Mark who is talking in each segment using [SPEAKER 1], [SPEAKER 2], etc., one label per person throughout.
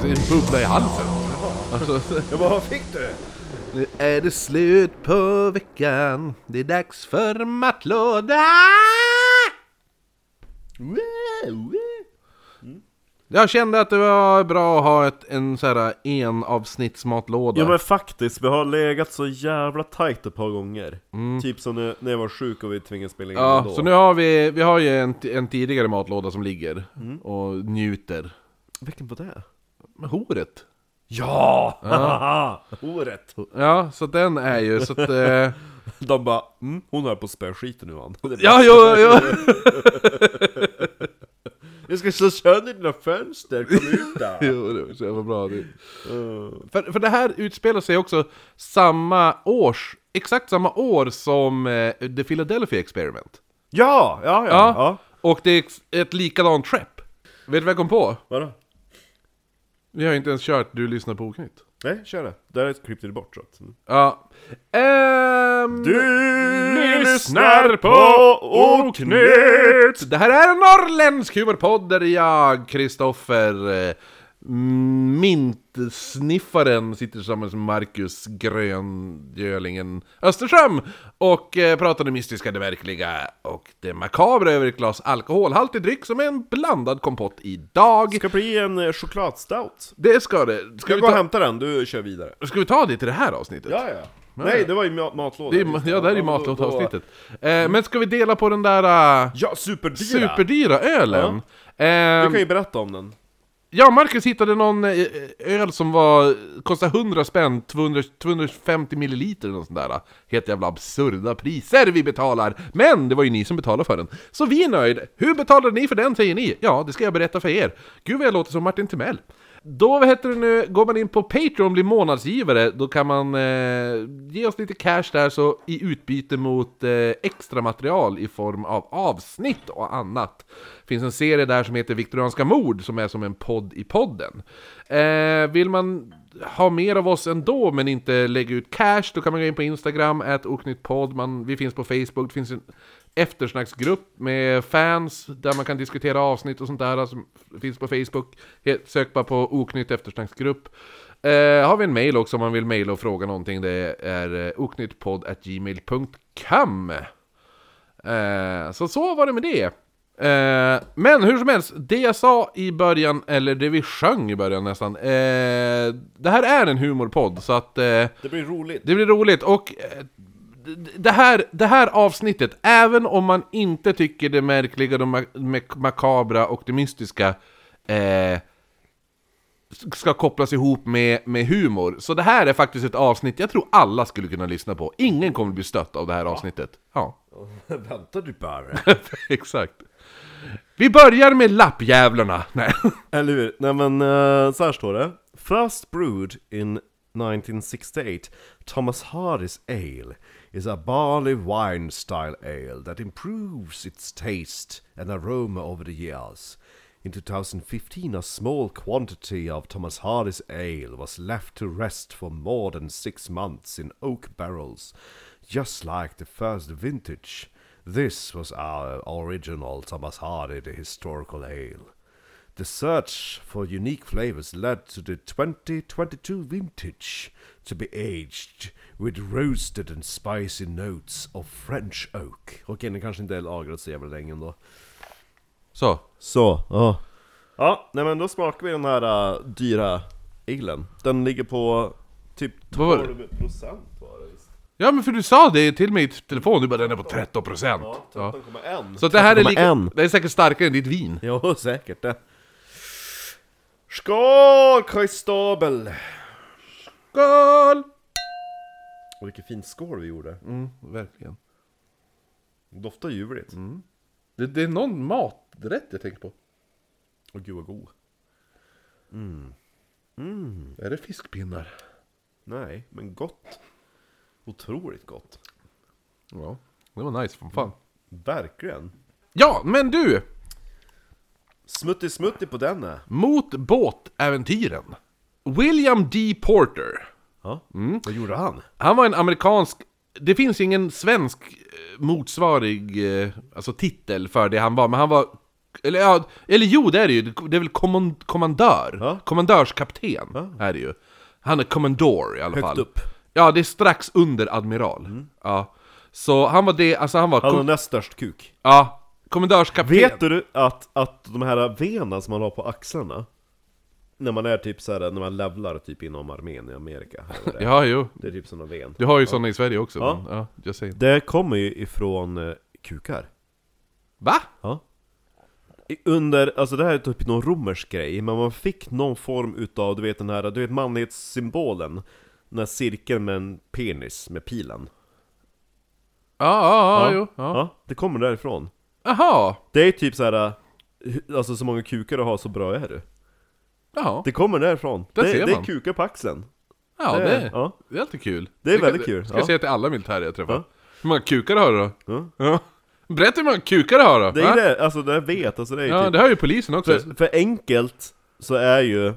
[SPEAKER 1] en bubbla i halsen. Alltså,
[SPEAKER 2] Jag bara, vad fick du?
[SPEAKER 1] nu är det slut på veckan. Det är dags för mattlåda! Mm. Jag kände att det var bra att ha ett, en så här enavsnittsmatlåda.
[SPEAKER 2] Ja men faktiskt, vi har legat så jävla tajt ett par gånger. Typ som när, när jag var sjuk och vi tvingades spela in
[SPEAKER 1] Ja,
[SPEAKER 2] ändå.
[SPEAKER 1] så nu har vi, vi har ju en, t- en tidigare matlåda som ligger och njuter.
[SPEAKER 2] Vilken var det?
[SPEAKER 1] Med horet.
[SPEAKER 2] Ja! Haha! Orätt!
[SPEAKER 1] Ja, så den är ju så att... Eh,
[SPEAKER 2] De bara, mm, hon är på spöskiten nu han. Det är
[SPEAKER 1] ja, jo, jo!
[SPEAKER 2] bara, Jag ska slå sönder dina fönster, kom ut där!
[SPEAKER 1] jo det var så jävla bra. Det. För, för det här utspelar sig också samma års... Exakt samma år som eh, The Philadelphia Experiment.
[SPEAKER 2] ja, ja, ja, ja,
[SPEAKER 1] Och det är ex- ett likadant trap. Vet du vad jag kom på?
[SPEAKER 2] Vadå?
[SPEAKER 1] Vi har ju inte ens kört Du lyssnar på oknytt.
[SPEAKER 2] Nej, kör det. Där klippte du bort så att... Mm.
[SPEAKER 1] Ja. Ehm...
[SPEAKER 2] Du
[SPEAKER 1] lyssnar på Det här är en norrländsk humorpodd där jag, Kristoffer, eh, mintsniffaren, sitter tillsammans med Marcus Gröngölingen Östersjöm och eh, pratar det mystiska, det verkliga och det makabra över ett glas alkoholhaltig dryck som är en blandad kompott idag.
[SPEAKER 2] Det ska bli en eh, chokladstout.
[SPEAKER 1] Det ska det. Ska
[SPEAKER 2] Ska
[SPEAKER 1] vi,
[SPEAKER 2] jag gå och
[SPEAKER 1] ta,
[SPEAKER 2] hämta den? Du kör vidare.
[SPEAKER 1] ska vi ta det till det här avsnittet?
[SPEAKER 2] Ja, ja. Nej, det var ju ma- matlådan.
[SPEAKER 1] Det är, ma- ja, det här är ju
[SPEAKER 2] men då-
[SPEAKER 1] matlåtavsnittet. Eh, men ska vi dela på den där eh,
[SPEAKER 2] då- Ja, superdyra!
[SPEAKER 1] superdyra ölen?
[SPEAKER 2] Du
[SPEAKER 1] Ehm,
[SPEAKER 2] kan ju berätta om den.
[SPEAKER 1] Ja, Marcus hittade någon eh, eh, öl som var, kostade 100 spänn, 200, 250 milliliter eller något sånt där. Helt jävla absurda priser vi betalar! Men det var ju ni som betalade för den. Så vi är nöjda. Hur betalade ni för den, säger ni? Ja, det ska jag berätta för er. Gud vad jag låter som Martin Timell. Då, vad heter det nu, går man in på Patreon och blir månadsgivare, då kan man eh, ge oss lite cash där så i utbyte mot eh, extra material i form av avsnitt och annat. Finns en serie där som heter Viktorianska mord som är som en podd i podden. Eh, vill man ha mer av oss ändå men inte lägga ut cash, då kan man gå in på Instagram, ät oknyttpodd, man, vi finns på Facebook, det finns en eftersnacksgrupp med fans där man kan diskutera avsnitt och sånt där som finns på Facebook. He- Sök bara på oknytt eftersnacksgrupp. Eh, har vi en mail också om man vill mejla och fråga någonting. Det är eh, oknyttpodd.gmail.com eh, Så så var det med det. Eh, men hur som helst, det jag sa i början, eller det vi sjöng i början nästan. Eh, det här är en humorpodd så att eh,
[SPEAKER 2] Det blir roligt.
[SPEAKER 1] det blir roligt och eh, d- d- det här, det här avsnittet, även om man inte tycker det märkliga, det ma- mak- makabra och det mystiska eh, s- ska kopplas ihop med, med humor. Så det här är faktiskt ett avsnitt jag tror alla skulle kunna lyssna på. Ingen kommer bli stött av det här avsnittet. Ja,
[SPEAKER 2] Vänta du bara.
[SPEAKER 1] exakt. Vi börjar med lappjävlarna. Nej.
[SPEAKER 2] Eller hur? Nej men eh, så här står det. First brewed in 1968, Thomas Hardy's ale is a barley wine style ale that improves its taste and aroma over the years. In 2015 a small quantity of Thomas Hardy's ale was left to rest for more than six months in oak barrels, just like the first vintage. This was our original Thomas Hardy, the historical ale. The search for unique flavors led to the 2022 vintage to be aged with roasted and spicy notes of French oak. Okej, den kanske inte är lagrad så jävla länge ändå.
[SPEAKER 1] Så,
[SPEAKER 2] Så, ja. Ja, nej men då smakar vi den här äh, dyra elen. Den ligger på typ
[SPEAKER 1] Vad var det?
[SPEAKER 2] 12% procent var det visst.
[SPEAKER 1] ja men för du sa det till mig i telefon, du bara den är på 13%.
[SPEAKER 2] Ja,
[SPEAKER 1] Ja.
[SPEAKER 2] 13,1.
[SPEAKER 1] Så att det här är,
[SPEAKER 2] 13,1.
[SPEAKER 1] lika, det är säkert starkare än ditt vin.
[SPEAKER 2] Jo, säkert det. Skål Kristabel!
[SPEAKER 1] Skål! Mm,
[SPEAKER 2] Och vilken fin skål vi gjorde.
[SPEAKER 1] Verkligen.
[SPEAKER 2] Doftar ljuvligt.
[SPEAKER 1] Det, det är någon maträtt jag tänker på.
[SPEAKER 2] Åh gud vad god.
[SPEAKER 1] Är det fiskpinnar?
[SPEAKER 2] Nej, men gott. Otroligt gott.
[SPEAKER 1] Ja, det var nice som fan.
[SPEAKER 2] Verkligen.
[SPEAKER 1] Mm. Ja, men du!
[SPEAKER 2] Smutti smutti på eh. denna.
[SPEAKER 1] Mot båtäventyren. William D. Porter.
[SPEAKER 2] Ja. Vad gjorde han?
[SPEAKER 1] Han var en amerikansk... Det finns ingen svensk eh, motsvarig eh, alltså titel för det han var, men han var Eller, ja, eller jo, det är det ju. Det är väl kommand- kommandör?
[SPEAKER 2] Ja.
[SPEAKER 1] Kommandörskapten är det ju. Han är kommandor i alla
[SPEAKER 2] Högt
[SPEAKER 1] fall.
[SPEAKER 2] upp. Mm.
[SPEAKER 1] Ja, det är strax under admiral. Ja. Så han var det, alltså han var...
[SPEAKER 2] Han har
[SPEAKER 1] kom-
[SPEAKER 2] näst störst kuk.
[SPEAKER 1] ja, kommendörskapten.
[SPEAKER 2] Vet du att, att de här venen som man har på axlarna, när man är typ så här, när man levlar typ inom armén i Amerika, här och där.
[SPEAKER 1] Ja, jo.
[SPEAKER 2] det är typ sådana ven.
[SPEAKER 1] Du har ju såna i Sverige också.
[SPEAKER 2] Ja.
[SPEAKER 1] Men, ja, jag säger inte.
[SPEAKER 2] Det kommer ju ifrån eh, kukar.
[SPEAKER 1] Va?
[SPEAKER 2] Ja. I- Under, alltså det här är typ någon romersk grej, men man fick någon form utav, du vet den här, du vet manlighetssymbolen? Den här cirkeln med en penis, med pilen.
[SPEAKER 1] Ja, ja, ja, jo. Ja.
[SPEAKER 2] ja det kommer därifrån.
[SPEAKER 1] Aha.
[SPEAKER 2] Det är typ så här. hu- alltså så många kukar du har så bra är du.
[SPEAKER 1] Ja,
[SPEAKER 2] Det kommer därifrån.
[SPEAKER 1] Där
[SPEAKER 2] det,
[SPEAKER 1] ser
[SPEAKER 2] det är
[SPEAKER 1] man.
[SPEAKER 2] kukar på axeln.
[SPEAKER 1] ja
[SPEAKER 2] det-
[SPEAKER 1] det,
[SPEAKER 2] ja.
[SPEAKER 1] det är alltid kul.
[SPEAKER 2] Det är
[SPEAKER 1] Ska-
[SPEAKER 2] väldigt kul,
[SPEAKER 1] Ska jag
[SPEAKER 2] ja.
[SPEAKER 1] säga till alla militärer jag träffar.
[SPEAKER 2] Ja.
[SPEAKER 1] Hur många kukar har du då?
[SPEAKER 2] Ja.
[SPEAKER 1] Berätta hur många kukar du har då!
[SPEAKER 2] Det är
[SPEAKER 1] Va?
[SPEAKER 2] det, alltså det jag vet, alltså det är
[SPEAKER 1] Ja,
[SPEAKER 2] typ...
[SPEAKER 1] det har ju polisen också.
[SPEAKER 2] För, för enkelt så är ju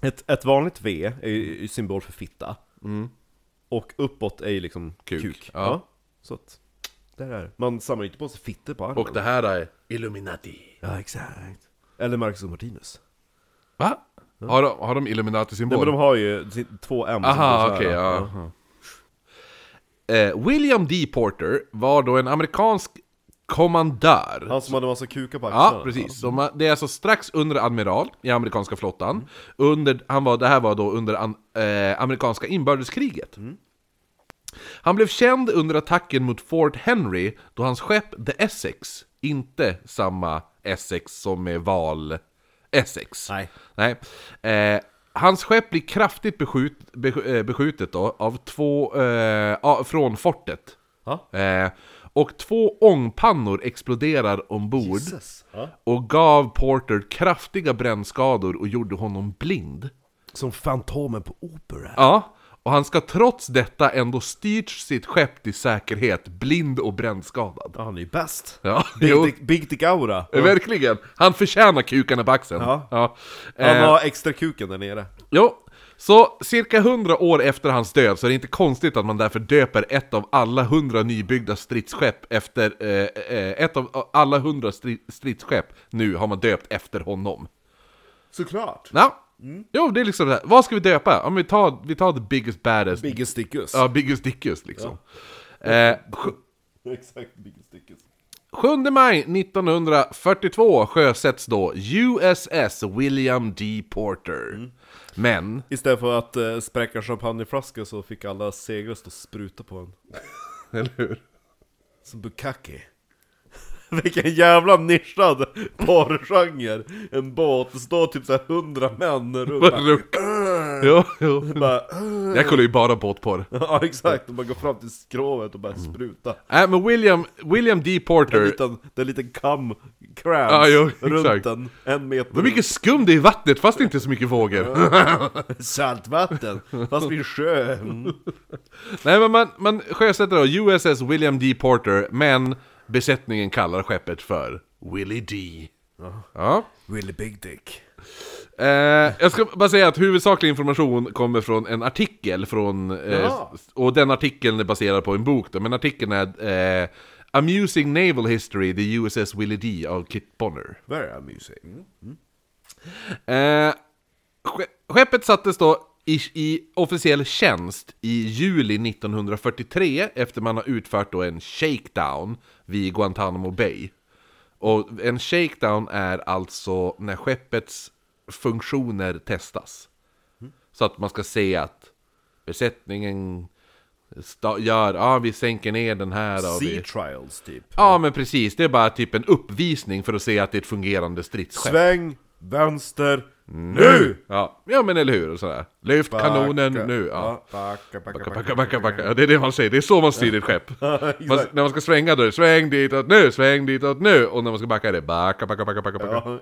[SPEAKER 2] ett, ett vanligt V är ju ju symbol för fitta. Och uppåt är ju liksom
[SPEAKER 1] Mm. Kuk,
[SPEAKER 2] kuk.
[SPEAKER 1] ja.
[SPEAKER 2] Så att, där är det. Man samlar ju inte på sig fitter på armen.
[SPEAKER 1] Och det här är Illuminati.
[SPEAKER 2] Ja, exakt. Eller Marcus och Martinus.
[SPEAKER 1] Va? Har de, har de
[SPEAKER 2] Nej men
[SPEAKER 1] Illuminati-symbol?
[SPEAKER 2] de har ju si- två M som går så
[SPEAKER 1] Aha,
[SPEAKER 2] här,
[SPEAKER 1] okej, ja. Eh, William D. Porter var då en amerikansk kommandör.
[SPEAKER 2] Han som hade massa kukar på axlarna.
[SPEAKER 1] Ja, precis. Så man- det är alltså strax under admiral i amerikanska flottan. Under, han var, det här var då under an, eh, amerikanska inbördeskriget.
[SPEAKER 2] Mm.
[SPEAKER 1] Han blev känd under attacken mot Fort Henry då hans skepp The Essex, inte samma Essex som är val Essex.
[SPEAKER 2] Nej.
[SPEAKER 1] Nej. Eh, hans skepp blir kraftigt beskjut, besk- eh, beskjutet då, av två, eh, ja, från fortet.
[SPEAKER 2] Ja.
[SPEAKER 1] Eh, och två ångpannor exploderar ombord
[SPEAKER 2] Jesus. Ja.
[SPEAKER 1] och gav Porter kraftiga brännskador och gjorde honom blind.
[SPEAKER 2] Som Fantomen på Opera.
[SPEAKER 1] Ja, och han ska trots detta ändå styrt sitt skepp till säkerhet, blind och brännskadad.
[SPEAKER 2] Ja, han är ju bäst.
[SPEAKER 1] Ja,
[SPEAKER 2] Big,
[SPEAKER 1] jo.
[SPEAKER 2] Dick, Big Dick Aura.
[SPEAKER 1] Eh, Verkligen! Han förtjänar kukarna på axeln.
[SPEAKER 2] Ja. Han
[SPEAKER 1] Eh,
[SPEAKER 2] har extra kuken där nere.
[SPEAKER 1] Jo, så cirka 100 år efter hans död så är det inte konstigt att man därför döper ett av alla 100 nybyggda stridsskepp efter... Eh, eh, ett av alla 100 stri- stridsskepp nu har man döpt efter honom.
[SPEAKER 2] Såklart.
[SPEAKER 1] Ja. Jo, det är liksom det här. Vad ska vi döpa? Om vi tar, vi tar the biggest baddest...
[SPEAKER 2] Biggest Dickus.
[SPEAKER 1] ja, biggest dickus liksom. Eh, sj-
[SPEAKER 2] Exakt, Biggest Dickus.
[SPEAKER 1] 7 maj 1942 sjösätts då USS William D. Porter. Men...
[SPEAKER 2] Istället för att eh, spräcka champagneflaskor så fick alla seglöst att spruta på en.
[SPEAKER 1] Eller hur?
[SPEAKER 2] Som Bukaki. Vilken jävla nischad porrgenre! En båt, det står typ såhär hundra män runt
[SPEAKER 1] Vad
[SPEAKER 2] bara,
[SPEAKER 1] ruck. Jo, jo.
[SPEAKER 2] bara,
[SPEAKER 1] Jag kollar ju bara båtporr.
[SPEAKER 2] Ja exakt, de bara går fram till skrovet och
[SPEAKER 1] Mm.
[SPEAKER 2] bara sprutar
[SPEAKER 1] Nej Äh, men William, William D.
[SPEAKER 2] Det är en
[SPEAKER 1] Porter.
[SPEAKER 2] liten, det är en liten kam krans
[SPEAKER 1] Ja, jo,
[SPEAKER 2] runt
[SPEAKER 1] exakt.
[SPEAKER 2] den, en meter
[SPEAKER 1] Vad mycket skum det är i vattnet fast det inte är så mycket vågor.
[SPEAKER 2] Saltvatten, fast vid sjö Mm.
[SPEAKER 1] Nej men man, man sjösätter då USS William D. Porter, men besättningen kallar skeppet för Willie D. Ja.
[SPEAKER 2] Really big dick
[SPEAKER 1] Eh, jag ska bara säga att huvudsaklig information kommer från en artikel från... Eh,
[SPEAKER 2] Jaha.
[SPEAKER 1] och den artikeln är baserad på en bok då, men artikeln är eh, Amusing Naval History, the USS Willie D av Kit Bonner.
[SPEAKER 2] Very amusing
[SPEAKER 1] Eh, ske- skeppet sattes då i, i officiell tjänst i juli 1943 efter man har utfört då en shakedown vid Guantanamo Bay. Och en shakedown är alltså när skeppets funktioner testas. Så att man ska se att besättningen sta- gör, ja vi sänker ner den här och vi...
[SPEAKER 2] Sea trials typ
[SPEAKER 1] Ja men precis, det är bara typ en uppvisning för att se att det är ett fungerande stridsskepp.
[SPEAKER 2] Sväng vänster nu!
[SPEAKER 1] Ja, ja men eller hur? Och sådär. Lyft kanonen
[SPEAKER 2] Backa.
[SPEAKER 1] nu! Ja.
[SPEAKER 2] Backa, backa,
[SPEAKER 1] Backa, backa,
[SPEAKER 2] backa.
[SPEAKER 1] backa, backa. Ja, det är det man säger, det är så man styr ett skepp. Man, när man ska svänga då är det sväng ditåt nu, sväng ditåt nu! Och när man ska backa är det backa, backa, backa, backa, backa.
[SPEAKER 2] Ja.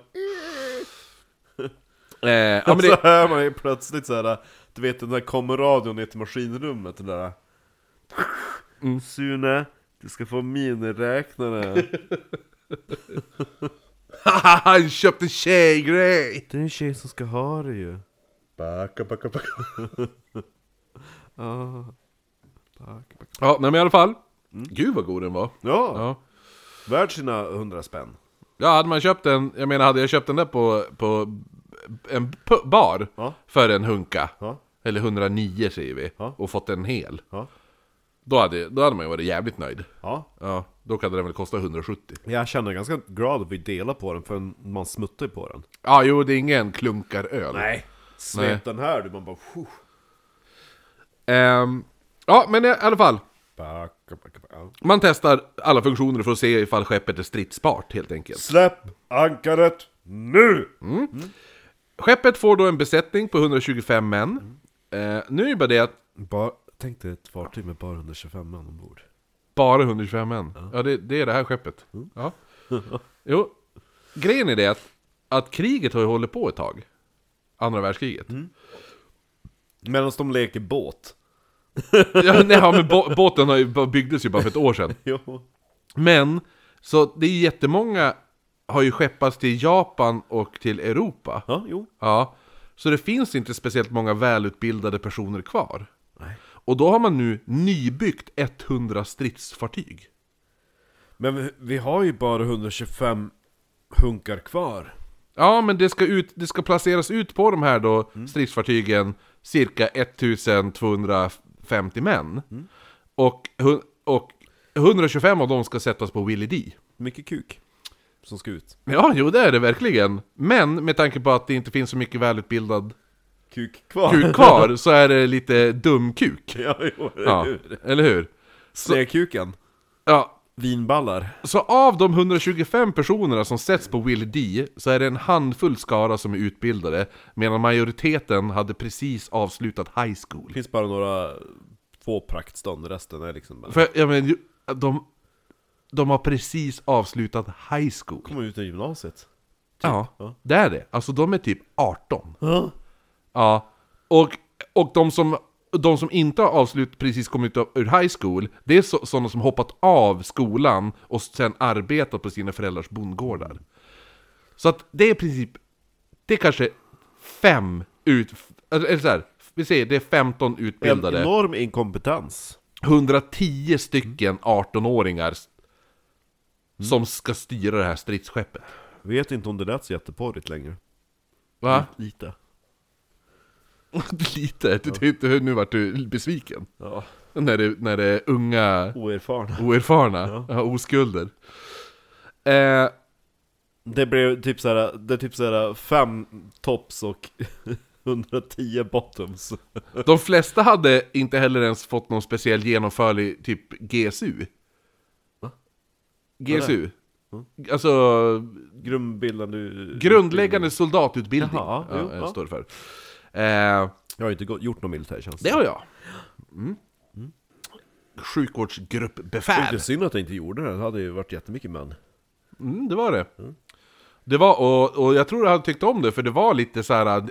[SPEAKER 1] Ja, eh, ja men
[SPEAKER 2] Så
[SPEAKER 1] det...
[SPEAKER 2] hör man ju plötsligt såhär, du vet den där kommer radion ner till maskinrummet, den där Mm. Sune, du ska få miniräknare
[SPEAKER 1] Haha, han köpte tjejgrej!
[SPEAKER 2] Det är en tjej som ska ha det ju
[SPEAKER 1] Backa, backa, backa.
[SPEAKER 2] Ja, Backa, backa.
[SPEAKER 1] Mm. Ja, nej men i alla fall. Gud vad god den var.
[SPEAKER 2] ja.
[SPEAKER 1] Ja.
[SPEAKER 2] värd sina hundra spänn
[SPEAKER 1] Ja, hade man köpt en, jag menar hade jag köpt den där på, på en p- bar
[SPEAKER 2] Ja.
[SPEAKER 1] för en hunka,
[SPEAKER 2] Ja.
[SPEAKER 1] eller 109 säger vi,
[SPEAKER 2] Ja.
[SPEAKER 1] och fått en hel,
[SPEAKER 2] Ja.
[SPEAKER 1] då hade, då hade man ju varit jävligt nöjd.
[SPEAKER 2] ja.
[SPEAKER 1] Ja, då hade den väl kosta 170.
[SPEAKER 2] Jag känner ganska glad att vi delar på den för man smuttar ju på den.
[SPEAKER 1] Ja, jo, det är ingen klunkaröl.
[SPEAKER 2] Nej.
[SPEAKER 1] Nej.
[SPEAKER 2] Svep den här du, man bara... Phew.
[SPEAKER 1] Ehm, ja, men i alla fall.
[SPEAKER 2] Backa, backa, backa.
[SPEAKER 1] Man testar alla funktioner för att se ifall skeppet är stridsbart helt enkelt.
[SPEAKER 2] Släpp ankaret nu!
[SPEAKER 1] Skeppet får då en besättning på 125
[SPEAKER 2] Mm.
[SPEAKER 1] män. Eh, nu är det bara det att
[SPEAKER 2] Bara, tänk dig ett fartyg med bara 125 man ombord.
[SPEAKER 1] bara 125 män. Ja, det, det är det här skeppet.
[SPEAKER 2] Mm.
[SPEAKER 1] Ja. Jo, grejen är det att, att kriget har ju hållit på ett tag. Andra världskriget.
[SPEAKER 2] Mm. Medan de leker båt.
[SPEAKER 1] Ja, nej, ja, men bå- båten har ju, bara- byggdes ju bara för ett år sedan.
[SPEAKER 2] Jo.
[SPEAKER 1] Men, så det är ju jättemånga har ju skeppats till Japan och till Europa.
[SPEAKER 2] Ja, jo.
[SPEAKER 1] Ja, så det finns inte speciellt många välutbildade personer kvar.
[SPEAKER 2] Nej.
[SPEAKER 1] Och då har man nu nybyggt 100 stridsfartyg.
[SPEAKER 2] Men vi, vi har ju bara 125 hunkar kvar.
[SPEAKER 1] Ja, men det ska, ut, det ska placeras ut på de här då stridsfartygen cirka 1250 män. Och, hu- och 125 av dem ska sättas på Willy D.
[SPEAKER 2] Mycket kuk. Som ska ut.
[SPEAKER 1] Ja, jo det är det verkligen. Men med tanke på att det inte finns så mycket välutbildad
[SPEAKER 2] Kuk kvar.
[SPEAKER 1] kuk kvar så är det lite dumkuk.
[SPEAKER 2] Ja, jo, eller
[SPEAKER 1] Ja,
[SPEAKER 2] hur?
[SPEAKER 1] eller hur?
[SPEAKER 2] Snedkuken.
[SPEAKER 1] Ja,
[SPEAKER 2] Vinballar.
[SPEAKER 1] Så av de 125 personerna som sätts på Will D så är det en handfull skara som är utbildade medan majoriteten hade precis avslutat high school.
[SPEAKER 2] Det finns bara några få praktstånd, resten är liksom bara...
[SPEAKER 1] För jag menar, ju- de, de har precis avslutat high school.
[SPEAKER 2] Kommer ut ur gymnasiet.
[SPEAKER 1] Ja,
[SPEAKER 2] ja.
[SPEAKER 1] det är det. Alltså de är typ 18.
[SPEAKER 2] Ja.
[SPEAKER 1] Ja, och, och de, som, de som inte har avslut precis kommit upp ur high school, det är så, sådana som hoppat av skolan och sen arbetat på sina föräldrars bondgårdar. Så att det är i princip, det är kanske fem ut, eller så här, vi säger det är 15
[SPEAKER 2] En
[SPEAKER 1] utbildade,
[SPEAKER 2] enorm inkompetens.
[SPEAKER 1] 110
[SPEAKER 2] Mm.
[SPEAKER 1] stycken 18-åringar s- som ska styra det här stridsskeppet.
[SPEAKER 2] Vet inte om det lät så jätteporrigt längre.
[SPEAKER 1] Va?
[SPEAKER 2] Lite. Mm.
[SPEAKER 1] Lite, du tyckte, nu vart du besviken.
[SPEAKER 2] Ja.
[SPEAKER 1] När det, när det är unga
[SPEAKER 2] Oerfarna.
[SPEAKER 1] Oerfarna, ja. oskulder. Eh,
[SPEAKER 2] Det blev typ såhär, det är typ såhär fem tops och 110 bottoms.
[SPEAKER 1] de flesta hade inte heller ens fått någon speciell genomförlig typ GSU.
[SPEAKER 2] Va?
[SPEAKER 1] GSU. Alltså
[SPEAKER 2] Grundbildande...
[SPEAKER 1] grundläggande soldatutbildning.
[SPEAKER 2] Jaha,
[SPEAKER 1] ja,
[SPEAKER 2] jo,
[SPEAKER 1] eh,
[SPEAKER 2] ja.
[SPEAKER 1] står det för. Eh,
[SPEAKER 2] Jag har inte gå- gjort någon militärtjänst.
[SPEAKER 1] det har jag.
[SPEAKER 2] Det är
[SPEAKER 1] Mm. Sjukvårdsgruppbefäl.
[SPEAKER 2] inte synd att jag inte gjorde det, det hade ju varit jättemycket män.
[SPEAKER 1] Mm, det var det. Det var, och, och jag tror han tyckte om det, för det var lite så här. äh,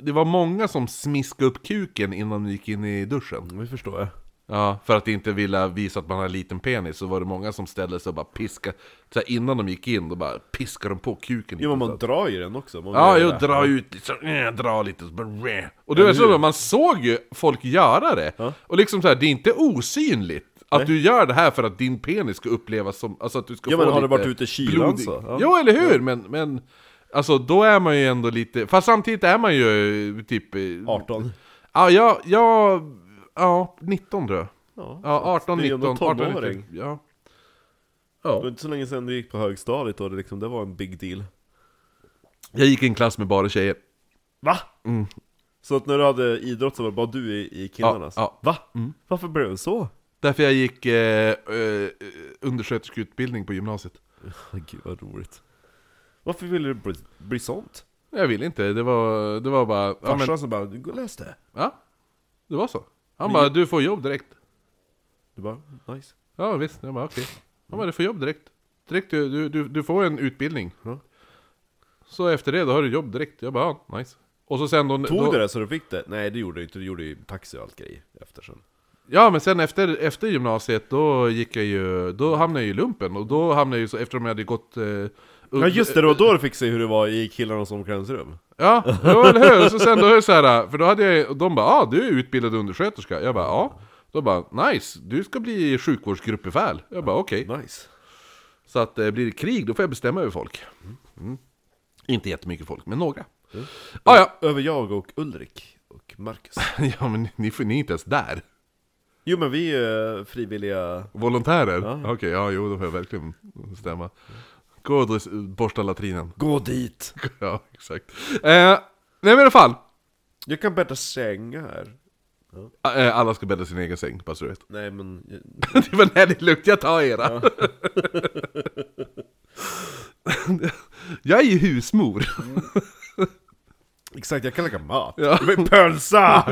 [SPEAKER 1] Det var många som smiskade upp kuken innan de gick in i duschen.
[SPEAKER 2] Det förstår jag.
[SPEAKER 1] Ja, för att inte vilja visa att man har en liten penis så var det många som ställde sig och bara piskade så här, Innan de gick in, då bara piskade de på kuken
[SPEAKER 2] Jo men
[SPEAKER 1] lite så
[SPEAKER 2] man
[SPEAKER 1] att-
[SPEAKER 2] drar ju den också. Man
[SPEAKER 1] Ja,
[SPEAKER 2] gör
[SPEAKER 1] jo,
[SPEAKER 2] det.
[SPEAKER 1] dra ut liksom, eh, dra lite så bara, eh. Och du vet, så, man såg ju folk göra det Och liksom så här, det är inte osynligt att du gör det här för att din penis ska upplevas som, alltså att du ska
[SPEAKER 2] Ja,
[SPEAKER 1] få
[SPEAKER 2] men har
[SPEAKER 1] lite
[SPEAKER 2] det varit ute i kylan
[SPEAKER 1] blodig-
[SPEAKER 2] så? Ja.
[SPEAKER 1] Jo, eller hur! Men, men, alltså då är man ju ändå lite, fast samtidigt är man ju eh, typ eh,
[SPEAKER 2] 18.
[SPEAKER 1] Ja, jag, jag, ja, 19 tror jag
[SPEAKER 2] Ja.
[SPEAKER 1] Ja, 18,
[SPEAKER 2] det är ju
[SPEAKER 1] 19,
[SPEAKER 2] ändå
[SPEAKER 1] 18, 19,
[SPEAKER 2] tonåring.
[SPEAKER 1] ja.
[SPEAKER 2] Det var inte så länge sedan du gick på högstadiet och det, liksom, det var en big deal.
[SPEAKER 1] Jag gick i en klass med bara tjejer.
[SPEAKER 2] Va? Mm. Så att när du hade idrott så var det bara du i, i killarnas?
[SPEAKER 1] Ja,
[SPEAKER 2] Va? Varför blev det så?
[SPEAKER 1] Därför jag gick eh, eh, undersköterskeutbildning på gymnasiet.
[SPEAKER 2] Gud vad roligt. Varför ville du bli, bli sånt?
[SPEAKER 1] Jag ville inte, det var, det var bara... Ja,
[SPEAKER 2] Farsan
[SPEAKER 1] men,
[SPEAKER 2] som bara, gå och läs det.
[SPEAKER 1] ja, det var så. Han bara, du får jobb direkt.
[SPEAKER 2] Du bara, nice.
[SPEAKER 1] Ja visst, jag bara okej. Han bara, du får jobb direkt. Direkt, du, du- du, du får en utbildning.
[SPEAKER 2] Ja.
[SPEAKER 1] Så efter det, då har du jobb direkt. Jag bara, ja, nice. Och så sen då...
[SPEAKER 2] Tog
[SPEAKER 1] då,
[SPEAKER 2] du det så du fick det? Nej det gjorde du inte, du gjorde ju taxi och allt grejer efter sen.
[SPEAKER 1] Ja men sen efter, efter gymnasiet då gick jag ju, då hamnade jag ju i lumpen och då hamnade jag ju så, eftersom jag hade gått... Eh,
[SPEAKER 2] Ja just det, det var då du fick se hur det var i killarnas omklädningsrum.
[SPEAKER 1] Ja, ja, eller hur? Så sen då är det så här, för då hade jag, och de bara ah, du är utbildad undersköterska. Jag bara ja. Då bara nice, du ska bli sjukvårdsgruppbefäl. Jag bara okej.
[SPEAKER 2] Nice.
[SPEAKER 1] Så att eh, blir det krig, då får jag bestämma över folk. Mm. Inte jättemycket folk, men några. Ah, ja,
[SPEAKER 2] Över jag och Ulrik och Marcus.
[SPEAKER 1] ja, men ni- ni, får- ni är inte ens där.
[SPEAKER 2] Jo men vi är eh, frivilliga...
[SPEAKER 1] Volontärer? Okej, ja, jo, då får jag verkligen bestämma. Gå och dus- borsta latrinen.
[SPEAKER 2] Gå dit!
[SPEAKER 1] ja, exakt. Eh, nej, men i alla fall.
[SPEAKER 2] Jag kan bädda säng här.
[SPEAKER 1] Eh, alla ska bädda sin egen säng, bara så du vet.
[SPEAKER 2] Nej men...
[SPEAKER 1] det var när det är lugnt, jag tar era. jag är ju husmor.
[SPEAKER 2] Exakt, jag kan laga mat.
[SPEAKER 1] Ja.
[SPEAKER 2] Med pölsa!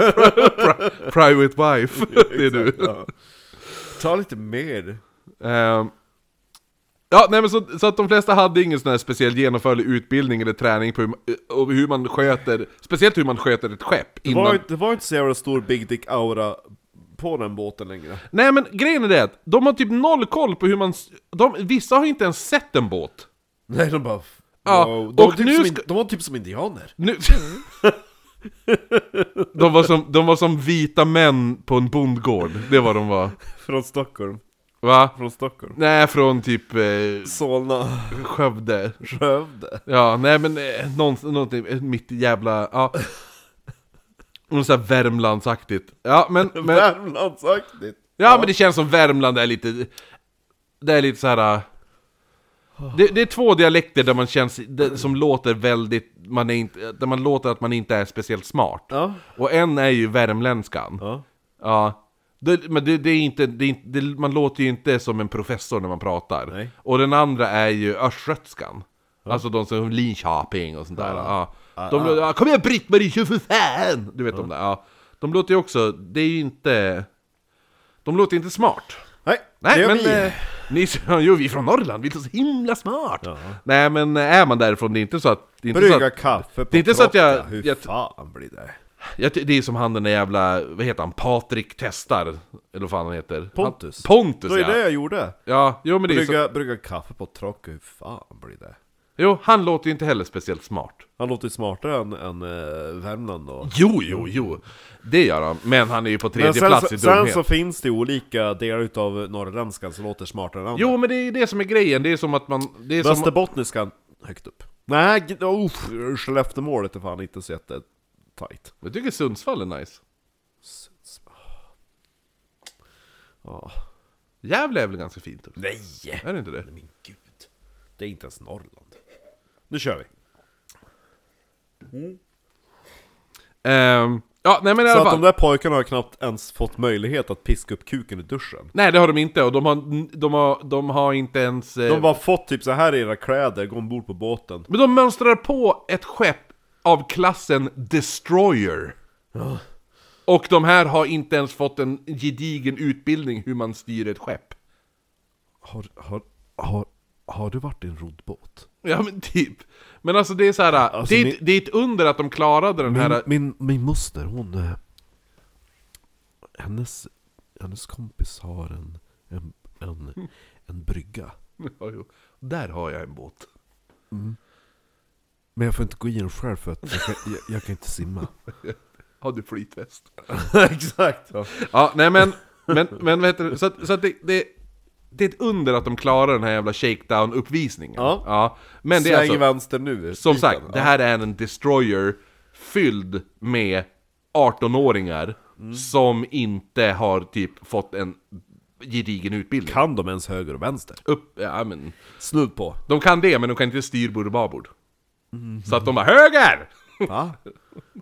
[SPEAKER 1] Private wife, det är du.
[SPEAKER 2] Ja. Ta lite mer.
[SPEAKER 1] Ehm, Ja, nej men så, så att de flesta hade ingen sån här speciell genomförlig utbildning eller träning på hur, man- och hur man sköter, speciellt hur man sköter ett skepp
[SPEAKER 2] Det
[SPEAKER 1] innan...
[SPEAKER 2] var, inte- det var inte så jävla stor Big Dick Aura på den båten längre.
[SPEAKER 1] Nej men grejen är det att de har typ noll koll på hur man... s- De, vissa har ju inte ens sett en båt.
[SPEAKER 2] Nej, de bara...
[SPEAKER 1] Ja,
[SPEAKER 2] wow. De, var
[SPEAKER 1] och
[SPEAKER 2] typ
[SPEAKER 1] nu
[SPEAKER 2] som,
[SPEAKER 1] ska-
[SPEAKER 2] in- de var typ som indianer.
[SPEAKER 1] Nu...
[SPEAKER 2] Mm.
[SPEAKER 1] de, var som, de var som vita män på en bondgård, det var de var.
[SPEAKER 2] Från Stockholm.
[SPEAKER 1] Va?
[SPEAKER 2] Från Stockholm.
[SPEAKER 1] Nej, från typ eh,
[SPEAKER 2] Solna.
[SPEAKER 1] Skövde.
[SPEAKER 2] Skövde.
[SPEAKER 1] Ja, nej men eh, någon, någonting, eh, mitt i jävla, ja. Något sånt här Värmlandsaktigt. Ja men, men,
[SPEAKER 2] Värmlandsaktigt.
[SPEAKER 1] ja, men det känns som Värmland är lite, det är lite så här. eh, Det, det är två dialekter där man känns, det, som låter väldigt, man är inte, där man låter att man inte är speciellt smart.
[SPEAKER 2] Ja.
[SPEAKER 1] Och en är ju värmländskan.
[SPEAKER 2] Ja.
[SPEAKER 1] Ja. Det, men det, det är inte, det är inte det, man låter ju inte som en professor när man pratar.
[SPEAKER 2] Nej.
[SPEAKER 1] Och den andra är ju östgötskan. Alltså de som Linköping och sånt där. Ja. De, lå- ja, kom igen Britt-Marie, kör för fan! Du vet de där. Ja. De låter ju också, det är ju inte... De låter inte smart.
[SPEAKER 2] Nej,
[SPEAKER 1] Nej
[SPEAKER 2] det är
[SPEAKER 1] men...
[SPEAKER 2] vi.
[SPEAKER 1] Eh, ni, jo, vi är från Norrland, vi är så himla smart! Nej men eh, är man därifrån, det är inte så att... Det är inte så
[SPEAKER 2] Brygga
[SPEAKER 1] att,
[SPEAKER 2] kaffe på
[SPEAKER 1] det är inte så att jag-
[SPEAKER 2] Trocka. Hur
[SPEAKER 1] jag-
[SPEAKER 2] fan blir det?
[SPEAKER 1] jag, ty- det är som han den där jävla, vad heter han, Patrik Testar? Eller vad fan han heter?
[SPEAKER 2] Pontus.
[SPEAKER 1] Han, Pontus
[SPEAKER 2] Det är
[SPEAKER 1] ja!
[SPEAKER 2] det jag gjorde.
[SPEAKER 1] Ja, jo men det är så,
[SPEAKER 2] Brygga, brygga kaffe på Trocka, hur fan blir det?
[SPEAKER 1] Jo, han låter ju inte heller speciellt smart.
[SPEAKER 2] Han låter ju smartare än, än eh, Värmland då.
[SPEAKER 1] Jo, jo, jo! Det gör han, men han är ju på tredje
[SPEAKER 2] Men sen,
[SPEAKER 1] plats
[SPEAKER 2] så,
[SPEAKER 1] i
[SPEAKER 2] sen
[SPEAKER 1] dumhet.
[SPEAKER 2] så finns det ju olika delar utav norrländskan som låter smartare än andra.
[SPEAKER 1] Jo, men det är det som är grejen, det är som att man... Det är som,
[SPEAKER 2] Västerbottniskan, högt upp. Nej, g- uff, Skelleftemålet är fan inte så jättetajt.
[SPEAKER 1] jag tycker Sundsvall är nice.
[SPEAKER 2] Ja.
[SPEAKER 1] Gävle är väl ganska fint? Också.
[SPEAKER 2] Nej!
[SPEAKER 1] Är det inte det?
[SPEAKER 2] Men gud. Det är inte ens Norrland. Nu kör vi.
[SPEAKER 1] Ehm, ja, nej men i
[SPEAKER 2] Så
[SPEAKER 1] alla
[SPEAKER 2] att de
[SPEAKER 1] fall.
[SPEAKER 2] där pojkarna har knappt ens fått möjlighet att piska upp kuken i duschen.
[SPEAKER 1] Nej, det har de inte, och de har, de har, de har inte ens... eh,
[SPEAKER 2] De har bara fått typ så här är era kläder, gå ombord på båten.
[SPEAKER 1] Men de mönstrar på ett skepp av klassen Destroyer. Och de här har inte ens fått en gedigen utbildning hur man styr ett skepp.
[SPEAKER 2] Har, har, har, har du varit i en roddbåt?
[SPEAKER 1] Ja men typ. Men alltså det är så här. det, är,
[SPEAKER 2] ni-
[SPEAKER 1] det är ett under att de klarade den
[SPEAKER 2] Min,
[SPEAKER 1] här...
[SPEAKER 2] min, min moster, hon... eh, Hennes, hennes kompis har en, en, en, en brygga.
[SPEAKER 1] Ja, jo. Där har jag en båt.
[SPEAKER 2] Men jag får inte gå i den själv för att jag kan, jag, jag kan inte simma.
[SPEAKER 1] Har du flytväst?
[SPEAKER 2] Exakt! Ja.
[SPEAKER 1] Ja, nej men... Men, men vad heter det? Så, att, så att det, det... Det är ett under att de klarar den här jävla shakedown-uppvisningen.
[SPEAKER 2] Ja.
[SPEAKER 1] Men det är
[SPEAKER 2] Sväng
[SPEAKER 1] alltså...
[SPEAKER 2] vänster nu.
[SPEAKER 1] Som
[SPEAKER 2] Liten,
[SPEAKER 1] sagt,
[SPEAKER 2] ja.
[SPEAKER 1] det här är en destroyer fylld med 18-åringar
[SPEAKER 2] Mm.
[SPEAKER 1] som inte har typ fått en gedigen utbildning.
[SPEAKER 2] Kan de ens höger och vänster?
[SPEAKER 1] Upp, ja, men,
[SPEAKER 2] Snudd på.
[SPEAKER 1] de kan det, men de kan inte styrbord och babord.
[SPEAKER 2] Mhm.
[SPEAKER 1] Så att de bara ”Höger!”
[SPEAKER 2] Va?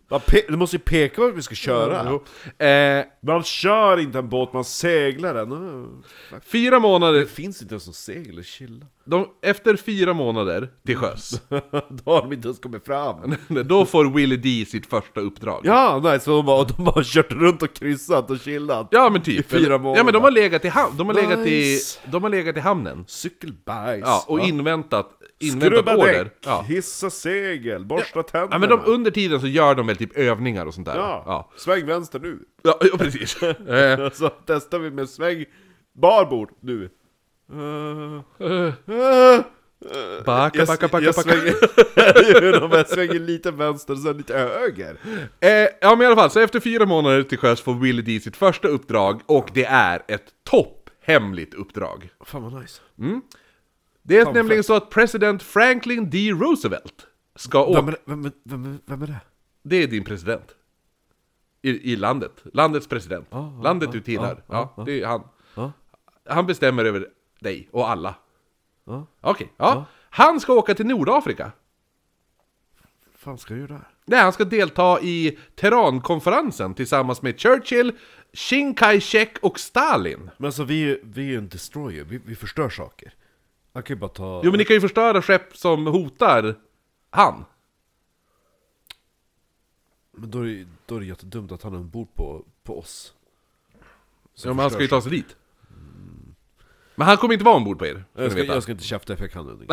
[SPEAKER 2] Va, pe- du måste ju peka vart vi ska köra.
[SPEAKER 1] Jo. eh,
[SPEAKER 2] Man kör inte en båt, man seglar den. Mm.
[SPEAKER 1] Fyra månader,
[SPEAKER 2] Det finns inte ens någon segel, chilla.
[SPEAKER 1] de, efter fyra månader till sjöss,
[SPEAKER 2] Då har de inte ens kommit fram.
[SPEAKER 1] då får Willie D sitt första uppdrag.
[SPEAKER 2] Ja, nej, så de bara, de bara kört runt och kryssat och chillat.
[SPEAKER 1] Ja, men typ.
[SPEAKER 2] Fyra
[SPEAKER 1] Ja men
[SPEAKER 2] månader.
[SPEAKER 1] de har legat i, ham- de har legat i,
[SPEAKER 2] Nice.
[SPEAKER 1] de har legat i hamnen.
[SPEAKER 2] Cykelbajs.
[SPEAKER 1] Ja, och inväntat, inväntat order.
[SPEAKER 2] däck,
[SPEAKER 1] Ja.
[SPEAKER 2] hissa segel, borsta tänderna.
[SPEAKER 1] Ja, men de, under tiden så gör de väl typ övningar och sånt där?
[SPEAKER 2] ja.
[SPEAKER 1] ja.
[SPEAKER 2] Sväng vänster nu.
[SPEAKER 1] ja, ja precis. Eh,
[SPEAKER 2] Så testar vi med sväng barbord nu. Uh,
[SPEAKER 1] eh,
[SPEAKER 2] uh,
[SPEAKER 1] backa, backa, backa,
[SPEAKER 2] jag
[SPEAKER 1] backa.
[SPEAKER 2] svänger, de här svänger lite vänster, sen lite höger.
[SPEAKER 1] Eh, ja, men i alla fall, så efter fyra månader till sjöss får Willy D sitt första uppdrag och det är ett topphemligt uppdrag.
[SPEAKER 2] Fan vad nice.
[SPEAKER 1] Det är
[SPEAKER 2] Fan,
[SPEAKER 1] nämligen så att president Franklin D. Roosevelt ska åka...
[SPEAKER 2] Vem är, det- vem, är- vem, är- vem är det?
[SPEAKER 1] Det är din president. I, i landet. Landets president.
[SPEAKER 2] Ah,
[SPEAKER 1] landet du tillhör. Ja, det är han.
[SPEAKER 2] Ja.
[SPEAKER 1] Han bestämmer över dig och alla.
[SPEAKER 2] Ja.
[SPEAKER 1] Okej, ja.
[SPEAKER 2] Ah.
[SPEAKER 1] Han ska åka till Nordafrika.
[SPEAKER 2] fan ska jag göra där?
[SPEAKER 1] Nej, han ska delta i Teherankonferensen tillsammans med Churchill, Chiang Kai-Shek och Stalin.
[SPEAKER 2] Men alltså vi, är- vi är ju en destroyer, vi, vi förstör saker. Jag kan ju bara ta...
[SPEAKER 1] Jo, men ni kan ju förstöra skepp som hotar han.
[SPEAKER 2] Men då är, det- då är det jättedumt att han är ombord på, på oss. Så
[SPEAKER 1] Ja, men han ska ju ta sig dit. Men han kommer inte vara ombord på er. ska ni
[SPEAKER 2] Jag ska,
[SPEAKER 1] veta.
[SPEAKER 2] jag ska inte käfta för jag kan det.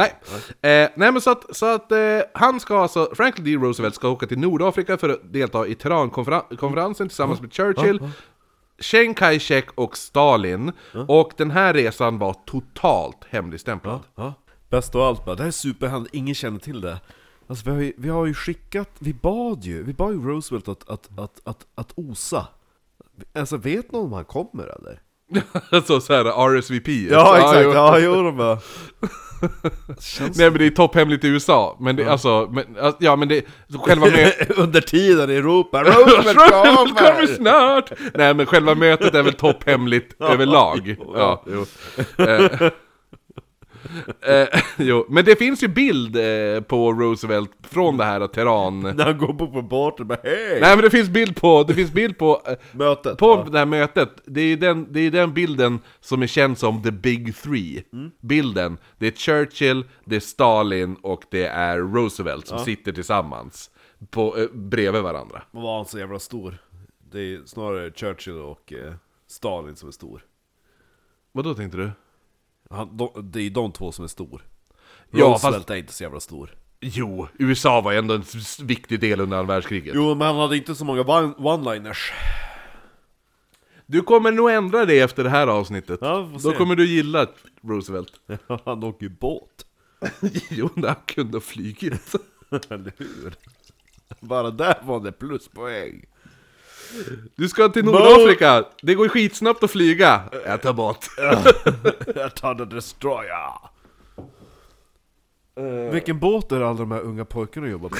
[SPEAKER 1] Nej. Eh, nej men så att, så att eh, han ska alltså, Franklin D. Roosevelt ska åka till Nordafrika för att delta i Teherankonferensen tillsammans med Churchill, Chiang Kai-Shek och Stalin. Och den här resan var totalt hemligstämplad.
[SPEAKER 2] Ja. Bäst av allt bara, det här är superhand, ingen känner till det. Alltså vi har ju, vi har ju skickat, vi bad ju, vi bad ju Roosevelt att, att, att, att, att osa. Alltså vet någon om han kommer eller?
[SPEAKER 1] Alltså, så såhär RSVP. jo.
[SPEAKER 2] ja jo de bara.
[SPEAKER 1] Alltså, Nej men det är topphemligt i USA, men det, alltså, men, alltså, ja men det, så själva med...
[SPEAKER 2] Under tiden i Europa, Roosevelt
[SPEAKER 1] Roosevelt kommer
[SPEAKER 2] kommer!
[SPEAKER 1] snart! Nej men själva mötet är väl topphemligt överlag. Ja, jo. Eh, eh, jo. Men det finns ju bild eh, på Roosevelt från det här Teheran...
[SPEAKER 2] När han går på, på båten bara hej!
[SPEAKER 1] Nej men det finns bild på, det finns bild på, eh,
[SPEAKER 2] Mötet.
[SPEAKER 1] på
[SPEAKER 2] ja.
[SPEAKER 1] det här mötet. Det är ju den, det är den bilden som är känd som the big three.
[SPEAKER 2] Mm.
[SPEAKER 1] Bilden, det är Churchill, det är Stalin och det är Roosevelt som sitter tillsammans. På, eh, bredvid varandra.
[SPEAKER 2] Men var han så jävla stor? Det är snarare Churchill och eh, Stalin som är stor.
[SPEAKER 1] Vad då tänkte du?
[SPEAKER 2] Han, de, det är de två som är stor.
[SPEAKER 1] Ja,
[SPEAKER 2] Roosevelt
[SPEAKER 1] fast-
[SPEAKER 2] är inte så jävla stor.
[SPEAKER 1] Jo, USA var ändå en s- viktig del under andra världskriget.
[SPEAKER 2] Jo, men han hade inte så många one- one-liners.
[SPEAKER 1] Du kommer nog ändra det efter det här avsnittet.
[SPEAKER 2] Ja, vi får
[SPEAKER 1] Då
[SPEAKER 2] se.
[SPEAKER 1] kommer du gilla Roosevelt.
[SPEAKER 2] han åker ju båt.
[SPEAKER 1] jo, när han kunde ha flugit.
[SPEAKER 2] Eller hur? Bara där var det pluspoäng.
[SPEAKER 1] Du ska till Nordafrika! Det går skitsnabbt att flyga! Jag tar båt.
[SPEAKER 2] Jag tar the destroyer. Vilken båt är det alla de här unga pojkarna jobbar på?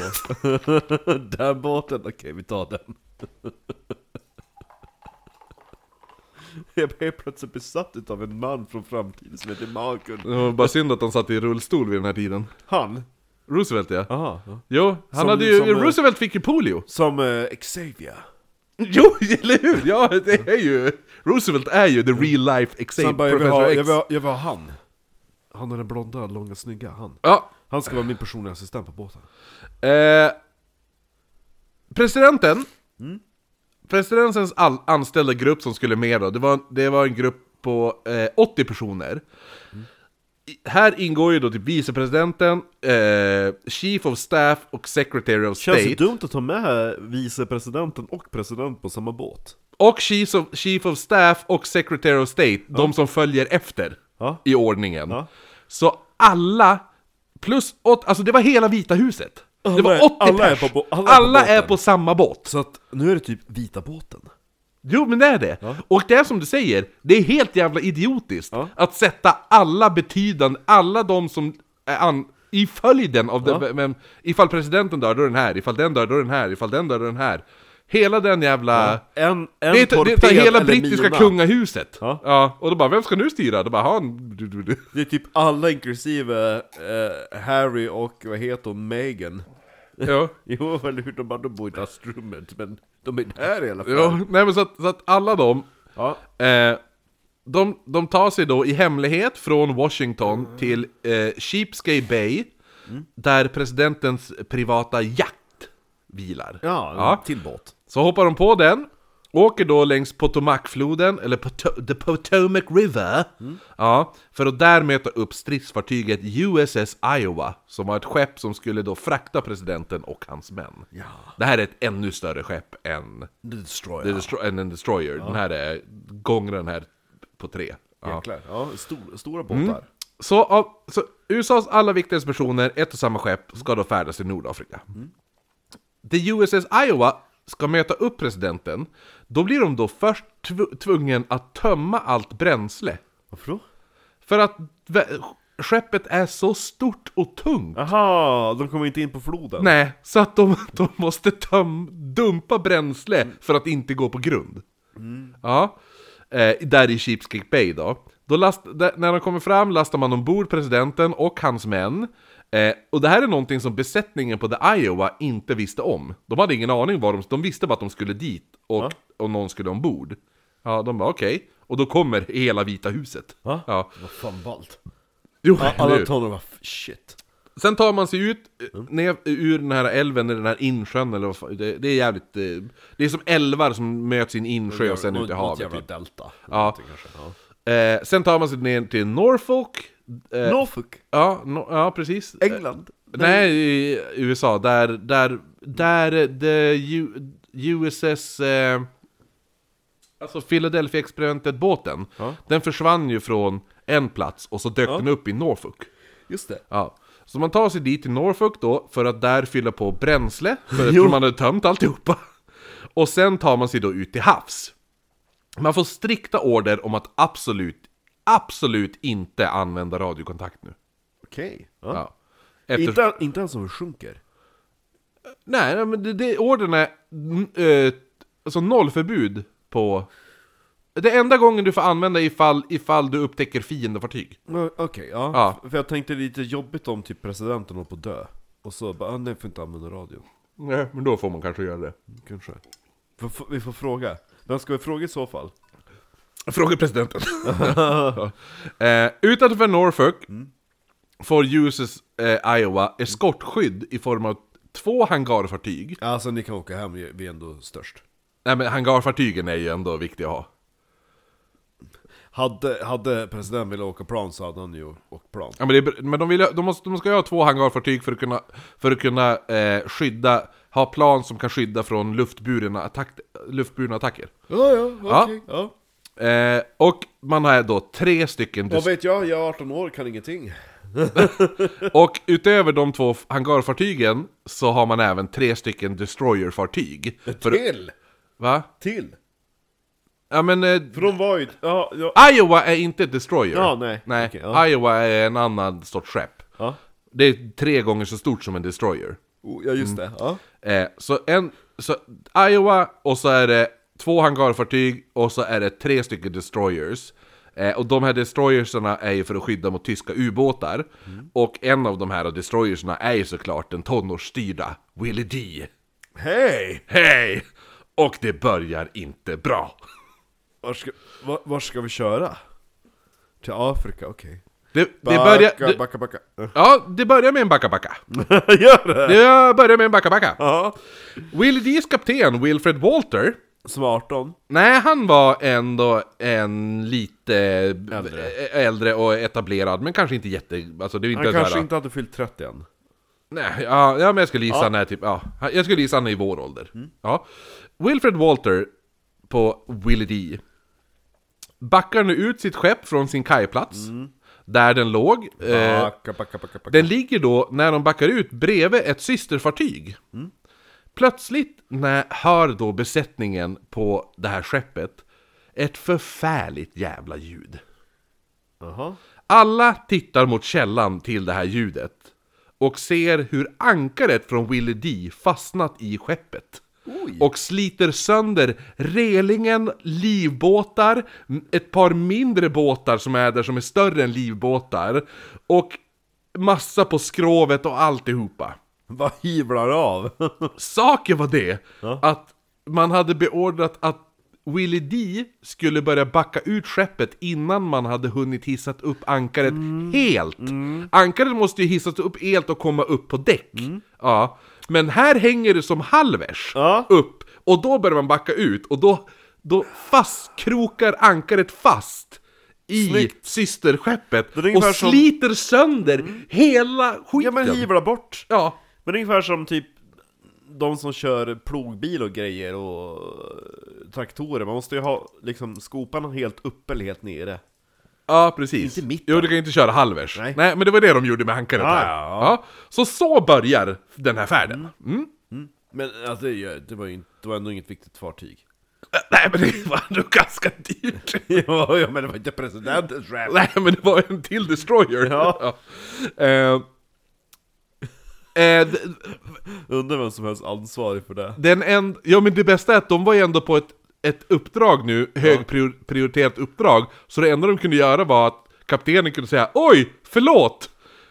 [SPEAKER 2] den båten, okej vi tar den. Jag blev helt plötsligt besatt av en man från framtiden som heter Malcolm.
[SPEAKER 1] Det var bara synd att han satt i rullstol vid den här tiden.
[SPEAKER 2] Han?
[SPEAKER 1] Roosevelt ja. liksom,
[SPEAKER 2] Aha.
[SPEAKER 1] Jo, han
[SPEAKER 2] Som-
[SPEAKER 1] hade ju,
[SPEAKER 2] som, eh,
[SPEAKER 1] Roosevelt fick ju polio.
[SPEAKER 2] Som eh, Xavier.
[SPEAKER 1] Jo, eller hur? Ja, det är ju... Roosevelt är ju the real life
[SPEAKER 2] Sen
[SPEAKER 1] exam
[SPEAKER 2] bara, jag vill,
[SPEAKER 1] professor
[SPEAKER 2] ha,
[SPEAKER 1] X.
[SPEAKER 2] jag, vill ha, jag vill ha han. Han är den blonda, långa, snygga. Han.
[SPEAKER 1] Ja,
[SPEAKER 2] Han ska vara min personliga assistent på båten.
[SPEAKER 1] Eh, presidenten,
[SPEAKER 2] Mm.
[SPEAKER 1] presidentens all, anställda grupp som skulle med då, det var, det var en grupp på eh, 80 personer.
[SPEAKER 2] Mm.
[SPEAKER 1] I- Här ingår ju då typ vicepresidenten, eh, Chief of Staff och Secretary of
[SPEAKER 2] Känns
[SPEAKER 1] State.
[SPEAKER 2] det dumt att ta med vicepresidenten och president på samma båt?
[SPEAKER 1] Och Chief of, Chief of Staff och Secretary of State, de som följer efter
[SPEAKER 2] Ja.
[SPEAKER 1] i ordningen.
[SPEAKER 2] Ja.
[SPEAKER 1] Så alla, plus åt, alltså det var hela Vita huset. det
[SPEAKER 2] Alla
[SPEAKER 1] var
[SPEAKER 2] är-
[SPEAKER 1] 80
[SPEAKER 2] alla är
[SPEAKER 1] pers.
[SPEAKER 2] på bo- alla är på
[SPEAKER 1] alla är
[SPEAKER 2] båten.
[SPEAKER 1] på samma båt.
[SPEAKER 2] Så att nu är det typ vita båten.
[SPEAKER 1] Jo men det är det! Och det är som du säger, det är helt jävla idiotiskt
[SPEAKER 2] Ja.
[SPEAKER 1] att sätta alla betydande, alla de som är an, i följden av den, men ifall presidenten dör, då är den här, ifall den dör, då är den här, ifall den dör, då är den här. Hela den jävla...
[SPEAKER 2] En, en
[SPEAKER 1] Det är, det
[SPEAKER 2] torped
[SPEAKER 1] är hela
[SPEAKER 2] eller
[SPEAKER 1] brittiska
[SPEAKER 2] mina.
[SPEAKER 1] kungahuset! Ja.
[SPEAKER 2] Ja.
[SPEAKER 1] och då bara 'Vem ska nu styra?' Då bara 'Han... Du, du, du.
[SPEAKER 2] Det är typ alla inklusive eh, Harry och vad heter hon, Meghan.
[SPEAKER 1] Ja.
[SPEAKER 2] Jo, eller hur? De, bara, de bor i dassrummet, men de är där i alla fall.
[SPEAKER 1] ja, nej men så att, så att alla de
[SPEAKER 2] Ja.
[SPEAKER 1] Eh, de, de tar sig då i hemlighet från Washington till eh, Sheepscay Bay,
[SPEAKER 2] Mm.
[SPEAKER 1] där presidentens privata jakt vilar.
[SPEAKER 2] Ja,
[SPEAKER 1] Ja.
[SPEAKER 2] till båt.
[SPEAKER 1] Så hoppar de på den, åker då längs Potomacfloden, eller Poto- the Potomac River, ja, för att där möta upp stridsfartyget USS Iowa, som var ett skepp som skulle då frakta presidenten och hans män. Det här är ett ännu större skepp än
[SPEAKER 2] The
[SPEAKER 1] The
[SPEAKER 2] Destroyer.
[SPEAKER 1] Destro- and the Destroyer. Den här är gånger den här på tre. Ja.
[SPEAKER 2] Jäklar. Ja, stor, stora båtar.
[SPEAKER 1] Så, av, så USAs alla viktigaste personer, ett och samma skepp, ska då färdas till Nordafrika. Mm. The USS Iowa ska möta upp presidenten. Då blir de då först tv- tvungen att tömma allt bränsle.
[SPEAKER 2] Varför då?
[SPEAKER 1] För att vä- skeppet är så stort och tungt.
[SPEAKER 2] Aha, de kommer inte in på floden.
[SPEAKER 1] Nej, så att de, de måste töm, dumpa bränsle för att inte gå på grund.
[SPEAKER 2] Mm.
[SPEAKER 1] Ja. Eh, där i Sheepscreek Bay då. då last, där, när de kommer fram lastar man ombord presidenten och hans män. Eh, och det här är någonting som besättningen på The Iowa inte visste om. De hade ingen aning var de... De visste bara att de skulle dit och, och någon skulle ombord. Ja, de bara okej. Och då kommer hela Vita huset.
[SPEAKER 2] Va?
[SPEAKER 1] Ja.
[SPEAKER 2] Vad fan ballt.
[SPEAKER 1] Jo,
[SPEAKER 2] Ja,
[SPEAKER 1] eller
[SPEAKER 2] alla
[SPEAKER 1] hur?
[SPEAKER 2] tonåringar bara "F- shit.
[SPEAKER 1] Sen tar man sig ut eh,
[SPEAKER 2] Mm.
[SPEAKER 1] ner, ur den här älven, eller den här insjön eller vad fan, det, det är jävligt... eh, Det är som älvar som möts i en insjö och sen
[SPEAKER 2] Något-
[SPEAKER 1] ut i
[SPEAKER 2] något
[SPEAKER 1] havet.
[SPEAKER 2] jävla
[SPEAKER 1] Typ.
[SPEAKER 2] delta.
[SPEAKER 1] Ja.
[SPEAKER 2] Någonting kanske, ja.
[SPEAKER 1] Eh, sen tar man sig ner till Norfolk. Eh,
[SPEAKER 2] Norfolk,
[SPEAKER 1] ja, no, ja, precis. Eh,
[SPEAKER 2] England.
[SPEAKER 1] Nej, i USA. Där, där, där eh, the U- USS... Eh, alltså Philadelphia-experimentet, båten.
[SPEAKER 2] Ja.
[SPEAKER 1] Den försvann ju från en plats och så dök
[SPEAKER 2] Ja.
[SPEAKER 1] den upp i Norfolk.
[SPEAKER 2] Just det.
[SPEAKER 1] Ja. Så man tar sig dit till Norfolk då för att där fylla på bränsle, för
[SPEAKER 2] Jo.
[SPEAKER 1] att man hade tömt alltihopa. Och sen tar man sig då ut till havs. Man får strikta order om att absolut, absolut inte använda radiokontakt nu.
[SPEAKER 2] Okej. Ja.
[SPEAKER 1] Ja. Efter...
[SPEAKER 2] Inte, inte ens om vi sjunker.
[SPEAKER 1] Nej, nej, men det, det, orden är n- eh, alltså nollförbud på... Det enda gången du får använda ifall, ifall du upptäcker fiendefartyg.
[SPEAKER 2] Men, Okej, ja.
[SPEAKER 1] Ja.
[SPEAKER 2] För jag tänkte lite jobbigt om typ presidenten håller på att dö. Och så bara, ah, nej, får inte använda radion.
[SPEAKER 1] Nej, men då får man kanske göra det.
[SPEAKER 2] Kanske. Vi får, vi får fråga. Vem ska vi fråga i så fall?
[SPEAKER 1] Fråga presidenten. eh, utanför Norfolk får USS eh, Iowa eskortskydd i form av två hangarfartyg.
[SPEAKER 2] Alltså ni kan åka hem, vi vi är ändå störst.
[SPEAKER 1] Nej men hangarfartygen är ju ändå viktiga att ha.
[SPEAKER 2] Hade, hade presidenten velat åka plan så hade han ju åkt plan.
[SPEAKER 1] Ja, men det är, br- men de, vill, ju- de, måste, de ska ju ha två hangarfartyg för att kunna, för att kunna eh, skydda, ha plan som kan skydda från luftburna, attack, luftburna attacker.
[SPEAKER 2] Ja, ja,
[SPEAKER 1] okej,
[SPEAKER 2] ja. ja.
[SPEAKER 1] Eh, och man har då tre stycken
[SPEAKER 2] Vad vet jag, jag är 18 år, kan ingenting.
[SPEAKER 1] Och utöver de två hangarfartygen så har man även tre stycken destroyerfartyg. För,
[SPEAKER 2] Till!
[SPEAKER 1] va?
[SPEAKER 2] Till!
[SPEAKER 1] Ja men... Eh,
[SPEAKER 2] För de var ju... Ja, ja.
[SPEAKER 1] Iowa är inte ett destroyer.
[SPEAKER 2] Ja, nej.
[SPEAKER 1] nej.
[SPEAKER 2] Okej, ja.
[SPEAKER 1] Iowa är en annan sorts skepp.
[SPEAKER 2] ja.
[SPEAKER 1] Det är tre gånger så stort som en destroyer.
[SPEAKER 2] Oh, ja just det. Ja.
[SPEAKER 1] Eh, så en... Så Iowa och så är det två hangarfartyg och så är det tre stycken destroyers. Eh, och de här destroyersarna är ju för att skydda mot tyska ubåtar.
[SPEAKER 2] Mm.
[SPEAKER 1] Och en av de här destroyersarna är ju såklart den tonårsstyrda Willie D.
[SPEAKER 2] Hej!
[SPEAKER 1] Hej! Och det börjar inte bra.
[SPEAKER 2] Var ska, var, var ska vi köra? Till Afrika, okej.
[SPEAKER 1] Det, det börjar...
[SPEAKER 2] Backa,
[SPEAKER 1] Det,
[SPEAKER 2] backa, backa.
[SPEAKER 1] ja, det börjar med en backa-backa.
[SPEAKER 2] Gör det!
[SPEAKER 1] Det börjar med en backa-backa.
[SPEAKER 2] Ja.
[SPEAKER 1] Willie D's kapten, Wilfred Walter,
[SPEAKER 2] Som är 18.
[SPEAKER 1] nej han var ändå en lite
[SPEAKER 2] Äldre.
[SPEAKER 1] ä- äldre och etablerad, men kanske inte jätte... Alltså det är inte
[SPEAKER 2] Han
[SPEAKER 1] så här-
[SPEAKER 2] kanske inte hade fyllt 30 än.
[SPEAKER 1] Nej, ja, ja men jag skulle gissa han är typ, ja, jag skulle gissa han är i vår ålder.
[SPEAKER 2] Mm.
[SPEAKER 1] Ja. Wilfred Walter på Willie D. Backar nu ut sitt skepp från sin kajplats,
[SPEAKER 2] Mm.
[SPEAKER 1] där den låg. Eh,
[SPEAKER 2] Backa, backa, backa, backa.
[SPEAKER 1] den ligger då, när de backar ut, bredvid ett systerfartyg. Plötsligt när, hör då besättningen på det här skeppet ett förfärligt jävla ljud.
[SPEAKER 2] Jaha.
[SPEAKER 1] Alla tittar mot källan till det här ljudet och ser hur ankaret från Willie D fastnat i skeppet.
[SPEAKER 2] Oj.
[SPEAKER 1] Och sliter sönder relingen, livbåtar, m- ett par mindre båtar som är där som är större än livbåtar och massa på skrovet och alltihopa.
[SPEAKER 2] Vad hyvlar av?
[SPEAKER 1] Saken var det att man hade beordrat att Willie D skulle börja backa ut skeppet innan man hade hunnit hissat upp ankaret
[SPEAKER 2] Mm.
[SPEAKER 1] helt. Ankaret måste ju hissas upp helt och komma upp på däck.
[SPEAKER 2] Mm.
[SPEAKER 1] Ja. Men här hänger det som halvers
[SPEAKER 2] Ja.
[SPEAKER 1] upp och då börjar man backa ut och då, då fastkrokar ankaret fast i
[SPEAKER 2] Snyggt.
[SPEAKER 1] systerskeppet
[SPEAKER 2] Det är ungefär
[SPEAKER 1] och
[SPEAKER 2] som- Mm.
[SPEAKER 1] sliter sönder hela skiten.
[SPEAKER 2] ja men hyvlar bort.
[SPEAKER 1] ja.
[SPEAKER 2] Men det är ungefär som typ de som kör plogbil och grejer och eh, traktorer. Man måste ju ha liksom skopan helt uppe eller helt nere.
[SPEAKER 1] Ja, precis.
[SPEAKER 2] Inte mitt
[SPEAKER 1] jo, du kan ju inte köra halvers.
[SPEAKER 2] Nej. Ah,
[SPEAKER 1] men det var det de gjorde med hankaret
[SPEAKER 2] Ja,
[SPEAKER 1] här.
[SPEAKER 2] ja, ja.
[SPEAKER 1] Så så börjar den här färden. Mm.
[SPEAKER 2] Men alltså, det gör- det var ju inte, det var ändå inget viktigt fartyg.
[SPEAKER 1] Äh, Nej men det var nog ganska dyrt.
[SPEAKER 2] ja, ja, men det var inte presidentens rap.
[SPEAKER 1] Nej men det var en till Destroyer.
[SPEAKER 2] Ja.
[SPEAKER 1] Ja. Eh, eh, d-
[SPEAKER 2] Undrar vem som helst ansvarig för det.
[SPEAKER 1] Den en, ja men det bästa är att de var ju ändå på ett, ett uppdrag nu, högprioriterat uppdrag, så det enda de kunde göra var att kaptenen kunde säga oj, förlåt,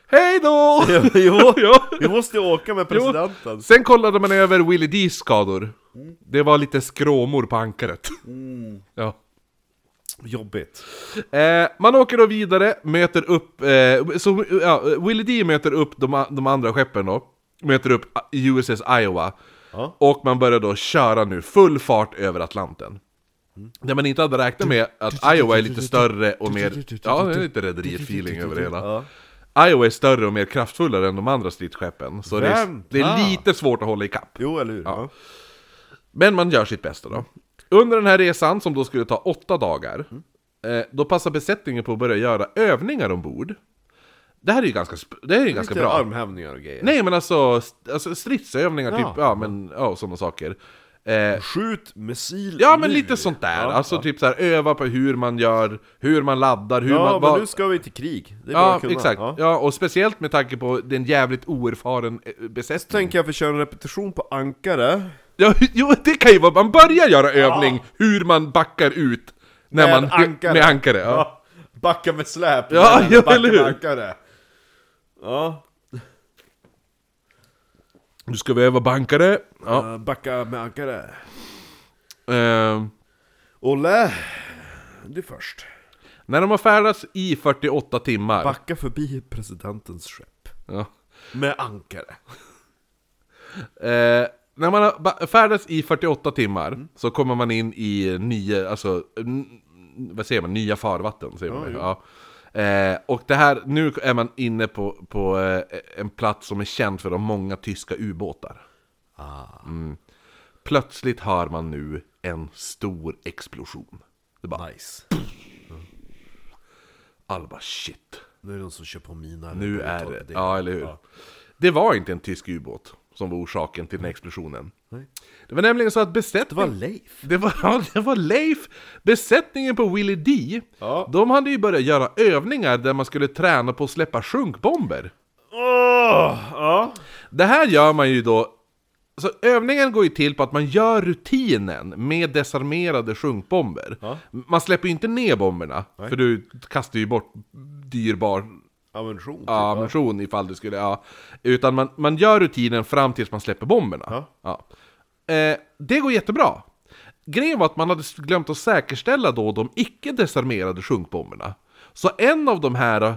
[SPEAKER 1] hej då!
[SPEAKER 2] jo,
[SPEAKER 1] Ja.
[SPEAKER 2] vi måste ju åka med
[SPEAKER 1] Jo.
[SPEAKER 2] presidenten.
[SPEAKER 1] Sen kollade man över Willie D's skador. Det var lite skråmor på ankaret.
[SPEAKER 2] Mm.
[SPEAKER 1] Ja.
[SPEAKER 2] Jobbigt.
[SPEAKER 1] Eh, man åker då vidare, möter upp, eh, så ja, Willie D möter upp de, a- de andra skeppen då, möter upp USS Iowa,
[SPEAKER 2] Ja.
[SPEAKER 1] och man börjar då köra nu full fart över Atlanten.
[SPEAKER 2] Mm.
[SPEAKER 1] Det man inte hade räknat med att Iowa är lite större och mer, ja det är lite rederiet-feeling över det hela.
[SPEAKER 2] Ja.
[SPEAKER 1] Iowa är större och mer kraftfullare än de andra stridsskeppen, så det är,
[SPEAKER 2] Vem?
[SPEAKER 1] det är
[SPEAKER 2] Ah.
[SPEAKER 1] lite svårt att hålla ikapp.
[SPEAKER 2] Jo, eller hur? Ja.
[SPEAKER 1] Men man gör sitt bästa då. Under den här resan, som då skulle ta åtta dagar, eh, då passar besättningen på att börja göra övningar ombord. Det här är ju ganska, sp- det här är ju ganska
[SPEAKER 2] Lite
[SPEAKER 1] bra.
[SPEAKER 2] armhävningar och grejer.
[SPEAKER 1] Nej men alltså, st- alltså stridsövningar,
[SPEAKER 2] Ja.
[SPEAKER 1] typ, ja men, ja sådana saker. Eh,
[SPEAKER 2] Skjut missil
[SPEAKER 1] ja men
[SPEAKER 2] nu.
[SPEAKER 1] lite sånt där,
[SPEAKER 2] Ja,
[SPEAKER 1] alltså
[SPEAKER 2] ja.
[SPEAKER 1] typ så här, öva på hur man gör, hur man laddar, hur
[SPEAKER 2] Ja,
[SPEAKER 1] man...
[SPEAKER 2] men
[SPEAKER 1] vad-
[SPEAKER 2] nu ska vi till krig. Det är bra
[SPEAKER 1] ja
[SPEAKER 2] att kunna.
[SPEAKER 1] exakt, ja.
[SPEAKER 2] Ja.
[SPEAKER 1] och speciellt med tanke på den jävligt oerfaren eh, besättningen.
[SPEAKER 2] Tänker jag för köra en repetition på ankare.
[SPEAKER 1] Ja, jo, det kan ju vara, man börjar göra övning hur man backar ut när
[SPEAKER 2] Med
[SPEAKER 1] man,
[SPEAKER 2] ankare.
[SPEAKER 1] Med ankare ja.
[SPEAKER 2] Backa med släp.
[SPEAKER 1] Ja,
[SPEAKER 2] men
[SPEAKER 1] ja,
[SPEAKER 2] backa
[SPEAKER 1] eller
[SPEAKER 2] med
[SPEAKER 1] hur?
[SPEAKER 2] ankare. Ja.
[SPEAKER 1] Nu ska vi öva bankare. Ja.
[SPEAKER 2] eh, Backa med ankare.
[SPEAKER 1] Ehm,
[SPEAKER 2] Olle, du först.
[SPEAKER 1] när de har färdats i 48 timmar.
[SPEAKER 2] Backa förbi presidentens skepp.
[SPEAKER 1] ja.
[SPEAKER 2] Med ankare.
[SPEAKER 1] Eh, när man har ba- färdats i 48 timmar så kommer man in i nya, alltså, n- vad säger man, nya farvatten säger man. Ja. Eh, och det här, nu är man inne på, på eh, en plats som är känd för de många tyska ubåtar. Mm. Plötsligt hör man nu en stor explosion. Det bara,
[SPEAKER 2] Nice.
[SPEAKER 1] alla bara shit.
[SPEAKER 2] Nu är det någon som kör på mina.
[SPEAKER 1] Nu
[SPEAKER 2] eller på
[SPEAKER 1] är
[SPEAKER 2] uttaget.
[SPEAKER 1] det, ja eller hur? Det var inte en tysk ubåt som var orsaken till den här explosionen.
[SPEAKER 2] Nej.
[SPEAKER 1] Det var nämligen så att besättningen...
[SPEAKER 2] Det var Leif.
[SPEAKER 1] Det var, ja, det var Leif, besättningen på Willie D.
[SPEAKER 2] Ja.
[SPEAKER 1] De hade ju börjat göra övningar där man skulle träna på att släppa sjunkbomber.
[SPEAKER 2] ja.
[SPEAKER 1] Det här gör man ju då... Så övningen går ju till på att man gör rutinen med desarmerade sjunkbomber.
[SPEAKER 2] Ja.
[SPEAKER 1] Man släpper ju inte ner bomberna, för du kastar ju bort dyrbar
[SPEAKER 2] Ammunition. typ.
[SPEAKER 1] ja, ammunition ifall du skulle, ja. Utan man, man gör rutinen fram tills man släpper bomberna.
[SPEAKER 2] Ja.
[SPEAKER 1] Eh, det går jättebra. Grejen var att man hade glömt att säkerställa då de icke desarmerade sjunkbomberna. Så en av de här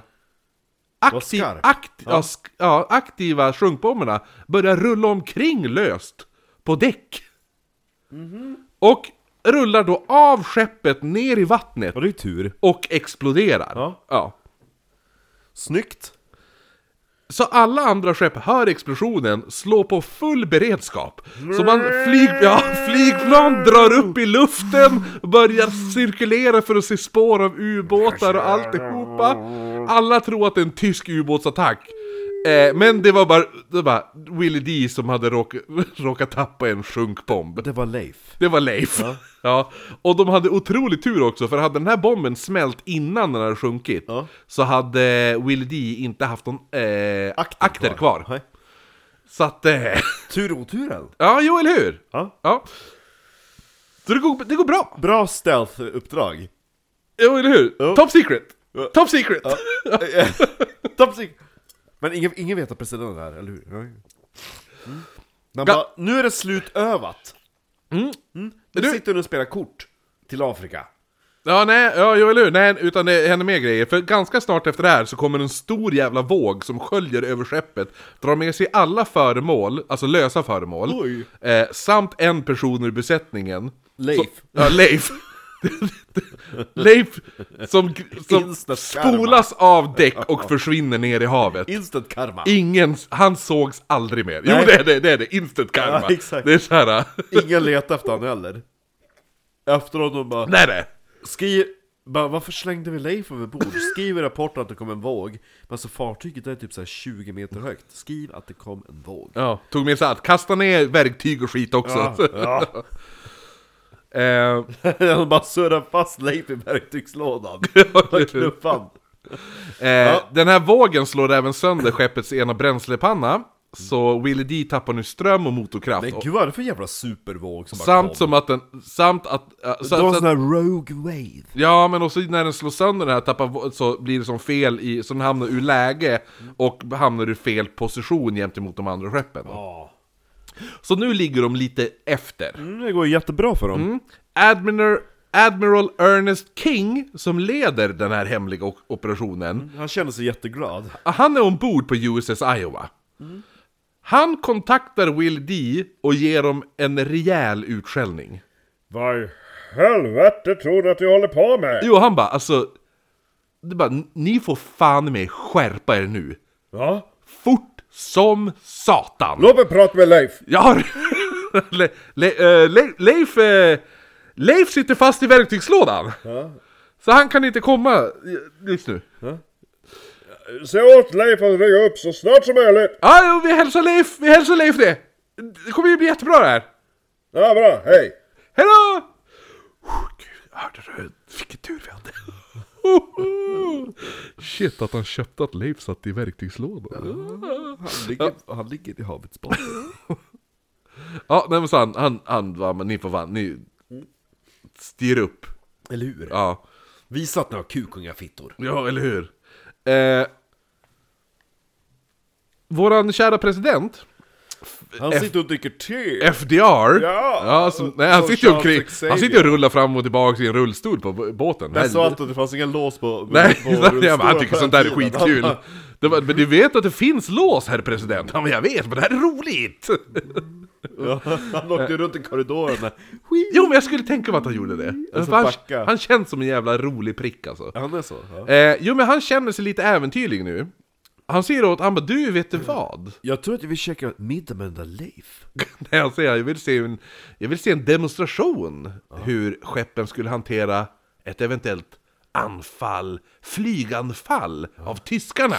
[SPEAKER 1] aktiv,
[SPEAKER 2] skarp.
[SPEAKER 1] akti, ja. sk, ja, aktiva sjunkbomberna börjar rulla omkring löst på däck.
[SPEAKER 2] Mhm.
[SPEAKER 1] Och rullar då av skeppet ner i vattnet
[SPEAKER 2] Ja, det är tur.
[SPEAKER 1] och exploderar.
[SPEAKER 2] Ja.
[SPEAKER 1] Ja.
[SPEAKER 2] Snyggt.
[SPEAKER 1] Så alla andra skepp hör explosionen, slår på full beredskap. Så man flyg, ja, flygplan drar upp i luften, börjar cirkulera för att se spår av ubåtar och alltihopa. Alla tror att det är en tysk ubåtsattack. Eh, men det var bara, det var bara Willie D som hade råk, råkat tappa en sjunkbomb.
[SPEAKER 2] Det var Leif.
[SPEAKER 1] Det var Leif. Ja. Och de hade otrolig tur också, för hade den här bomben smält innan den hade sjunkit
[SPEAKER 2] Ja.
[SPEAKER 1] så hade Will D inte haft någon eh, akter, kvar.
[SPEAKER 2] Nej.
[SPEAKER 1] Så att... Eh,
[SPEAKER 2] Tur oturen.
[SPEAKER 1] ja, jo, eller hur?
[SPEAKER 2] Ja.
[SPEAKER 1] Ja. Så det går, det går bra.
[SPEAKER 2] Bra stealth-uppdrag.
[SPEAKER 1] Jo, eller hur?
[SPEAKER 2] Jo.
[SPEAKER 1] Top secret! Top secret!
[SPEAKER 2] Top sec- Men ingen, ingen vet att presidenten är här, eller hur? Nej. Mm. Man
[SPEAKER 1] Ga-
[SPEAKER 2] bara, nu är det slutövat! Mm. Nu
[SPEAKER 1] Du-
[SPEAKER 2] sitter du och spelar kort till Afrika.
[SPEAKER 1] Ja, nej, ja, jo, eller hur? Nej, utan det händer mer grejer. För ganska snart efter det här så kommer en stor jävla våg som sköljer över skeppet, drar med sig alla föremål, alltså lösa föremål,
[SPEAKER 2] Oj.
[SPEAKER 1] eh, samt en person ur besättningen.
[SPEAKER 2] Leif.
[SPEAKER 1] Så, ja, Leif. Leif som, som
[SPEAKER 2] Instant karma.
[SPEAKER 1] spolas av däck och försvinner ner i havet.
[SPEAKER 2] Instant karma!
[SPEAKER 1] Ingen, han sågs aldrig mer. Jo,
[SPEAKER 2] Nej.
[SPEAKER 1] det är det, det är det. Instant karma.
[SPEAKER 2] Ja, exakt.
[SPEAKER 1] Det är så här.
[SPEAKER 2] Ingen letar efter honom heller. Efteråt de bara,
[SPEAKER 1] Nej, nej.
[SPEAKER 2] skriv... Bara, varför slängde vi Leif över bord? Skriv i rapporten att det kom en våg. Men alltså fartyget är typ så här 20 meter högt. Skriv att det kom en våg.
[SPEAKER 1] Ja, tog med sig allt. Kasta ner verktyg och skit också.
[SPEAKER 2] Ja.
[SPEAKER 1] Eh,
[SPEAKER 2] Han bara surrar fast Leif i verktygslådan. Och knuffan.
[SPEAKER 1] Eh, Den här vågen slår även sönder skeppets ena bränslepanna, så Willie D tappar nu ström och motorkraft.
[SPEAKER 2] Men
[SPEAKER 1] och,
[SPEAKER 2] gud vad är det för jävla supervåg som bara
[SPEAKER 1] samt
[SPEAKER 2] kom?
[SPEAKER 1] som att den... Samt att... eh,
[SPEAKER 2] Det
[SPEAKER 1] så,
[SPEAKER 2] var en
[SPEAKER 1] så,
[SPEAKER 2] sån här rogue wave.
[SPEAKER 1] ja, men också när den slår sönder den här tappar, vå- så blir det som fel i... Så den hamnar ur läge och hamnar ur fel position gentemot de andra skeppen.
[SPEAKER 2] Ja.
[SPEAKER 1] Så nu ligger de lite efter.
[SPEAKER 2] Mm, det går ju jättebra för dem.
[SPEAKER 1] Mm. Admiral, Admiral Ernest King, som leder den här hemliga o- operationen,
[SPEAKER 2] Han känner sig jätteglad.
[SPEAKER 1] Ah, Han är ombord på USS Iowa. Han kontaktar Will D och ger dem en rejäl utskällning.
[SPEAKER 3] Vad i helvete tror du att du håller på med?
[SPEAKER 1] Jo, han bara alltså... Det är bara, ni får fan med skärpa er nu.
[SPEAKER 3] Ja?
[SPEAKER 1] Fort som satan!
[SPEAKER 3] Låt mig prata med Leif!
[SPEAKER 1] Jag har... Le, le, eh, Le, Leif... eh, Leif sitter fast i verktygslådan! Så han kan inte komma eh, just nu.
[SPEAKER 3] Se åt Leif att ringa upp så snart som möjligt!
[SPEAKER 1] Ja, jo, vi hälsar Leif! Vi hälsar Leif det! Det kommer ju bli jättebra det här!
[SPEAKER 3] Ja, bra, hej!
[SPEAKER 1] Hejdå! Oh, gud, hörde du? Vilken tur vi hade. Shit att han köpte att Leif satt i verktygslådan.
[SPEAKER 2] Han ligger, han ligger i havets botten.
[SPEAKER 1] Ja, nej men så han, han, han var, men ni får fan, ni styr upp.
[SPEAKER 2] Eller hur?
[SPEAKER 1] Ja,
[SPEAKER 2] Visa att ni har kukungafittor.
[SPEAKER 1] ja eller hur? Eh, våran kära president,
[SPEAKER 2] Han sitter och dricker te.
[SPEAKER 1] FDR,
[SPEAKER 2] Ja,
[SPEAKER 1] som, nej, han,
[SPEAKER 2] som
[SPEAKER 1] sitter ju omkring,
[SPEAKER 2] Charles
[SPEAKER 1] han sitter ju och rullar fram och tillbaka i en rullstol på b- båten.
[SPEAKER 2] Jag sa
[SPEAKER 1] Helvete.
[SPEAKER 2] alltid att det fanns inga lås på...
[SPEAKER 1] Nej,
[SPEAKER 2] på
[SPEAKER 1] nej
[SPEAKER 2] rullstolar
[SPEAKER 1] men han tycker
[SPEAKER 2] på
[SPEAKER 1] sånt där är
[SPEAKER 2] den tiden.
[SPEAKER 1] skitkul. Det var, men du vet att det finns lås, herr president? Ja, men jag vet, men det här är roligt!
[SPEAKER 2] Ja, Han åkte runt i korridorerna.
[SPEAKER 1] Jo, men jag skulle tänka mig att han gjorde det.
[SPEAKER 2] Alltså,
[SPEAKER 1] För han,
[SPEAKER 2] backa.
[SPEAKER 1] han känns som en jävla rolig prick alltså.
[SPEAKER 2] Han är så? Ja.
[SPEAKER 1] Eh, jo, men han känner sig lite äventyrlig nu. Han säger åt, han bara, du vet du vad?
[SPEAKER 2] Jag tror att jag vill käka middag med den där Leif.
[SPEAKER 1] Nej, han säger, jag vill se en, jag vill se en demonstration hur skeppen skulle hantera ett eventuellt anfall, flyganfall av tyskarna.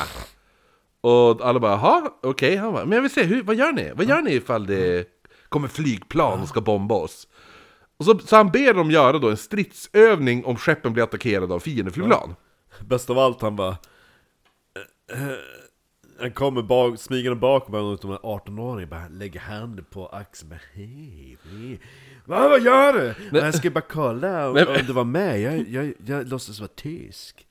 [SPEAKER 1] Och alla bara, jaha, okej, han bara, men jag vill se, hur, vad gör ni? Vad gör ni ifall det kommer flygplan och ska bomba oss? Och så, så han ber dem göra då en stridsövning om skeppen blir attackerade av fiendeflygplan.
[SPEAKER 2] Bäst av allt, han bara... eh, eh, Han kommer bak, smygande bakom henne och de här 18-åringen bara lägger handen på axeln bara, hej, hej. Va, vad gör du? Nej. Jag ska bara kolla om,
[SPEAKER 1] Nej, men-
[SPEAKER 2] om du var med, jag, jag, jag låtsas vara tysk.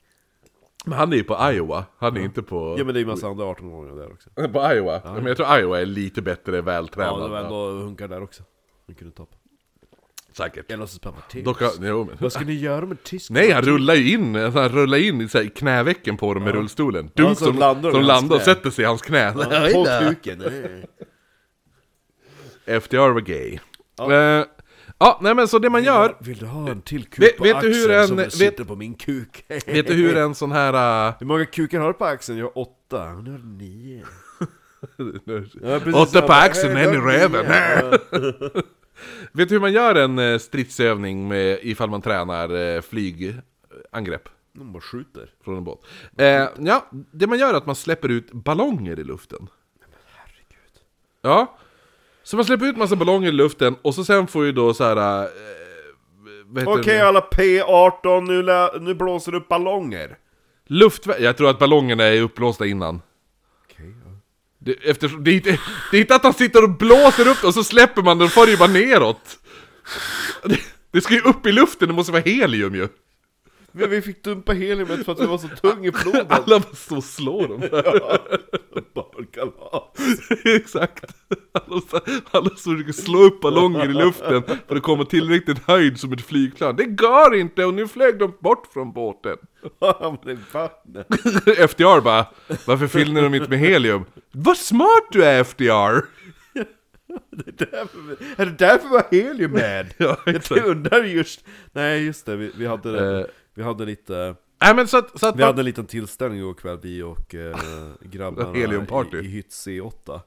[SPEAKER 1] Men han är ju på Iowa, han är inte på,
[SPEAKER 2] Ja men det är ju massa andra 18-åringar där också.
[SPEAKER 1] på Iowa. Men jag tror Iowa är lite bättre vältränad.
[SPEAKER 2] Ja, det var ändå hunkar där också. De kunde ta på.
[SPEAKER 1] Säkert.
[SPEAKER 2] Jag låtsas pappa tysk.
[SPEAKER 1] Dock, har- jo, men.
[SPEAKER 2] Vad ska ni göra med tysk?
[SPEAKER 1] Nej, han rullar ju in, alltså, han rullar in i så här, knävecken på dem med rullstolen. Dunk
[SPEAKER 2] så
[SPEAKER 1] som landar,
[SPEAKER 2] landar de
[SPEAKER 1] som
[SPEAKER 2] i hans
[SPEAKER 1] landar och
[SPEAKER 2] knä.
[SPEAKER 1] sätter sig i hans knä.
[SPEAKER 2] På kuken. eh.
[SPEAKER 1] FDR var gay. Ja. ja, nej men så det man gör,
[SPEAKER 2] Vill du ha en till kuk
[SPEAKER 1] Vet-
[SPEAKER 2] på
[SPEAKER 1] vet du
[SPEAKER 2] axeln
[SPEAKER 1] hur en-
[SPEAKER 2] som den
[SPEAKER 1] vet-
[SPEAKER 2] sitter på min kuk?
[SPEAKER 1] vet du hur en sån här... äh,
[SPEAKER 2] Hur många kukar har du på axeln? Jag har åtta. Nu har du nio. precis.
[SPEAKER 1] Åtta
[SPEAKER 2] Jag
[SPEAKER 1] på
[SPEAKER 2] bara,
[SPEAKER 1] axeln,
[SPEAKER 2] "Hej,
[SPEAKER 1] en i
[SPEAKER 2] då,
[SPEAKER 1] röven.
[SPEAKER 2] ja.
[SPEAKER 1] Vet du hur man gör en eh, stridsövning med, ifall man tränar eh, flygangrepp?
[SPEAKER 2] De bara skjuter.
[SPEAKER 1] Från en båt. Eh, ja, det man gör är att man släpper ut ballonger i luften. Ja. Så man släpper ut massa ballonger i luften och så sen får ju då så här. Eh, vad heter
[SPEAKER 2] Okej
[SPEAKER 1] det?
[SPEAKER 2] alla P18, nu, lä- nu blåser det upp ballonger.
[SPEAKER 1] Luftver- Jag tror att ballongerna är uppblåsta innan.
[SPEAKER 2] Okej, ja.
[SPEAKER 1] Det, eftersom, det, är inte, det är inte att han sitter och blåser upp det och så släpper man den, då far det ju bara neråt. Det, det ska ju upp i luften, det måste vara helium ju.
[SPEAKER 2] Men vi fick dumpa heliumet för att det var så tung i floden.
[SPEAKER 1] Alla bara står och slår dem.
[SPEAKER 2] Barnkalas.
[SPEAKER 1] Exakt. Alla, alla som försöker slå upp ballonger i luften för att komma tillräckligt höjd som ett flygplan. Det går inte och nu flög de bort från båten.
[SPEAKER 2] Hamnade i vattnet.
[SPEAKER 1] FDR bara, varför fyller de inte med helium? Vad smart du är FDR!
[SPEAKER 2] Det är därför- Är det därför var helium med?
[SPEAKER 1] Ja,
[SPEAKER 2] Jag undrar just... Nej just det, vi, vi hade det.
[SPEAKER 1] Eh.
[SPEAKER 2] Vi hade lite...
[SPEAKER 1] Nej men så att, så att
[SPEAKER 2] Vi hade en liten tillställning igår kväll, vi och eh, grabbarna
[SPEAKER 1] Heliumparty.
[SPEAKER 2] i, i hytt C8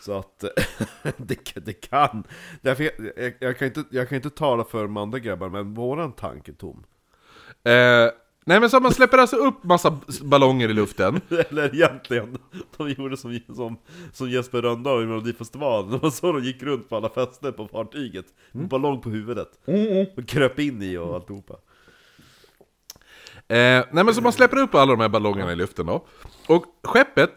[SPEAKER 2] Så att eh, det, kan- det kan, Därför jag, jag, jag, kan inte, jag kan inte tala för de andra grabbarna, men våran tank är tom
[SPEAKER 1] Eh, Nej men så man släpper alltså upp massa b- ballonger i luften
[SPEAKER 2] Eller egentligen, de gjorde som, som, som Jesper Rönndahl i Melodifestivalen, det var så de gick runt på alla fester på fartyget,
[SPEAKER 1] Mm.
[SPEAKER 2] med ballong på huvudet, och kröp in i och alltihopa.
[SPEAKER 1] Eh, nej men så man släpper upp alla de här ballongerna i luften då. Och skeppet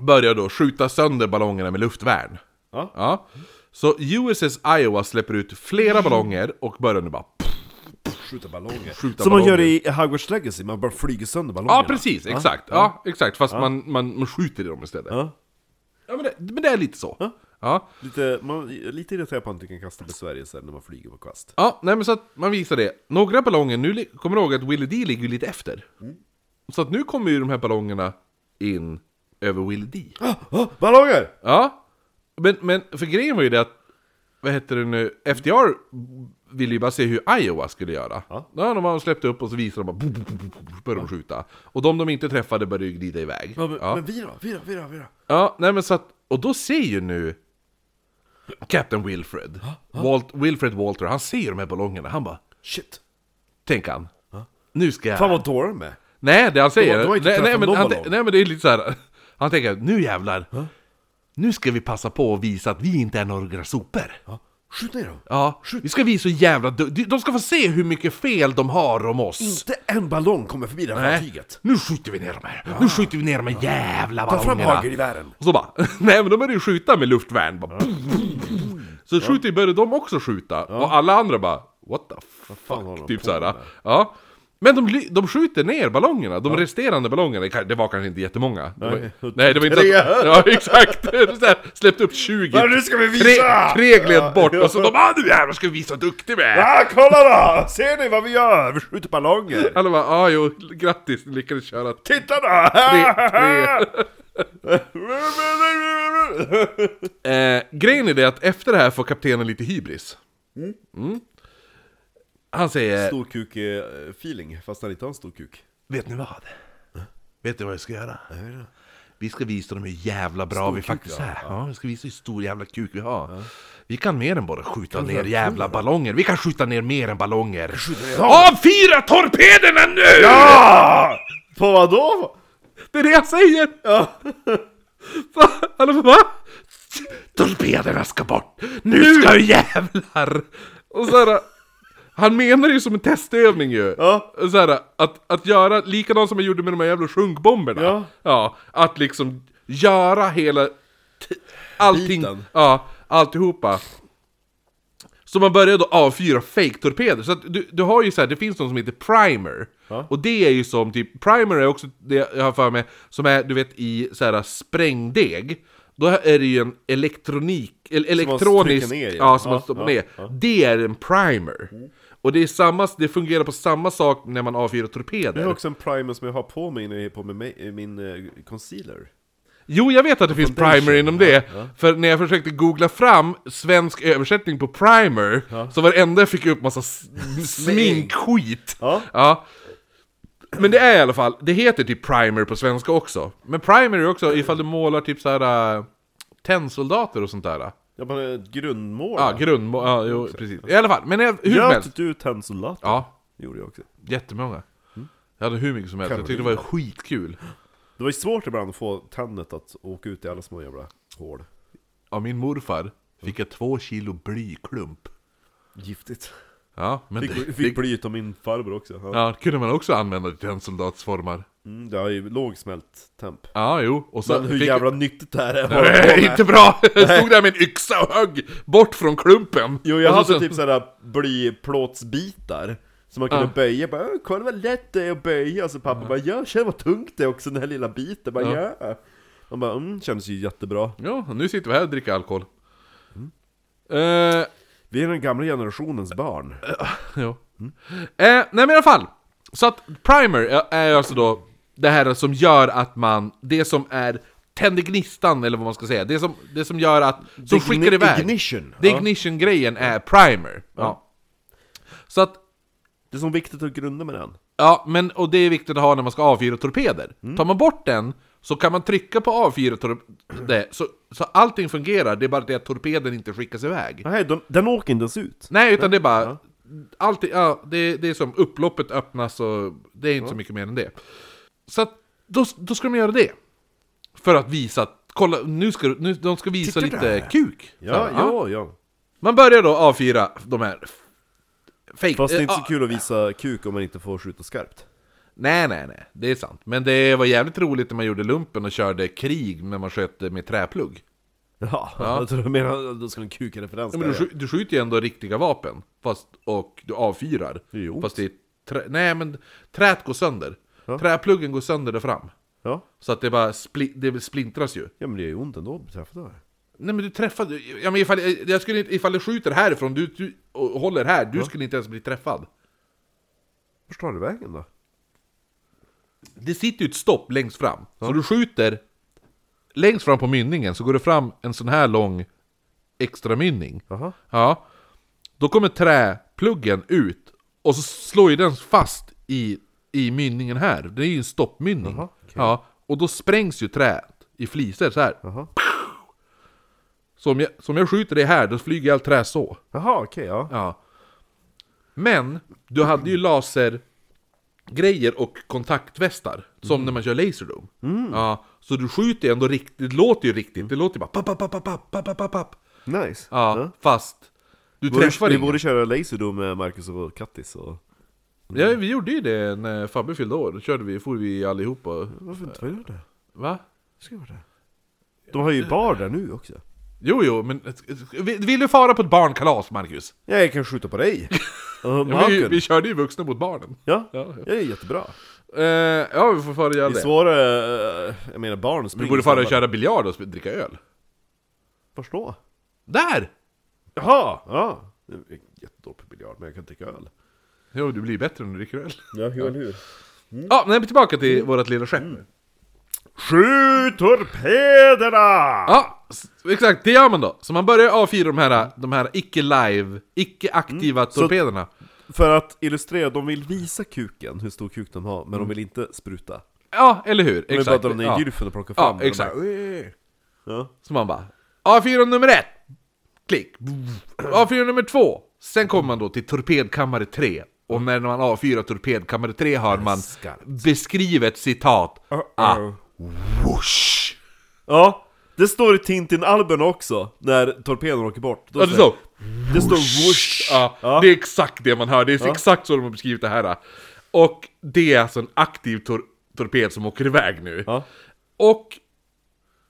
[SPEAKER 1] börjar då skjuta sönder ballongerna med luftvärn.
[SPEAKER 2] Ja.
[SPEAKER 1] Så USS Iowa släpper ut flera ballonger och börjar nu bara
[SPEAKER 2] Skjuta ballonger.
[SPEAKER 1] Skjuta
[SPEAKER 2] som man
[SPEAKER 1] ballonger.
[SPEAKER 2] gör i Hogwarts Legacy, man bara flyger sönder ballongerna.
[SPEAKER 1] Ja precis, exakt. Ja, exakt. Fast Man, man, man skjuter i dem istället. Ja,
[SPEAKER 2] Ja.
[SPEAKER 1] men, det, men det är lite så. Ja. Ja.
[SPEAKER 2] Lite, man, lite irriterad på att man inte kan kasta besvärjelser när man flyger på kvast.
[SPEAKER 1] nej men så att man visar det. Några ballonger, nu li- kommer du ihåg att Willy D ligger ju lite efter. Så att nu kommer ju de här ballongerna in över Willy D.
[SPEAKER 2] Ah, ballonger!
[SPEAKER 1] Ja, men, men för grejen var ju det att, vad heter det nu, FDR ville ju bara se hur Iowa skulle göra. Ja. de har släppt upp och så visar de bara, bo, bo, bo, bo, bo, började de skjuta. Och de de inte träffade började ju glida iväg.
[SPEAKER 2] Ja, men,
[SPEAKER 1] Ja.
[SPEAKER 2] men vi då? Vi då? Vi då? Vi då?
[SPEAKER 1] Ja, nej men så att, och då ser ju nu Captain Wilfred, Walt, Wilfred Walter, han ser ju de här ballongerna, han bara,
[SPEAKER 2] Shit!
[SPEAKER 1] tänk han, nu ska jag...
[SPEAKER 2] Fan vad dårar de är!
[SPEAKER 1] Nej, det han säger...
[SPEAKER 2] de har inte
[SPEAKER 1] nej, nej,
[SPEAKER 2] träffat
[SPEAKER 1] men
[SPEAKER 2] någon
[SPEAKER 1] han,
[SPEAKER 2] ballong.
[SPEAKER 1] nej, men det är lite så här. Han tänker, nu jävlar! Nu ska vi passa på att visa att vi inte är några sopor.
[SPEAKER 2] Ja. Skjut ner dem!
[SPEAKER 1] Ja, vi ska visa hur jävla du- de- De ska få se hur mycket fel de har om oss!
[SPEAKER 2] Inte en ballong kommer förbi det här
[SPEAKER 1] Nej,
[SPEAKER 2] fartyget!
[SPEAKER 1] nu skjuter vi ner dem här! Nu skjuter vi ner de här jävla
[SPEAKER 2] Ta fram
[SPEAKER 1] ballongerna!
[SPEAKER 2] hagelgevären!
[SPEAKER 1] Och så bara, nej men de började ju skjuta med luftvärn. Bara, Så skjuter började de också skjuta. Och alla andra bara, what the
[SPEAKER 2] fan håller
[SPEAKER 1] fuck?
[SPEAKER 2] de
[SPEAKER 1] Typ
[SPEAKER 2] på
[SPEAKER 1] såhär.
[SPEAKER 2] med?
[SPEAKER 1] Ja. Men de, ly- de skjuter ner ballongerna, de resterande ballongerna, det kan- det var kanske inte jättemånga. Det var,
[SPEAKER 2] Nej.
[SPEAKER 1] nej, det var inte att, Ja, exakt! Så här, Släppte upp 20.
[SPEAKER 2] Ja, nu ska vi visa!
[SPEAKER 1] Tre, tre gled bort
[SPEAKER 2] Ja.
[SPEAKER 1] och så de bara, "Ah, nu jävlar ska vi visa hur duktig vi är!
[SPEAKER 2] Ja, Ah, kolla då! Ser ni vad vi gör? Vi skjuter ballonger!
[SPEAKER 1] Alla bara, ja jo, grattis, ni lyckades köra
[SPEAKER 2] Titta då!
[SPEAKER 1] tre, tre. Eh, grejen är det att efter det här får kaptenen lite hybris. Mm. Han säger...
[SPEAKER 2] Storkuk-feeling, eh, fast han inte har en stor kuk.
[SPEAKER 1] Vet ni vad?
[SPEAKER 2] Äh?
[SPEAKER 1] Vet ni vad jag ska göra? Vi ska visa dem hur jävla bra vi
[SPEAKER 2] kuk
[SPEAKER 1] faktiskt
[SPEAKER 2] vi har.
[SPEAKER 1] är. Ja, vi ska visa hur stor jävla kuk vi har. Vi kan mer än bara skjuta ner jävla ballonger. Vi kan skjuta ner mer än ballonger. Avfyra torpederna nu!
[SPEAKER 2] Ja! På vad då?
[SPEAKER 1] Det är det jag säger!
[SPEAKER 2] Ja.
[SPEAKER 1] Va? Alla bara, va? Torpederna ska bort! Nu ska jag jävlar! Och så här, han menar ju som en testövning ju.
[SPEAKER 2] Ja.
[SPEAKER 1] Så här, att, att göra likadant som jag gjorde med de här jävla sjunkbomberna.
[SPEAKER 2] Ja.
[SPEAKER 1] att liksom göra hela... t- Allting.
[SPEAKER 2] Biten.
[SPEAKER 1] Ja, alltihopa. Så man börjar då avfyra fake-torpeder. Så att du, du har ju så här, det finns någon som heter primer. Och det är ju som typ, primer är också det jag har för mig, som är du vet i så här sprängdeg. Då är det ju en elektronik, eller
[SPEAKER 2] man
[SPEAKER 1] elektronisk,
[SPEAKER 2] trycker ner, ja.
[SPEAKER 1] ja som man
[SPEAKER 2] Ja,
[SPEAKER 1] stoppar
[SPEAKER 2] ja,
[SPEAKER 1] ner. Det är en primer. Och det, är samma, det fungerar på samma sak när man avfyrar torpeder.
[SPEAKER 2] Jag har också en primer som jag har på mig när jag är på med mig, min eh, concealer.
[SPEAKER 1] Jo, jag vet att det finns primer inom det. För när jag försökte googla fram svensk översättning på primer, så var det enda jag fick upp massa s- sminkskit.
[SPEAKER 2] Ja.
[SPEAKER 1] Men det är i alla fall, det heter typ primer på svenska också. Men primer är också ifall du målar typ så här äh, tennsoldater och sånt där.
[SPEAKER 2] Ja, men ett eh, grundmål.
[SPEAKER 1] Ja, grundmål, ja, jo, precis. I alla fall, men eh, Ah, hur som helst.
[SPEAKER 2] Göt du tennsoldat?
[SPEAKER 1] Ja,
[SPEAKER 2] Det gjorde jag också.
[SPEAKER 1] jättemånga.
[SPEAKER 2] Mm.
[SPEAKER 1] Jag hade hur mycket som helst, jag tyckte det var skitkul.
[SPEAKER 2] Det var ju svårt ibland att få tändet att åka ut i alla små jävla hål.
[SPEAKER 1] Av min morfar fick jag två kilo blyklump.
[SPEAKER 2] Giftigt.
[SPEAKER 1] Ja, men det,
[SPEAKER 2] Fick, fick blyt av min farbror också. Ja.
[SPEAKER 1] Ja, det kunde man också använda till tennsoldatsformar.
[SPEAKER 2] Mm, det har ju låg smält temp.
[SPEAKER 1] Ja, jo. Och så
[SPEAKER 2] Men hur
[SPEAKER 1] fick-
[SPEAKER 2] jävla nyttigt det här är. vad jag håller på
[SPEAKER 1] Nej,
[SPEAKER 2] med.
[SPEAKER 1] inte bra! Jag stod där med en yxa och högg bort från klumpen.
[SPEAKER 2] Jo, jag
[SPEAKER 1] Och så
[SPEAKER 2] hade
[SPEAKER 1] sen-
[SPEAKER 2] typ sådana blyplåtsbitar som man kunde
[SPEAKER 1] Ja.
[SPEAKER 2] böja, bara "Åh, kolla vad lätt det är att böja, och så pappa bara ja, känn vad tungt det är också den här lilla biten, bara ja. Man bara mm, kändes ju jättebra.
[SPEAKER 1] Ja, nu sitter vi här och dricker alkohol.
[SPEAKER 2] Mm.
[SPEAKER 1] Eh,
[SPEAKER 2] Vi är den gamla generationens barn.
[SPEAKER 1] jo.
[SPEAKER 2] Mm.
[SPEAKER 1] Eh, nej men i alla fall! Så att primer är- är alltså då det här som gör att man, det som är tänder gnistan eller vad man ska säga, det som, det som gör att, som
[SPEAKER 2] Digni-
[SPEAKER 1] skickar iväg.
[SPEAKER 2] ignition.
[SPEAKER 1] Det
[SPEAKER 2] Ja.
[SPEAKER 1] ignition-grejen är primer. Ja. Så att
[SPEAKER 2] Det är så viktigt att grunda med den.
[SPEAKER 1] Ja, men och det är viktigt att ha när man ska avfyra torpeder.
[SPEAKER 2] Mm.
[SPEAKER 1] Tar man bort den så kan man trycka på avfyra torpeder, så, så allting fungerar, det är bara det att torpeden inte skickas iväg.
[SPEAKER 2] Nej, de, den åker inte ens ut.
[SPEAKER 1] Nej, utan det är bara allt, är- ja, det, det är som upploppet öppnas och det är inte så mycket mer än det. Så att, då, då ska de göra det. För att visa att, kolla, nu ska nu, de ska visa
[SPEAKER 2] Titta
[SPEAKER 1] lite
[SPEAKER 2] där.
[SPEAKER 1] kuk. Så
[SPEAKER 2] Ja,
[SPEAKER 1] här,
[SPEAKER 2] ja, ja.
[SPEAKER 1] Man börjar då avfyra de här... f- Fake,
[SPEAKER 2] Fast det är
[SPEAKER 1] eh,
[SPEAKER 2] inte så
[SPEAKER 1] ah,
[SPEAKER 2] kul att visa kuk om man inte får skjuta skarpt.
[SPEAKER 1] Nej, nej, nej. Det är sant. Men det var jävligt roligt när man gjorde lumpen och körde krig när man sköt med träplugg.
[SPEAKER 2] Ja, jag tror du menar att då skulle en kuk-referens
[SPEAKER 1] Ja, men du,
[SPEAKER 2] där, ja.
[SPEAKER 1] skj- du skjuter ju ändå riktiga vapen. Fast, och du avfyrar.
[SPEAKER 2] Jo.
[SPEAKER 1] Fast det är trä, Nej, men träet går sönder. Träpluggen går sönder där fram.
[SPEAKER 2] ja.
[SPEAKER 1] Så att det bara spli, det splintras ju.
[SPEAKER 2] ja, men det gör ju ont ändå att träffa där.
[SPEAKER 1] Nej men du träffade... Ja, men ifall, jag skulle inte, ifall du skjuter härifrån du, du, och håller här, du skulle inte ens bli träffad.
[SPEAKER 2] Vart tar det vägen då?
[SPEAKER 1] Det sitter ju ett stopp längst fram. Så du skjuter längst fram på mynningen så går det fram en sån här lång extra mynning.
[SPEAKER 2] Jaha.
[SPEAKER 1] Ja. Då kommer träpluggen ut och så slår ju den fast i, i mynningen här. Det är ju en stoppmynning.
[SPEAKER 2] Jaha, okej.
[SPEAKER 1] Ja. Och då sprängs ju träet i fliser så här.
[SPEAKER 2] Jaha,
[SPEAKER 1] Så om jag, så om jag skjuter det här, då flyger allt trä så.
[SPEAKER 2] Jaha okej, ja.
[SPEAKER 1] Ja. Men, du hade ju lasergrejer och kontaktvästar. Som
[SPEAKER 2] Mm.
[SPEAKER 1] när man kör laserdome. Ja, så du skjuter ju ändå riktigt, det låter ju riktigt. Det låter ju bara papp, papp, papp, papp, papp, papp, papp, papp.
[SPEAKER 2] Nice.
[SPEAKER 1] Ja, fast du
[SPEAKER 2] Borde,
[SPEAKER 1] träffar
[SPEAKER 2] vi
[SPEAKER 1] ingen.
[SPEAKER 2] borde köra Laserdome med Marcus och Kattis och...
[SPEAKER 1] Ja, vi gjorde ju det när Fabbe fyllde år. Då körde vi, for vi allihopa.
[SPEAKER 2] Varför inte? Vad gör det?
[SPEAKER 1] Va?
[SPEAKER 2] Ska göra det? De har ju bar där nu också.
[SPEAKER 1] Jo, jo, men vill vill du fara på ett barnkalas, Marcus?
[SPEAKER 2] Ja, jag kan skjuta på dig! uh,
[SPEAKER 1] Ja, vi,
[SPEAKER 2] Malcolm.
[SPEAKER 1] vi körde ju vuxna mot barnen.
[SPEAKER 2] Ja,
[SPEAKER 1] Ja,
[SPEAKER 2] ja, det är jättebra.
[SPEAKER 1] Eh, ja, vi får fara och göra
[SPEAKER 2] Det är
[SPEAKER 1] det.
[SPEAKER 2] svårare, eh, jag menar barn springer
[SPEAKER 1] Vi borde fara och
[SPEAKER 2] snabbare.
[SPEAKER 1] köra biljard och sp- dricka öl.
[SPEAKER 2] Vart då?
[SPEAKER 1] Där!
[SPEAKER 2] Jaha! Ja! Jag är Jättedålig på biljard, men jag kan dricka öl.
[SPEAKER 1] Jo, du blir bättre när du dricker öl.
[SPEAKER 3] Ja, eller hur?
[SPEAKER 1] Ja, men tillbaka till vårt lilla skepp.
[SPEAKER 2] Skjut torpederna!
[SPEAKER 1] Ja, s- exakt, det gör man då. Så man börjar avfyra de här, de här icke-live, icke-aktiva torpederna.
[SPEAKER 2] För att illustrera, de vill visa kuken, hur stor kuk de har, men de vill inte spruta.
[SPEAKER 1] Ja, eller hur?
[SPEAKER 2] De vill bara dra
[SPEAKER 1] Mm. ja.
[SPEAKER 2] ner gylfen och plocka
[SPEAKER 1] Ja,
[SPEAKER 2] fram den och
[SPEAKER 1] exakt.
[SPEAKER 2] bara, "Åh." Ja.
[SPEAKER 1] Så man bara A4 nummer ett! Klick! A4 nummer två! Sen kommer man då till torpedkammare 3 Och när man avfyrar torpedkammare 3 har man
[SPEAKER 2] Skarpt.
[SPEAKER 1] beskrivet citat ah, whoosh!
[SPEAKER 2] Ja, det står i Tintin-alben också, när torpeden åker bort. Då
[SPEAKER 1] Ja, det
[SPEAKER 2] säger-
[SPEAKER 1] står
[SPEAKER 2] det står whoosh!
[SPEAKER 1] Ja, Det är exakt det man hör, det är exakt så de har beskrivit det här. Och det är alltså en aktiv tor torped som åker iväg nu.
[SPEAKER 2] Ja.
[SPEAKER 1] Och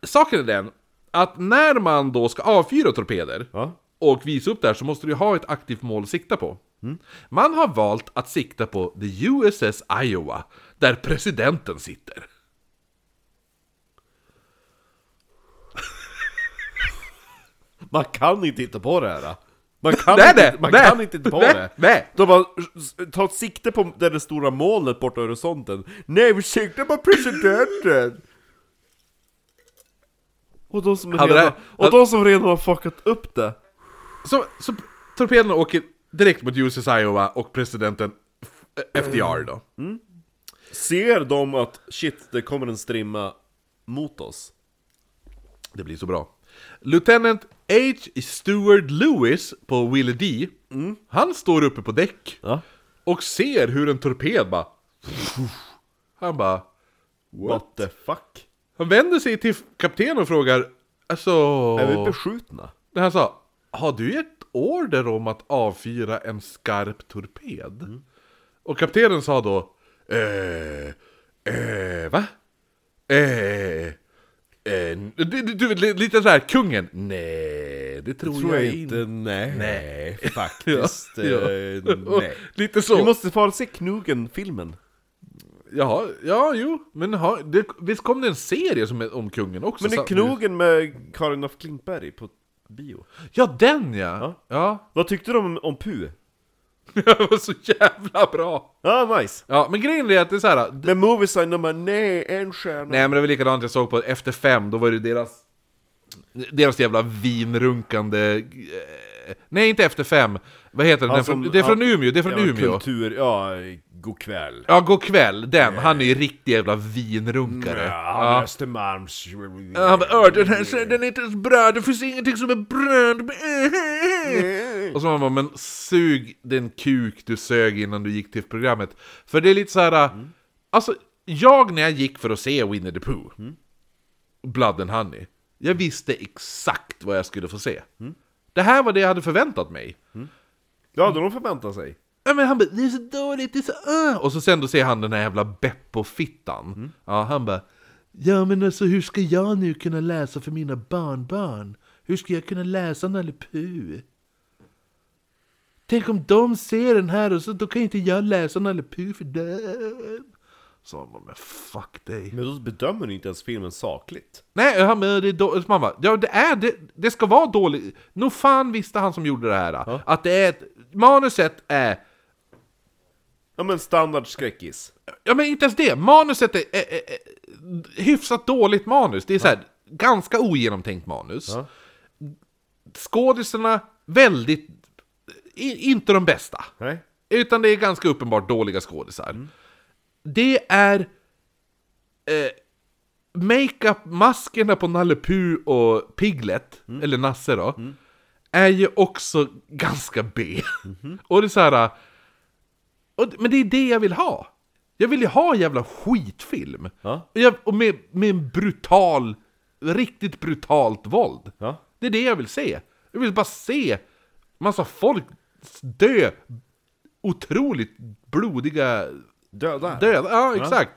[SPEAKER 1] saken är den att när man då ska avfyra torpeder
[SPEAKER 2] Ja.
[SPEAKER 1] och visa upp det här så måste du ju ha ett aktivt mål att sikta på.
[SPEAKER 2] Mm.
[SPEAKER 1] Man har valt att sikta på the USS Iowa, där presidenten sitter.
[SPEAKER 2] Man kan inte titta på det här. Man kan,
[SPEAKER 1] Nej,
[SPEAKER 2] inte,
[SPEAKER 1] nej,
[SPEAKER 2] man
[SPEAKER 1] nej,
[SPEAKER 2] kan inte titta på
[SPEAKER 1] nej,
[SPEAKER 2] det.
[SPEAKER 1] nej.
[SPEAKER 2] De bara, ta sikte på det där stora molnet borta i horisonten. Nej, vi siktar på presidenten! Och de som,
[SPEAKER 1] Hade
[SPEAKER 2] redan,
[SPEAKER 1] det-
[SPEAKER 2] och de som redan har fuckat upp det.
[SPEAKER 1] Så, så torpederna åker direkt mot USS Iowa och presidenten F- FDR då.
[SPEAKER 2] Ser de att shit, det kommer en strimma mot oss?
[SPEAKER 1] Det blir så bra. Lieutenant H. Stewart Lewis på Willie D. Han står uppe på däck
[SPEAKER 2] Ja.
[SPEAKER 1] och ser hur en torped bara... Han bara...
[SPEAKER 2] What, the fuck?
[SPEAKER 1] Han vänder sig till kaptenen och frågar... Alltså...
[SPEAKER 2] Är vi beskjutna?
[SPEAKER 1] När han sa Har du ett order om att avfyra en skarp torped? Och kaptenen sa då Eh, eh, va? Eh, eh, du, du, du, li- lite såhär, kungen Nej, det tror, jag, inte
[SPEAKER 2] nej.
[SPEAKER 1] Nej.
[SPEAKER 2] faktiskt.
[SPEAKER 1] Ja,
[SPEAKER 2] eh,
[SPEAKER 1] Och
[SPEAKER 2] nej.
[SPEAKER 1] Lite så
[SPEAKER 2] Vi måste fara se Knugen-filmen.
[SPEAKER 1] Jaha, ja jo, men ha, det, visst kom det en serie som är om kungen också?
[SPEAKER 2] Men det är
[SPEAKER 1] så-
[SPEAKER 2] Knogen med Karin af Klintberg på bio.
[SPEAKER 1] Ja, den ja! Ja,
[SPEAKER 2] Vad tyckte de om, om Pu?
[SPEAKER 1] det var så jävla bra!
[SPEAKER 2] Ja, nice!
[SPEAKER 1] Ja, men grejen är att det är såhär,
[SPEAKER 2] Men Moviesign, de bara nej, en stjärna.
[SPEAKER 1] Nej men det var likadant jag såg på Efter fem, då var det deras Deras jävla vinrunkande eh, Nej inte Efter fem Vad heter den?
[SPEAKER 2] Ja,
[SPEAKER 1] den från,
[SPEAKER 2] som-
[SPEAKER 1] det är från
[SPEAKER 2] ja,
[SPEAKER 1] Umeå, det är från
[SPEAKER 2] ja,
[SPEAKER 1] Umeå
[SPEAKER 2] Kultur, ja, god kväll.
[SPEAKER 1] Ja, gå kväll, den, han är ju riktig jävla vinrunkare
[SPEAKER 2] Ja, han är Östermalms...
[SPEAKER 1] Ja, Han bara, "Åh, den här den är inte ens bröd, det finns ingenting som är bröd Och så man bara, men sug den kuk du sög innan du gick till programmet. För det är lite så här, alltså jag när jag gick för att se Winnie the Pooh, Blood and Honey, jag visste exakt vad jag skulle få se. Det här var det jag hade förväntat mig.
[SPEAKER 2] Det hade de förväntat sig.
[SPEAKER 1] Ja, men han bara, det är så dåligt, det är så... Uh. Och så sen då ser han den här jävla Beppo-fittan. Ja, han bara, ja men alltså hur ska jag nu kunna läsa för mina barnbarn? Hur ska jag kunna läsa Nalle Puh? Tänk om de ser den här och så då kan inte jag läsa Nalle Puh för dem. Så han bara, men fuck dig.
[SPEAKER 2] Men då bedömer ni inte ens filmen sakligt.
[SPEAKER 1] Nej, han bara, det är dåligt. Man bara, ja, det, är, det, det ska vara dåligt. Nog fan visste han som gjorde det här. Att det är ett, manuset är
[SPEAKER 2] Ja men standard skräckis.
[SPEAKER 1] Ja men inte ens det, manuset är, är, är, är hyfsat dåligt manus. Det är så här, ganska ogenomtänkt manus.
[SPEAKER 2] Ja.
[SPEAKER 1] Skådisarna, väldigt... i- inte de bästa.
[SPEAKER 2] Nej?
[SPEAKER 1] Utan det är ganska uppenbart dåliga skådisar.
[SPEAKER 2] Mm.
[SPEAKER 1] Det är... Eh, Makeup-maskerna på Nalle Puh och Piglet,
[SPEAKER 2] Mm.
[SPEAKER 1] eller Nasse då, är ju också ganska B.
[SPEAKER 2] Mhm.
[SPEAKER 1] och det är så här... Och, men det är det jag vill ha! Jag vill ju ha jävla skitfilm!
[SPEAKER 2] Ja.
[SPEAKER 1] Och, jag, och med, med en brutal, riktigt brutalt våld.
[SPEAKER 2] Ja.
[SPEAKER 1] Det är det jag vill se! Jag vill bara se massa folk dö otroligt blodiga
[SPEAKER 2] Döda.
[SPEAKER 1] döda. Ja, exakt!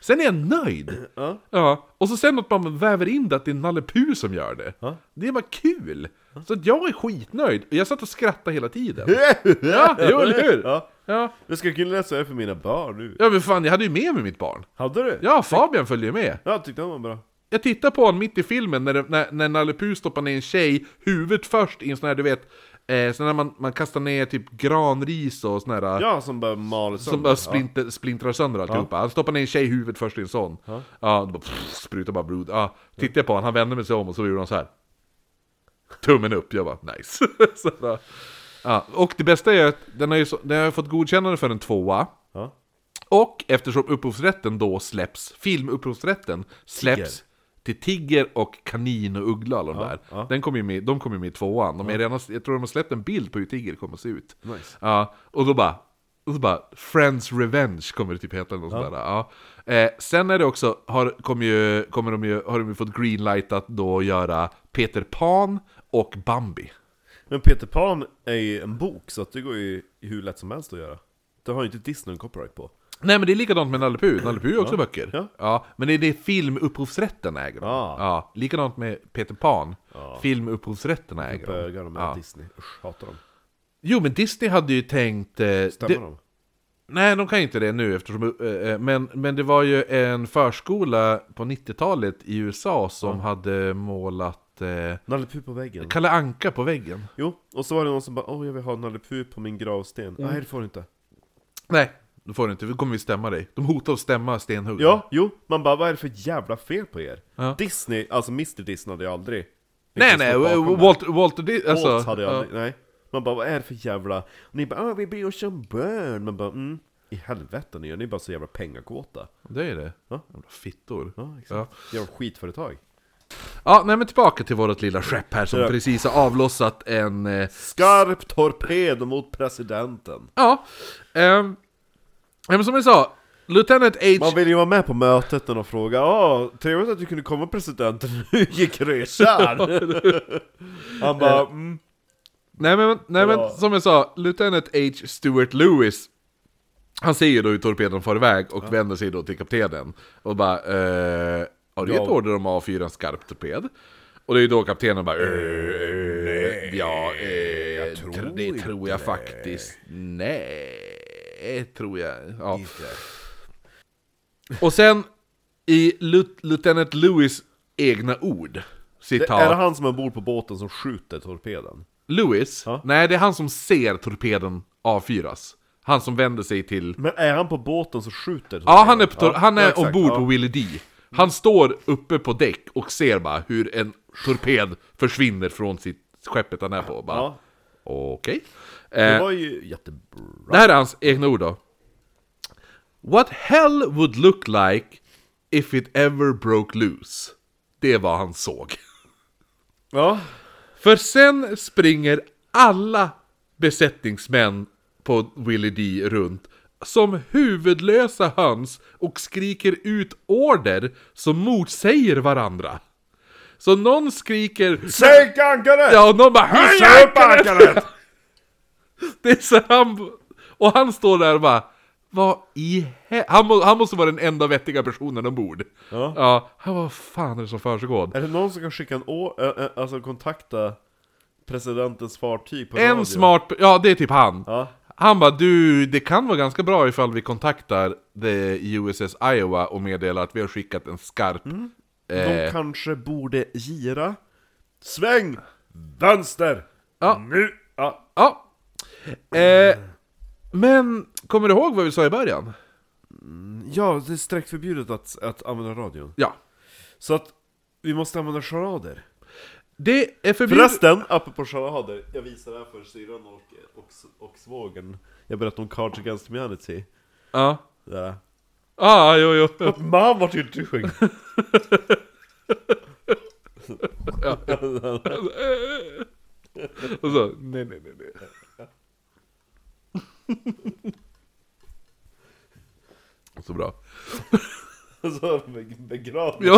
[SPEAKER 1] Sen är jag nöjd!
[SPEAKER 2] Ja.
[SPEAKER 1] Och så sen att man väver in det att det är Nalle Puh som gör det. Det är bara kul! Så att jag är skitnöjd! Och Jag satt och skrattade hela tiden. ja, jo, eller hur?
[SPEAKER 2] Ja.
[SPEAKER 1] Ja.
[SPEAKER 2] Jag ska kunna läsa det för mina barn nu.
[SPEAKER 1] Ja men fan, jag hade ju med mig mitt barn.
[SPEAKER 2] Hade du?
[SPEAKER 1] Ja, Fabian följde ju med.
[SPEAKER 2] Ja, tyckte han var bra.
[SPEAKER 1] Jag tittar på honom mitt i filmen när, det- när, när Nalle Puh stoppar ner en tjej, huvudet först i en sån här, du vet, eh, sån här man, man kastar ner typ granris och sån här...
[SPEAKER 2] Ja, som bara maler sönder.
[SPEAKER 1] Som bara splinter, splintrar sönder alltihopa. Han stoppar ner en tjej i huvudet först i en sån. Ja, då bara, pff, sprutar bara blod. Ja, tittar jag på honom, han vände mig sig om och så gjorde han så här. Tummen upp, jag bara nice. så, då. ja. Och det bästa är att den har ju så, den har ju fått godkännande för en tvåa.
[SPEAKER 2] Ja.
[SPEAKER 1] Och eftersom upphovsrätten då släpps, filmupphovsrätten släpps till Tigger och Kanin och Uggla och de där. Den kom ju med, de kommer ju med i tvåan. De är redan, jag tror de har släppt en bild på hur Tigger kommer att se ut.
[SPEAKER 2] Nice.
[SPEAKER 1] Ja, och då bara, och så bara Friends Revenge kommer det typ heta eller något sånt där. Ja. Eh, sen är det också, har, kommer ju, kommer de ju, har de ju fått greenlight att då göra Peter Pan och Bambi.
[SPEAKER 2] Men Peter Pan är ju en bok, så att det går ju hur lätt som helst att göra. Det har ju inte Disney en copyright på.
[SPEAKER 1] Nej men det är likadant med Nalle Puh, Nalle Puh är också böcker.
[SPEAKER 2] Ja.
[SPEAKER 1] men det är det filmupphovsrätten äger de.
[SPEAKER 2] Ja.
[SPEAKER 1] Ja, likadant med Peter Pan, filmupphovsrätten äger de.
[SPEAKER 2] Bögarna med
[SPEAKER 1] Ja.
[SPEAKER 2] Disney. Usch, hatar dem.
[SPEAKER 1] Jo men Disney hade ju tänkt... Eh,
[SPEAKER 2] Stämmer
[SPEAKER 1] det-
[SPEAKER 2] de?
[SPEAKER 1] Nej, de kan ju inte det nu eftersom... eh, eh, Men, men det var ju en förskola på 90-talet i USA som hade målat eh,
[SPEAKER 2] Nalle Puh på väggen.
[SPEAKER 1] Kalle Anka på väggen.
[SPEAKER 2] Jo, och så var det någon som bara åh jag vill ha Nalle Puh på min gravsten.
[SPEAKER 1] Mm.
[SPEAKER 2] Nej det får du inte.
[SPEAKER 1] Nej, då får du inte. Då kommer vi stämma dig. De hotar att stämma Stenhugg.
[SPEAKER 2] Ja, jo, man bara vad är det för jävla fel på er?
[SPEAKER 1] Mm. Ja.
[SPEAKER 2] Disney, alltså Mr Disney hade ju aldrig...
[SPEAKER 1] Nej,
[SPEAKER 2] liksom
[SPEAKER 1] nej,
[SPEAKER 2] stått bakom det.
[SPEAKER 1] Walter... Walter, Di- alltså,
[SPEAKER 2] Waltz hade jag
[SPEAKER 1] ja.
[SPEAKER 2] aldrig, nej. Man bara, vad är det för jävla... Och ni bara, ah, vi bryr oss om barn. Man bara, mm. I helvete ni gör, ni är bara så jävla pengakåta.
[SPEAKER 1] Det är det.
[SPEAKER 2] Ja.
[SPEAKER 1] Jävla fittor.
[SPEAKER 2] Ja, exakt. Jävla skitföretag.
[SPEAKER 1] Ja, nej men tillbaka till vårt lilla skepp här som
[SPEAKER 2] Ja.
[SPEAKER 1] precis har avlossat en... eh,
[SPEAKER 2] Skarp torped mot presidenten.
[SPEAKER 1] Ja. ehm, ja, men som jag sa, Lieutenant H...
[SPEAKER 2] Man vill ju vara med på mötet när de frågar, ah, trevligt att du kunde komma presidenten, hur gick resan? Han bara,
[SPEAKER 1] Eh,
[SPEAKER 2] mm.
[SPEAKER 1] Nej men, nej, men
[SPEAKER 2] Ja.
[SPEAKER 1] som jag sa, Lieutenant H. Stewart Lewis Han ser ju då hur torpeden far iväg och vänder sig då till kaptenen Och bara eh, Har du gett
[SPEAKER 2] Ja.
[SPEAKER 1] order om A4 en skarp torped? Och det är ju då kaptenen bara eh, Ja, eh,
[SPEAKER 2] tror
[SPEAKER 1] det
[SPEAKER 2] inte
[SPEAKER 1] tror jag faktiskt Nej, tror jag ja. Och sen i Lut- Lieutenant Lewis egna ord
[SPEAKER 2] Det,
[SPEAKER 1] Citat
[SPEAKER 2] är det han som är ombord på båten som skjuter torpeden?
[SPEAKER 1] Lewis?
[SPEAKER 2] Ja.
[SPEAKER 1] Nej, det är han som ser torpeden avfyras. Han som vänder sig till...
[SPEAKER 2] Men är han på båten som skjuter torpeden?
[SPEAKER 1] Ja, han är, på tor-
[SPEAKER 2] Ja,
[SPEAKER 1] han är
[SPEAKER 2] ja, exakt,
[SPEAKER 1] ombord
[SPEAKER 2] ja.
[SPEAKER 1] på Willie D. Han står uppe på däck och ser bara hur en torped försvinner från sitt skeppet han är på. Bara,
[SPEAKER 2] Ja.
[SPEAKER 1] Okej.
[SPEAKER 2] Det
[SPEAKER 1] Eh,
[SPEAKER 2] var ju jättebra.
[SPEAKER 1] Det här är hans egna ord då. What hell would look like if it ever broke loose. Det var han såg.
[SPEAKER 2] Ja.
[SPEAKER 1] För sen springer alla besättningsmän på Willie D runt som huvudlösa höns och skriker ut order som motsäger varandra. Så någon skriker
[SPEAKER 3] Sänk ankaret!
[SPEAKER 1] Ja, och någon bara
[SPEAKER 3] Hissa upp ankaret!
[SPEAKER 1] Det är så han... Och han står där och bara... Vad i he... han, må, han måste vara den enda vettiga personen ombord.
[SPEAKER 2] Ja.
[SPEAKER 1] ja han bara, vad fan är det som försiggår?
[SPEAKER 2] Är det någon som kan skicka en å... Äh, äh, alltså kontakta presidentens fartyg på radio?
[SPEAKER 1] En smart... Ja, det är typ han.
[SPEAKER 2] Ja.
[SPEAKER 1] Han bara, du, det kan vara ganska bra ifall vi kontaktar the USS Iowa och meddelar att vi har skickat en skarp...
[SPEAKER 2] De kanske borde gira? Sväng!
[SPEAKER 3] Vänster!
[SPEAKER 1] Ja.
[SPEAKER 3] Nu! Ja.
[SPEAKER 1] Ja. Eh, men, kommer du ihåg vad vi sa i början?
[SPEAKER 2] Ja, det är strängt förbjudet att, att använda radion.
[SPEAKER 1] Ja.
[SPEAKER 2] Så att vi måste använda charader.
[SPEAKER 1] Det är förbjudet...
[SPEAKER 2] Förresten, apropå charader, jag visar det här för syrran och, och, och svågern. Jag berättade om Cards Against Humanity.
[SPEAKER 1] Ja.
[SPEAKER 2] Ja.
[SPEAKER 1] Ah, jo, jo. jo.
[SPEAKER 2] Man vart ju inte sjuk.
[SPEAKER 1] Och så, nej, nej, nej, nej. Så bra.
[SPEAKER 2] Så har de begravt.
[SPEAKER 1] Ja.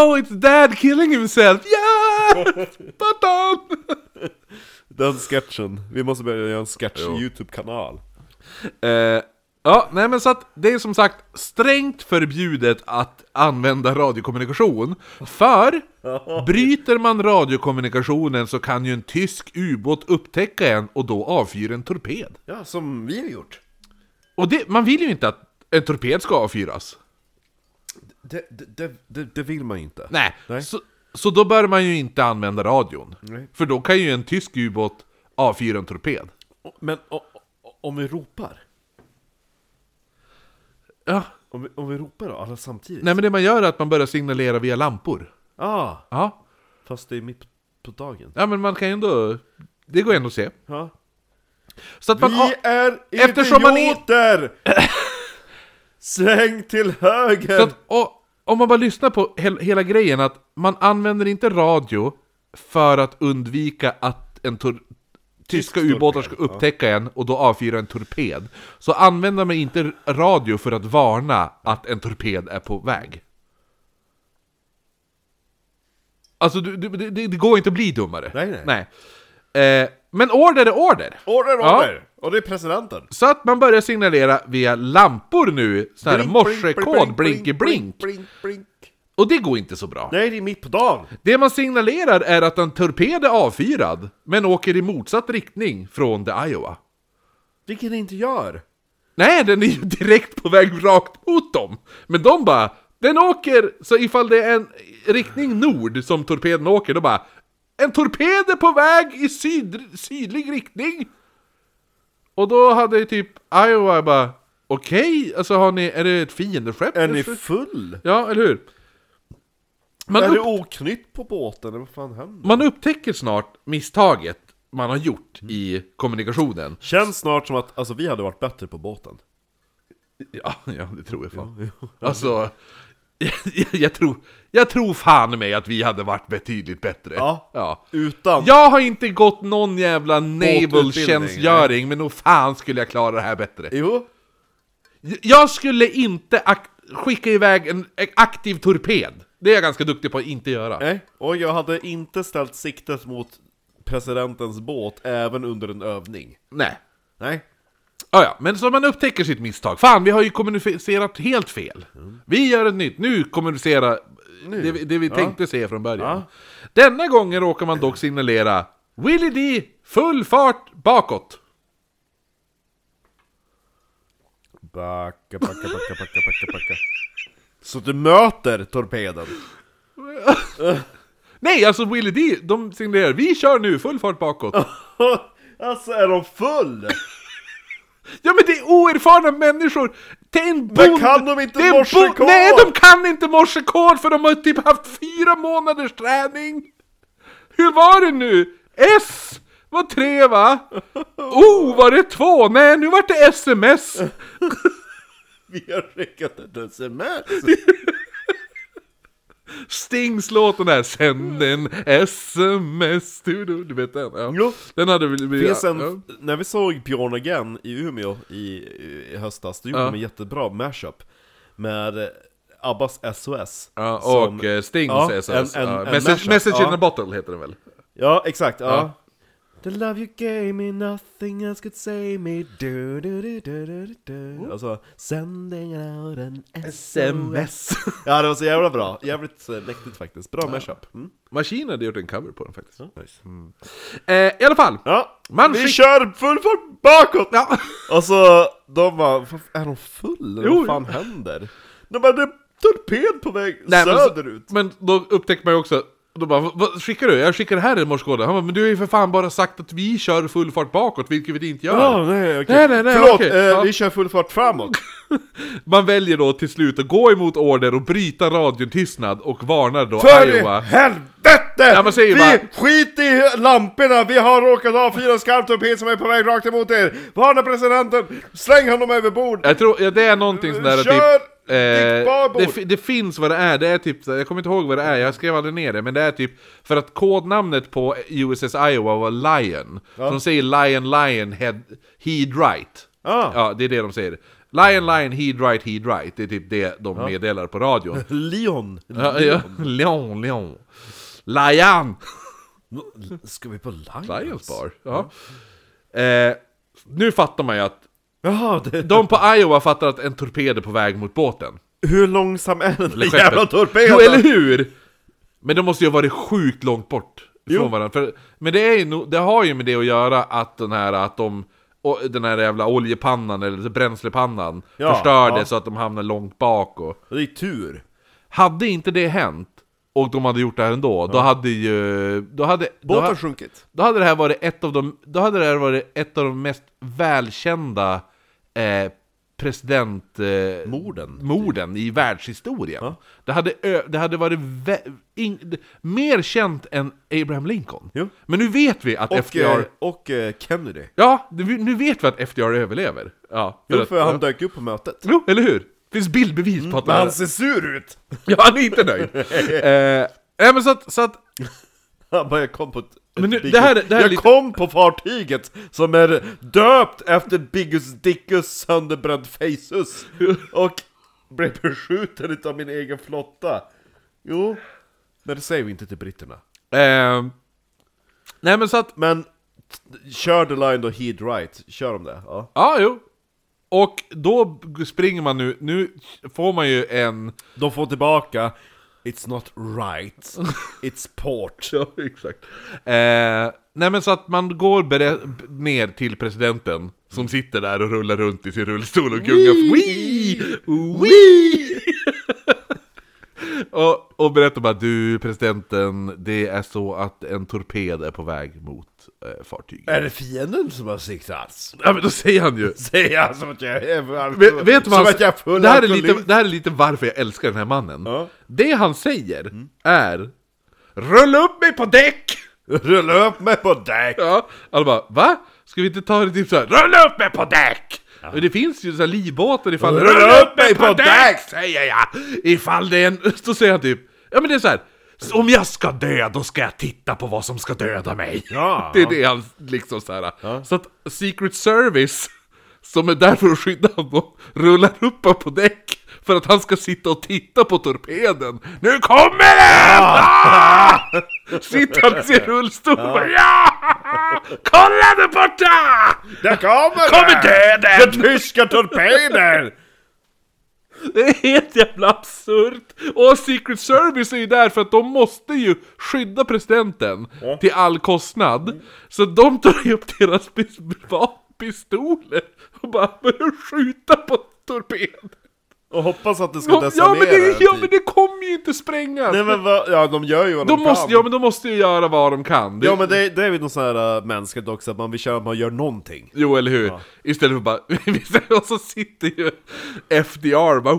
[SPEAKER 1] oh, it's dad killing himself! Yeah! Button!
[SPEAKER 2] Den sketchen. Vi måste börja göra en sketch
[SPEAKER 1] Jo.
[SPEAKER 2] YouTube-kanal.
[SPEAKER 1] Eh, ja, nej men så att det är som sagt strängt förbjudet att använda radiokommunikation. För bryter man radiokommunikationen så kan ju en tysk ubåt upptäcka en och då avfyra en torped.
[SPEAKER 2] Ja, som vi har gjort.
[SPEAKER 1] Och det, man vill ju inte att en torped ska avfyras.
[SPEAKER 2] Det, det, det, det, det vill man inte.
[SPEAKER 1] Nej,
[SPEAKER 2] Nej.
[SPEAKER 1] Så, så då bör man ju inte använda radion.
[SPEAKER 2] Nej.
[SPEAKER 1] För då kan ju en tysk ubåt avfyra en torped.
[SPEAKER 2] Men o- o- om vi ropar?
[SPEAKER 1] Ja.
[SPEAKER 2] Om vi, om vi ropar då, alla samtidigt?
[SPEAKER 1] Nej men det man gör är att man börjar signalera via lampor.
[SPEAKER 2] Ah,
[SPEAKER 1] Ja,
[SPEAKER 2] fast det är mitt på dagen.
[SPEAKER 1] ja men man kan ju ändå... Det går ändå att se.
[SPEAKER 2] Ja.
[SPEAKER 1] Så att man...
[SPEAKER 2] Vi är
[SPEAKER 1] ah, eftersom man är-
[SPEAKER 2] idioter! Sväng till höger!
[SPEAKER 1] Så att, och, om man bara lyssnar på hel, hela grejen att man använder inte radio för att undvika att en tor- tyska
[SPEAKER 2] torped,
[SPEAKER 1] ubåtar ska upptäcka en och då avfyra en torped. Så använder man inte r- radio för att varna att en torped är på väg. Alltså du, du, det, det det går inte att bli dummare.
[SPEAKER 2] Nej, nej.
[SPEAKER 1] Eh, men order är order!
[SPEAKER 2] Order,
[SPEAKER 1] Ja.
[SPEAKER 2] order! Och det är presidenten!
[SPEAKER 1] Så att man börjar signalera via lampor nu, sån här
[SPEAKER 2] Blink,
[SPEAKER 1] morsekod, blinky blink.
[SPEAKER 2] blink, blink, blink.
[SPEAKER 1] Och det går inte så bra.
[SPEAKER 2] Nej, det är mitt på dagen!
[SPEAKER 1] Det man signalerar är att en torped är avfyrad, men åker i motsatt riktning från The Iowa.
[SPEAKER 2] Vilket det inte gör!
[SPEAKER 1] Nej, den är ju direkt på väg rakt mot dem! Men de bara, den åker, så ifall det är en riktning nord som torpeden åker, då bara En torped är på väg i syd, sydlig riktning! Och då hade ju typ Iowa bara Okej, alltså har ni, är det ett fiendeskepp?
[SPEAKER 2] Är ni full?
[SPEAKER 1] Ja, eller hur? Man
[SPEAKER 2] är
[SPEAKER 1] upp-
[SPEAKER 2] det oknytt på båten? eller Vad fan händer?
[SPEAKER 1] Man upptäcker snart misstaget man har gjort i kommunikationen.
[SPEAKER 2] Känns snart som att alltså, vi hade varit bättre på båten.
[SPEAKER 1] Ja, ja det tror jag fan. Alltså, jag, jag, tror, jag tror fan mig att vi hade varit betydligt bättre.
[SPEAKER 2] Ja.
[SPEAKER 1] ja.
[SPEAKER 2] Utan...
[SPEAKER 1] Jag har inte gått någon jävla
[SPEAKER 2] Båtutbildning,
[SPEAKER 1] naval-tjänstgöring, men nog fan skulle jag klara det här bättre.
[SPEAKER 2] Jo!
[SPEAKER 1] Jag skulle inte ak- skicka iväg en aktiv torped. Det är jag ganska duktig på att inte göra.
[SPEAKER 2] Nej. Och jag hade inte ställt siktet mot presidentens båt även under en övning.
[SPEAKER 1] Nej.
[SPEAKER 2] Nej.
[SPEAKER 1] Ah, ja, men så man upptäcker sitt misstag. Fan, vi har ju kommunicerat helt fel. Vi gör ett nytt. Nu kommunicera Det, vi- det vi tänkte se från början. Denna gången råkar man dock signalera Willy D, full fart bakåt.
[SPEAKER 2] Backa, backa, backa, backa, backa, backa. Så du möter torpeden?
[SPEAKER 1] Nej, alltså Willy D, de signalerar vi kör nu, full fart bakåt.
[SPEAKER 2] alltså är de full?
[SPEAKER 1] Ja men det är oerfarna människor! Det är en bond...
[SPEAKER 2] kan de inte
[SPEAKER 1] det är en
[SPEAKER 2] morsekod?
[SPEAKER 1] bo- Nej, de kan inte morsekod för de har typ haft fyra månaders träning! Hur var det nu? S var tre va? O var det två? Nej, nu vart det sms!
[SPEAKER 2] Vi har skickat ett sms!
[SPEAKER 1] Stings låt den här Sänd en sms to do. Du vet den? Ja.
[SPEAKER 2] Jo.
[SPEAKER 1] Den hade väl blivit...
[SPEAKER 2] Finns
[SPEAKER 1] ja.
[SPEAKER 2] en, när vi såg Björn Again i Umeå i, i höstas, då gjorde
[SPEAKER 1] Ja.
[SPEAKER 2] de en jättebra mashup med eh, Abbas SOS.
[SPEAKER 1] Ja, och
[SPEAKER 2] som-
[SPEAKER 1] eh, Stings
[SPEAKER 2] Ja,
[SPEAKER 1] SS.
[SPEAKER 2] en- en-
[SPEAKER 1] ja.
[SPEAKER 2] en
[SPEAKER 1] Message,
[SPEAKER 2] mashup,
[SPEAKER 1] message
[SPEAKER 2] ja.
[SPEAKER 1] in a bottle heter den väl?
[SPEAKER 2] Ja, exakt. Ja.
[SPEAKER 1] Ja.
[SPEAKER 2] The love you gave me, nothing else could save me du, du, du, du, du,
[SPEAKER 1] Oh.
[SPEAKER 2] du. Alltså, sending out an SMS Ja, det var så jävla bra, jävligt eh, mäktigt faktiskt, bra mashup mm.
[SPEAKER 1] Machine hade gjort en cover på den faktiskt.
[SPEAKER 2] nice.
[SPEAKER 1] Eh, I alla fall.
[SPEAKER 2] Ja,
[SPEAKER 1] Mm. Man
[SPEAKER 2] vi
[SPEAKER 1] skick-
[SPEAKER 2] kör full fart bakåt!
[SPEAKER 1] Ja.
[SPEAKER 2] Och så, de bara, "Vad fan, är de full? eller
[SPEAKER 1] Jo,
[SPEAKER 2] Vad fan händer? De bara, det är torped på väg
[SPEAKER 1] Nej, men så-
[SPEAKER 2] söderut!
[SPEAKER 1] Men då upptäckte man ju också, då bara, "Vad- vad skickar du? Jag skickar det här i morskoden. Han bara, men du har ju för fan bara sagt att vi kör full fart bakåt, vilket vi inte gör.
[SPEAKER 2] Ja, nej, okej.
[SPEAKER 1] Nej, nej, nej,
[SPEAKER 2] Förlåt,
[SPEAKER 1] okej.
[SPEAKER 2] eh,
[SPEAKER 1] Ja.
[SPEAKER 2] vi kör full fart framåt!
[SPEAKER 1] Man väljer då till slut att gå emot order och bryta radiotystnad och varnar då
[SPEAKER 2] För
[SPEAKER 1] Iowa.
[SPEAKER 2] i helvete!
[SPEAKER 1] Ja, men säger
[SPEAKER 2] vi
[SPEAKER 1] bara-
[SPEAKER 2] skit i lamporna, vi har råkat ha fyra skarpt torped som är på väg rakt emot er! Varna presidenten, släng honom över bord!
[SPEAKER 1] Jag tror, ja, det är någonting sån där
[SPEAKER 2] Kör
[SPEAKER 1] typ...
[SPEAKER 2] ditt babord!
[SPEAKER 1] det, fi- det finns vad det är, det är typ, jag kommer inte ihåg vad det är, jag skrev aldrig ner det, men det är typ För att kodnamnet på USS Iowa var Lion, så de säger Lion Lion head, Heed Right
[SPEAKER 2] Ah.
[SPEAKER 1] Ja, det är det de säger Lion Lion Heed Right Heed Right, det är typ det de meddelar på radion
[SPEAKER 2] Leon!
[SPEAKER 1] ja, ja. Lion, Lion Lion!
[SPEAKER 2] Ska vi på Lions?
[SPEAKER 1] Lions bar, ja eh, Nu fattar man ju att
[SPEAKER 2] Jaha, det...
[SPEAKER 1] de på Iowa fattar att en torped är på väg mot båten
[SPEAKER 2] hur långsam är den där
[SPEAKER 1] Skeppet.
[SPEAKER 2] jävla torpeden?
[SPEAKER 1] Jo, eller hur! Men de måste ju ha varit sjukt långt bort
[SPEAKER 2] Jo.
[SPEAKER 1] från varandra. För, men det, är ju, no- det har ju med det att göra att den här, att de, och, den här jävla oljepannan, eller bränslepannan,
[SPEAKER 2] Ja,
[SPEAKER 1] förstördes
[SPEAKER 2] ja.
[SPEAKER 1] så att de hamnade långt bak. Och,
[SPEAKER 2] Det är tur.
[SPEAKER 1] hade inte det hänt, och de hade gjort det här ändå, då hade ju... Då hade, då,
[SPEAKER 2] Båten
[SPEAKER 1] ha-
[SPEAKER 2] sjunkit.
[SPEAKER 1] då hade det här varit ett av de, då hade det här varit ett av de mest välkända eh, president... Eh,
[SPEAKER 2] Morden.
[SPEAKER 1] morden i världshistorien. Det, hade ö- det hade varit vä- in- d- mer känt än Abraham Lincoln.
[SPEAKER 2] Jo.
[SPEAKER 1] Men nu vet vi att
[SPEAKER 2] Och, eh,
[SPEAKER 1] FDR...
[SPEAKER 2] och eh, Kennedy.
[SPEAKER 1] Ja, det- vi- nu vet vi att FDR överlever. Ja,
[SPEAKER 2] Jo, för han
[SPEAKER 1] ja.
[SPEAKER 2] dök upp på mötet.
[SPEAKER 1] Jo, eller hur? finns bildbevis på att
[SPEAKER 2] Men
[SPEAKER 1] han...
[SPEAKER 2] han ser sur ut!
[SPEAKER 1] Ja, han är inte nöjd. eh, nej, men så att, så att
[SPEAKER 2] Han bara, jag kom på ett...
[SPEAKER 1] Men nu-
[SPEAKER 2] ett Big-
[SPEAKER 1] det här är- det här är
[SPEAKER 2] jag
[SPEAKER 1] lite-
[SPEAKER 2] kom på fartyget som är döpt efter Biggus Dickus sönderbränd Faceus och blev beskjuten utav min egen flotta. Jo, men det säger vi inte till britterna.
[SPEAKER 1] eh, Nej, men så att...
[SPEAKER 2] Men t- kör the line då, heed right, kör de det? Ja.
[SPEAKER 1] Ja, jo. Och då springer man nu, nu får man ju en...
[SPEAKER 2] De får tillbaka It's not right, it's port.
[SPEAKER 1] Ja, exakt. Eh, nej men så att man går bere- b- ner till presidenten som sitter där och rullar runt i sin rullstol och gungar Wii! Wii! och, och berättar bara du presidenten, det är så att en torped är på väg mot eh, fartyget.
[SPEAKER 2] Är det fienden som har siktats?
[SPEAKER 1] Ja men då säger han ju
[SPEAKER 2] Säger han alltså som att jag är...
[SPEAKER 1] Vet, vet du vad
[SPEAKER 2] som
[SPEAKER 1] han,
[SPEAKER 2] att jag är full
[SPEAKER 1] det, här är
[SPEAKER 2] alkoholist.
[SPEAKER 1] lite, det här är lite varför jag älskar den här mannen.
[SPEAKER 2] Ja.
[SPEAKER 1] Det han säger är Rulla upp mig på däck!
[SPEAKER 2] Rulla upp mig på däck!
[SPEAKER 1] Ja, alla bara va? Ska vi inte ta det typ såhär Rulla upp mig på däck! Men det finns ju så här livbåtar ifall Rulla upp mig på däck! Säger jag! Ifall det är en... Så säger han typ Ja men det är så här. Om jag ska dö, då ska jag titta på vad som ska döda mig.
[SPEAKER 2] Ja.
[SPEAKER 1] Det är det han liksom så här. Så att Secret Service, som är där för att skydda honom, rullar upp honom på däck för att han ska sitta och titta på torpeden. Nu kommer den! Ah! Sitter han i sin rullstol och bara, ja! Kolla där borta!
[SPEAKER 2] Där kommer
[SPEAKER 1] Kommer döden!
[SPEAKER 2] Den tyska torpeden!
[SPEAKER 1] Det är helt jävla absurt! Och Secret Service är ju där för att de måste ju skydda presidenten till all kostnad. Så de tar ju upp deras pis- va- pistoler och bara börjar skjuta på torpeden.
[SPEAKER 2] Och hoppas att det ska
[SPEAKER 1] Ja, ja,
[SPEAKER 2] desarmera
[SPEAKER 1] men det,
[SPEAKER 2] den
[SPEAKER 1] ja
[SPEAKER 2] typ.
[SPEAKER 1] men det kommer ju inte sprängas!
[SPEAKER 2] Nej men vad, ja de gör ju vad de,
[SPEAKER 1] de måste,
[SPEAKER 2] kan.
[SPEAKER 1] ja men de måste ju göra vad de kan. Det-
[SPEAKER 2] Ja men det, det är väl något sånt här äh, mänskligt också, att man vill köra att man gör någonting.
[SPEAKER 1] Jo, eller hur? Istället för bara... istället- och så sitter ju FDR bara...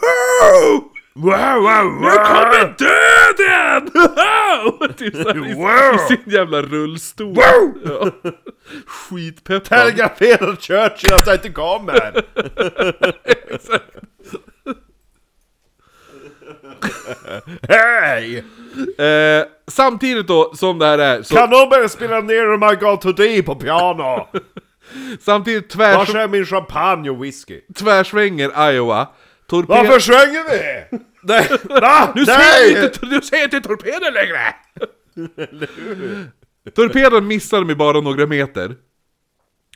[SPEAKER 1] Wow!
[SPEAKER 2] Wow, wow,
[SPEAKER 1] Nu kommer döden! Och typ så här, i,
[SPEAKER 2] Wow!
[SPEAKER 1] I sin jävla rullstol. Ja. Skitpeppad.
[SPEAKER 2] Telegraferar Churchill att jag inte kommer!
[SPEAKER 1] Eh, Samtidigt då som det här är, så,
[SPEAKER 2] Kan någon börja spela ner My God Today på piano?
[SPEAKER 1] samtidigt
[SPEAKER 2] Vars
[SPEAKER 1] tvärs,
[SPEAKER 2] är min champagne och whisky?
[SPEAKER 1] tvärsvänger Iowa. Torped...
[SPEAKER 2] Varför svänger vi?
[SPEAKER 1] Nej,
[SPEAKER 2] Va?
[SPEAKER 1] nu säger jag inte, nu säger jag inte torpeden längre! Torpeden missar dem i bara några meter.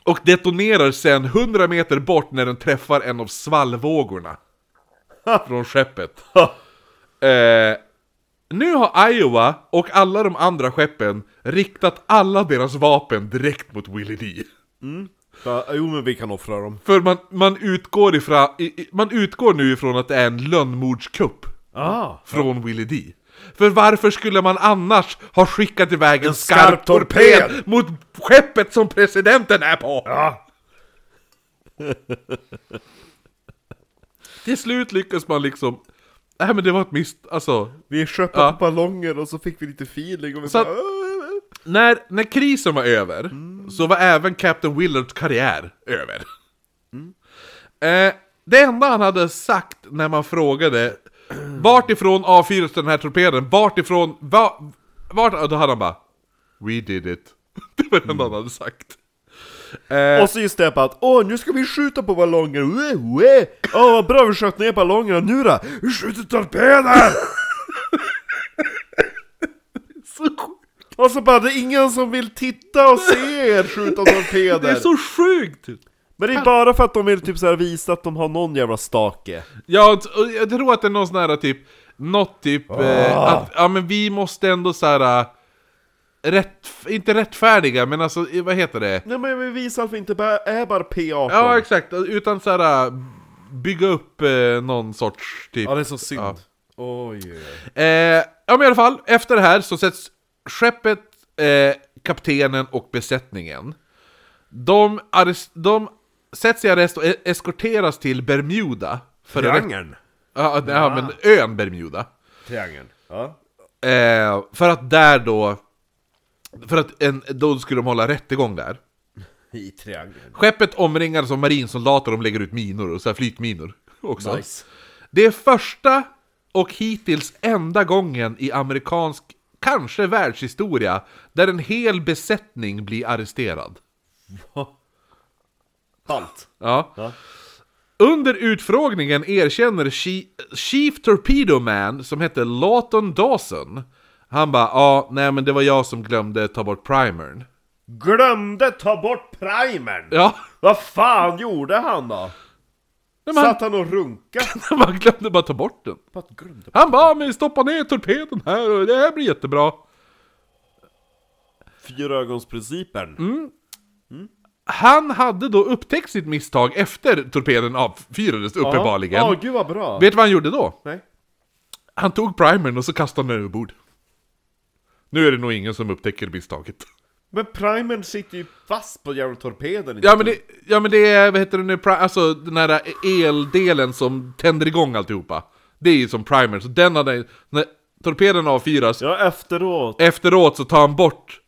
[SPEAKER 1] Och detonerar sen 100 meter bort när den träffar en av svallvågorna. Från skeppet. Eh, nu har Iowa och alla de andra skeppen riktat alla deras vapen direkt mot Willie Dee.
[SPEAKER 2] Ja, Jo men vi kan offra dem.
[SPEAKER 1] För man, man, utgår ifrån, i- i- man utgår nu ifrån att det är en lönnmordskupp
[SPEAKER 2] Ah.
[SPEAKER 1] från Willie D. För varför skulle man annars ha skickat iväg en, skarp,
[SPEAKER 2] skarp
[SPEAKER 1] torped,
[SPEAKER 2] torped
[SPEAKER 1] mot skeppet som presidenten är på?
[SPEAKER 2] Ja.
[SPEAKER 1] Till slut lyckas man liksom... Nej men det var ett misstag, alltså...
[SPEAKER 2] Vi köpte
[SPEAKER 1] Ja.
[SPEAKER 2] ballonger och så fick vi lite feeling och vi
[SPEAKER 1] Så att-
[SPEAKER 2] bara... "Åh,
[SPEAKER 1] När, när krisen var över, så var även Captain Willards karriär över. Eh, det enda han hade sagt när man frågade vart ifrån avfyrades den här torpeden, vart ifrån, va, vart, och då hade han bara We did it. Det var det enda han hade sagt.
[SPEAKER 2] eh." Och så just det på att åh nu ska vi skjuta på ballonger, Ue, ue. åh vad bra vi sköt ner ballongerna, nu då? Vi skjuter torpeder! och så bara det är ingen som vill titta och se er skjuta torpeder!
[SPEAKER 1] Det är så sjukt!
[SPEAKER 2] Men det är bara för att de vill typ så här visa att de har någon jävla stake.
[SPEAKER 1] Jag, jag tror att det är någon sån här typ, något typ, eh, att, ja men vi måste ändå så här. eh, Rätt, inte rättfärdiga, men alltså, eh, vad heter det?
[SPEAKER 2] Nej men vi visar att vi inte bara är bara P18.
[SPEAKER 1] Ja, exakt. Utan så här äh, bygga upp eh, någon sorts typ...
[SPEAKER 2] det är så synd.
[SPEAKER 1] Ja.
[SPEAKER 2] Oj.
[SPEAKER 1] Eh, ja, men i alla fall, efter det här så sätts skeppet, eh, kaptenen och besättningen. De, arrest, de sätts i arrest och e- eskorteras till Bermuda. För en rätt-
[SPEAKER 2] Triangeln.
[SPEAKER 1] Ja, ja, men ön Bermuda.
[SPEAKER 2] Triangeln. Ja.
[SPEAKER 1] Eh, för att där då... För att en, då skulle de hålla rättegång där.
[SPEAKER 2] I triangeln.
[SPEAKER 1] Skeppet omringas av marinsoldater, de lägger ut minor, och så här flygminor också.
[SPEAKER 2] Nice.
[SPEAKER 1] Det är första och hittills enda gången i amerikansk, kanske världshistoria, där en hel besättning blir arresterad.
[SPEAKER 2] Halt.
[SPEAKER 1] Ja. Under utfrågningen erkänner Chi- Chief Torpedo Man, som hette Lawton Dawson, han bara ja, nej men det var jag som glömde ta bort primern.
[SPEAKER 2] Glömde ta bort primern!
[SPEAKER 1] Ja,
[SPEAKER 2] Vad fan gjorde han då?
[SPEAKER 1] nej, men han,
[SPEAKER 2] Satt han och runka?
[SPEAKER 1] han glömde bara ta bort den.
[SPEAKER 2] Vad glömde
[SPEAKER 1] Han bara, men stoppa ner torpeden här och det här blir jättebra.
[SPEAKER 2] Fyrögonsprincipen.
[SPEAKER 1] Mm. Han hade då upptäckt sitt misstag efter torpeden avfyrades, uppenbarligen.
[SPEAKER 2] Ja, gud vad bra.
[SPEAKER 1] Vet du vad han gjorde då?
[SPEAKER 2] Nej.
[SPEAKER 1] Han tog primern och så kastade han den överbord. Nu är det nog ingen som upptäcker misstaget.
[SPEAKER 2] Men primern sitter ju fast på jävla torpeden.
[SPEAKER 1] Ja men det, ja, men det är, vad heter det nu, pri- alltså den här eldelen som tänder igång alltihopa. Det är ju som primer, så den hade, när torpeden avfyras,
[SPEAKER 2] ja efteråt.
[SPEAKER 1] efteråt så tar han bort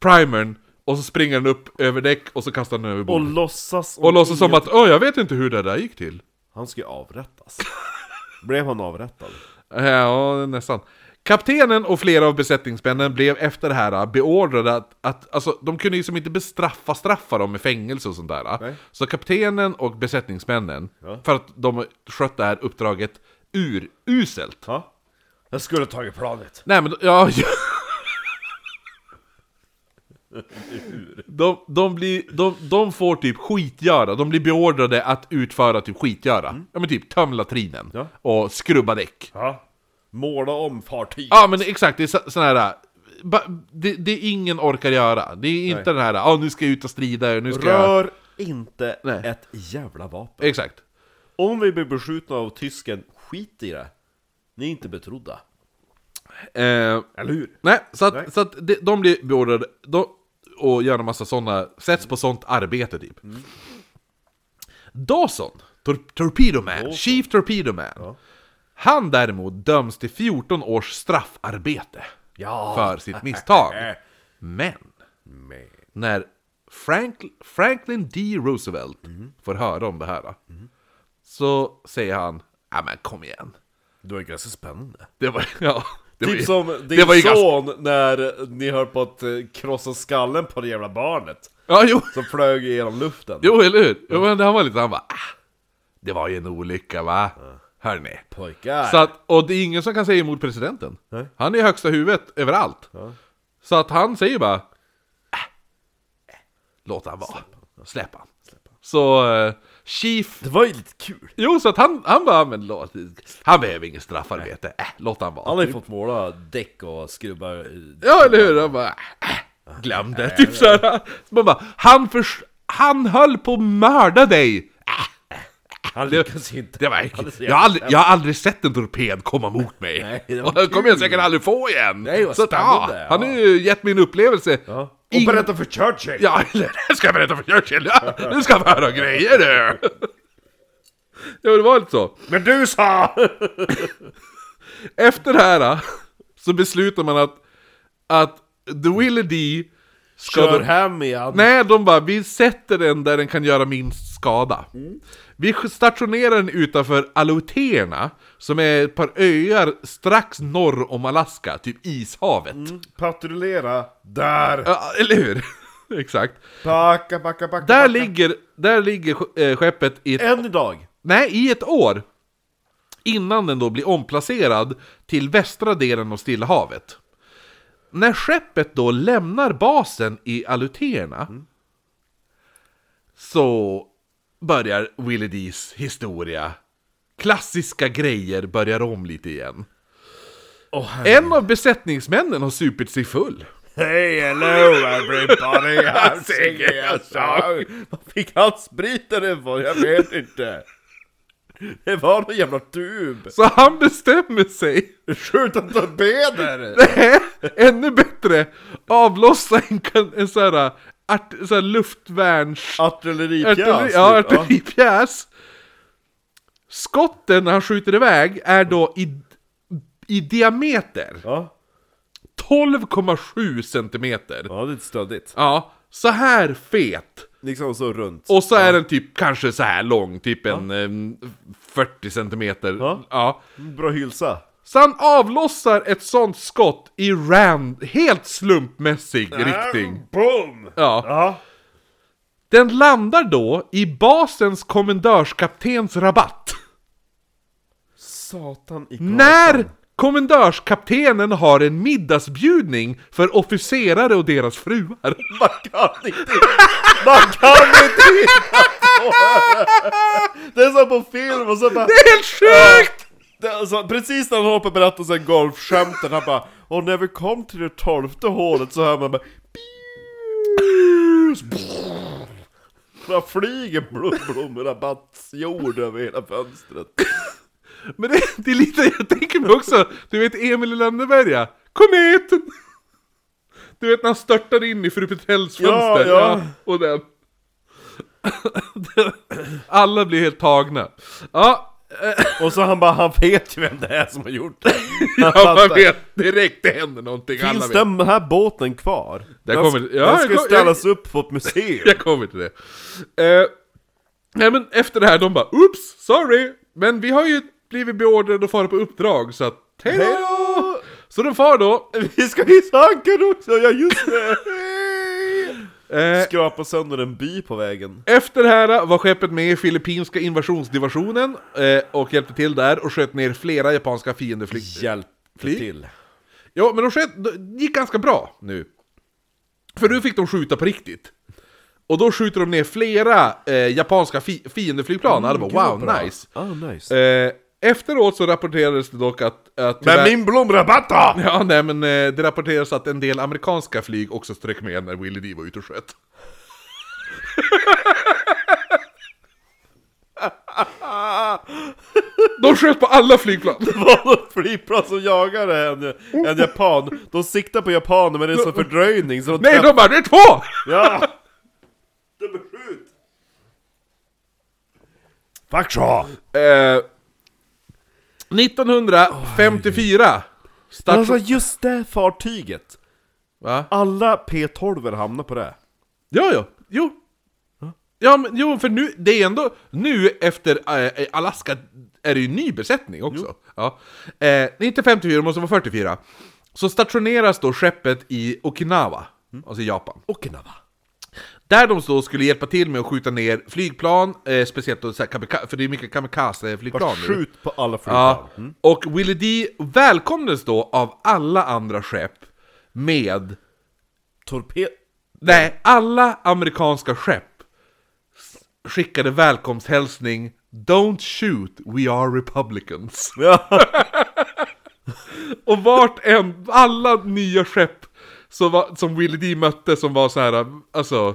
[SPEAKER 1] primern och så springer den upp över däck och så kastar han den överbord.
[SPEAKER 2] Och
[SPEAKER 1] Och,
[SPEAKER 2] låtsas...
[SPEAKER 1] och låtsas som att, åh jag vet inte hur det där gick till.
[SPEAKER 2] Han ska ju avrättas. Blev han avrättad?
[SPEAKER 1] Ja, nästan. Kaptenen och flera av besättningsmännen blev efter det här beordrade att, att alltså, de kunde liksom inte bestraffa straffa dem med fängelse och sånt där.
[SPEAKER 2] Nej.
[SPEAKER 1] Så kaptenen och besättningsmännen, för att de skött det här uppdraget uruselt.
[SPEAKER 2] Ja. Jag skulle ha tagit planet.
[SPEAKER 1] Nej men, ja... ja. De, de, blir, de, de får typ skitgöra, de blir beordrade att utföra typ skitgöra. Ja men typ töm latrinen
[SPEAKER 2] Mm. Ja.
[SPEAKER 1] och skrubba däck.
[SPEAKER 2] Ja. Måla om fartyget.
[SPEAKER 1] Ja men exakt, det är så- sån här... ba- Det, det är ingen orkar göra. Det är inte den här ah nu ska jag ut och strida, nu ska jag...
[SPEAKER 2] Rör inte
[SPEAKER 1] Nej.
[SPEAKER 2] ett jävla vapen.
[SPEAKER 1] Exakt.
[SPEAKER 2] Om vi blir beskjutna av tysken, skit i det. Ni är inte betrodda.
[SPEAKER 1] Eh,
[SPEAKER 2] Eller hur?
[SPEAKER 1] nej, så att,
[SPEAKER 2] Nej.
[SPEAKER 1] Så att de, de blir beordrade de, och gör en massa sådana, sätts på sånt arbete typ.
[SPEAKER 2] Mm.
[SPEAKER 1] Dawson, tor Torpedo Man, Chief Torpedo Man. Han däremot döms till 14 års straffarbete
[SPEAKER 2] Ja.
[SPEAKER 1] för sitt misstag. Men
[SPEAKER 2] Men.
[SPEAKER 1] när Frank, Franklin D. Roosevelt
[SPEAKER 2] Mm.
[SPEAKER 1] får höra om det här så säger han ja men kom igen.
[SPEAKER 2] Det var ju ganska spännande.
[SPEAKER 1] Det var, ja, Det var ju-
[SPEAKER 2] typ som din
[SPEAKER 1] det var ju
[SPEAKER 2] son när ni höll på att eh, krossa skallen på det jävla barnet
[SPEAKER 1] Ja, jo,
[SPEAKER 2] Som flög genom luften
[SPEAKER 1] jo eller hur? Jo, men han var lite, han bara ah, Det var ju en olycka va? Hörni.
[SPEAKER 2] Pojkar!
[SPEAKER 1] Så att, och det är ingen som kan säga emot presidenten. Han är i högsta huvudet överallt. Så att han säger bara... Äh, äh, låt han vara. Släpp han. Så... eh, chief...
[SPEAKER 2] Det var ju lite kul
[SPEAKER 1] Jo, så att han, han bara... Men, låt, han behöver inget straffarbete. Äh, låt han vara.
[SPEAKER 2] Han har ju fått måla däck och skrubbar eh,
[SPEAKER 1] Ja, eller hur? Han bara... Äh, äh, glöm det. Typ såhär. Så man bara... Han, förs- han höll på att mörda dig!
[SPEAKER 2] Han lyckas ju inte
[SPEAKER 1] Det var
[SPEAKER 2] Han är
[SPEAKER 1] äckligt.
[SPEAKER 2] så
[SPEAKER 1] jag,
[SPEAKER 2] jävla
[SPEAKER 1] har aldrig, jag har aldrig sett en torped komma mot mig.
[SPEAKER 2] Nej, det var
[SPEAKER 1] och den kommer jag
[SPEAKER 2] kul.
[SPEAKER 1] säkert aldrig få igen.
[SPEAKER 2] Nej, vad
[SPEAKER 1] så att,
[SPEAKER 2] spännande,
[SPEAKER 1] Han
[SPEAKER 2] ja.
[SPEAKER 1] har ju gett mig en upplevelse. Ja.
[SPEAKER 2] Och berätta för Churchill!
[SPEAKER 1] Ja, det ska jag berätta för Churchill. Ja, Nu ska jag få höra grejer du. Ja, det var lite så.
[SPEAKER 2] Men du sa!
[SPEAKER 1] Efter det här så beslutar man att, att The Willie D ska...
[SPEAKER 2] Kör
[SPEAKER 1] de-
[SPEAKER 2] hem igen!
[SPEAKER 1] Nej, de bara vi sätter den där den kan göra minst skada. Vi stationerar den utanför Aleutena, som är ett par öar strax norr om Alaska, typ ishavet.
[SPEAKER 2] Mm. Patrullera där!
[SPEAKER 1] Ja, eller hur? Exakt.
[SPEAKER 2] Backa, backa, backa,
[SPEAKER 1] Där
[SPEAKER 2] backa.
[SPEAKER 1] ligger, där ligger sk- eh, skeppet i ett,
[SPEAKER 2] Än idag!
[SPEAKER 1] nej, i ett år. Innan den då blir omplacerad till västra delen av Stilla havet. När skeppet då lämnar basen i Aluterna så börjar Willie Dees historia. Klassiska grejer börjar om lite igen.
[SPEAKER 2] Åh, herre-
[SPEAKER 1] En av besättningsmännen har supit sig full.
[SPEAKER 2] Hey hello everybody, I'm
[SPEAKER 1] singing
[SPEAKER 2] singing a song! Var fick han spriten ifrån? Jag vet inte! Det var någon jävla tub!
[SPEAKER 1] Så han bestämmer sig
[SPEAKER 2] Skjut en torpeder!
[SPEAKER 1] Nej, ännu bättre! Avlossa en, kan- en sån här, art, sån här luftvärns...
[SPEAKER 2] Artilleripjäs!
[SPEAKER 1] Artilleri, ja,
[SPEAKER 2] typ,
[SPEAKER 1] artilleripjäs! Skotten när han skjuter iväg är då i, i diameter
[SPEAKER 2] Ja.
[SPEAKER 1] 12,7 centimeter.
[SPEAKER 2] ja, det är lite stöddigt.
[SPEAKER 1] Ja, så här fet.
[SPEAKER 2] Liksom så runt.
[SPEAKER 1] Och så är den typ kanske så här lång, typ en em, 40 centimeter.
[SPEAKER 2] Ja.
[SPEAKER 1] ja.
[SPEAKER 2] Bra hylsa.
[SPEAKER 1] Så han avlossar ett sånt skott i rand, helt slumpmässig riktning.
[SPEAKER 2] Boom!
[SPEAKER 1] Ja.
[SPEAKER 2] Ja.
[SPEAKER 1] Den landar då i basens kommendörskaptens rabatt.
[SPEAKER 2] Satan i
[SPEAKER 1] När kommendörskaptenen har en middagsbjudning för officerare och deras fruar.
[SPEAKER 2] Man kan inte Man kan inte hitta på det! Det är som på film och så bara...
[SPEAKER 1] Det är helt sjukt!
[SPEAKER 2] Det, är alltså, precis när han håller på att berätta sen golfskämten, han bara Och när vi kom till det tolfte hålet så hör man bara Där flyger blom, blommorna batsjord över hela fönstret
[SPEAKER 1] Men det, det är lite, jag tänker mig också, du vet Emil i Lönneberga, kometen! Du vet när han störtar in i fru Petels fönster,
[SPEAKER 2] Ja, ja.
[SPEAKER 1] och den. Alla blir helt tagna. Ja,
[SPEAKER 2] Och så han bara, han vet ju vem det är som har gjort det Han
[SPEAKER 1] ja man
[SPEAKER 2] fattar.
[SPEAKER 1] vet direkt det händer någonting, alla
[SPEAKER 2] Finns
[SPEAKER 1] vet.
[SPEAKER 2] den här båten kvar?
[SPEAKER 1] Där
[SPEAKER 2] den
[SPEAKER 1] kommer-
[SPEAKER 2] sk-
[SPEAKER 1] ja,
[SPEAKER 2] den
[SPEAKER 1] jag
[SPEAKER 2] ska ju
[SPEAKER 1] kom- jag-
[SPEAKER 2] ställas upp på ett museum
[SPEAKER 1] Jag kommer till det. Eh, nej men efter det här, de bara oops, sorry! Men vi har ju blivit beordrade att fara på uppdrag, så att hej då!
[SPEAKER 2] Hejdå!
[SPEAKER 1] Så de far då.
[SPEAKER 2] Vi ska hissa ankaren också, ja just det!
[SPEAKER 1] Eh,
[SPEAKER 2] Skrapa sönder en by på vägen
[SPEAKER 1] Efter det här var skeppet med i filippinska invasionsdivisionen eh, och hjälpte till där och sköt ner flera japanska fiendeflyg.
[SPEAKER 2] Hjälp
[SPEAKER 1] Flyg.
[SPEAKER 2] till
[SPEAKER 1] Ja, men de sköt, det gick ganska bra nu. För nu fick de skjuta på riktigt. Och då skjuter de ner flera eh, japanska fi- fiendeflygplan. Mm, det
[SPEAKER 2] gud,
[SPEAKER 1] var wow,
[SPEAKER 2] vad bra.
[SPEAKER 1] nice.
[SPEAKER 2] Ah nice
[SPEAKER 1] Eh, efteråt så rapporterades det dock att... att
[SPEAKER 2] Men
[SPEAKER 1] tyvärr-
[SPEAKER 2] min blomrabatt då?
[SPEAKER 1] Ja, nej men eh, det rapporteras att en del amerikanska flyg också strök med när Willie D var ute och sköt. De sköt på alla flygplan!
[SPEAKER 2] Det var något flygplan som jagade en, en japan De siktar på japaner men det är så fördröjning så de
[SPEAKER 1] Nej, de bara det är två!
[SPEAKER 2] Ja! De beskjut! Fuck så!
[SPEAKER 1] Eh, 1954 start...
[SPEAKER 2] Alltså just det fartyget
[SPEAKER 1] Va?
[SPEAKER 2] Alla P12 hamnar på det
[SPEAKER 1] Ja, ja, jo. Ja, men jo, för nu, det är ändå nu efter eh, Alaska är det ju ny besättning också. Ja. Eh, inte 54, det måste vara 44. Så stationeras då skeppet i Okinawa, alltså Japan.
[SPEAKER 2] Okinawa.
[SPEAKER 1] Där de då skulle hjälpa till med att skjuta ner flygplan, eh, speciellt då så här kamika- för det är mycket kamikaze-flygplan nu.
[SPEAKER 2] Skjut på alla flygplan.
[SPEAKER 1] Ja, och Willie D välkomnades då av alla andra skepp med...
[SPEAKER 2] Torped...
[SPEAKER 1] Nej, alla amerikanska skepp skickade välkomsthälsning Don't shoot, we are republicans.
[SPEAKER 2] Ja.
[SPEAKER 1] Och vart en, alla nya skepp som, var, som Willie D mötte som var så här, alltså...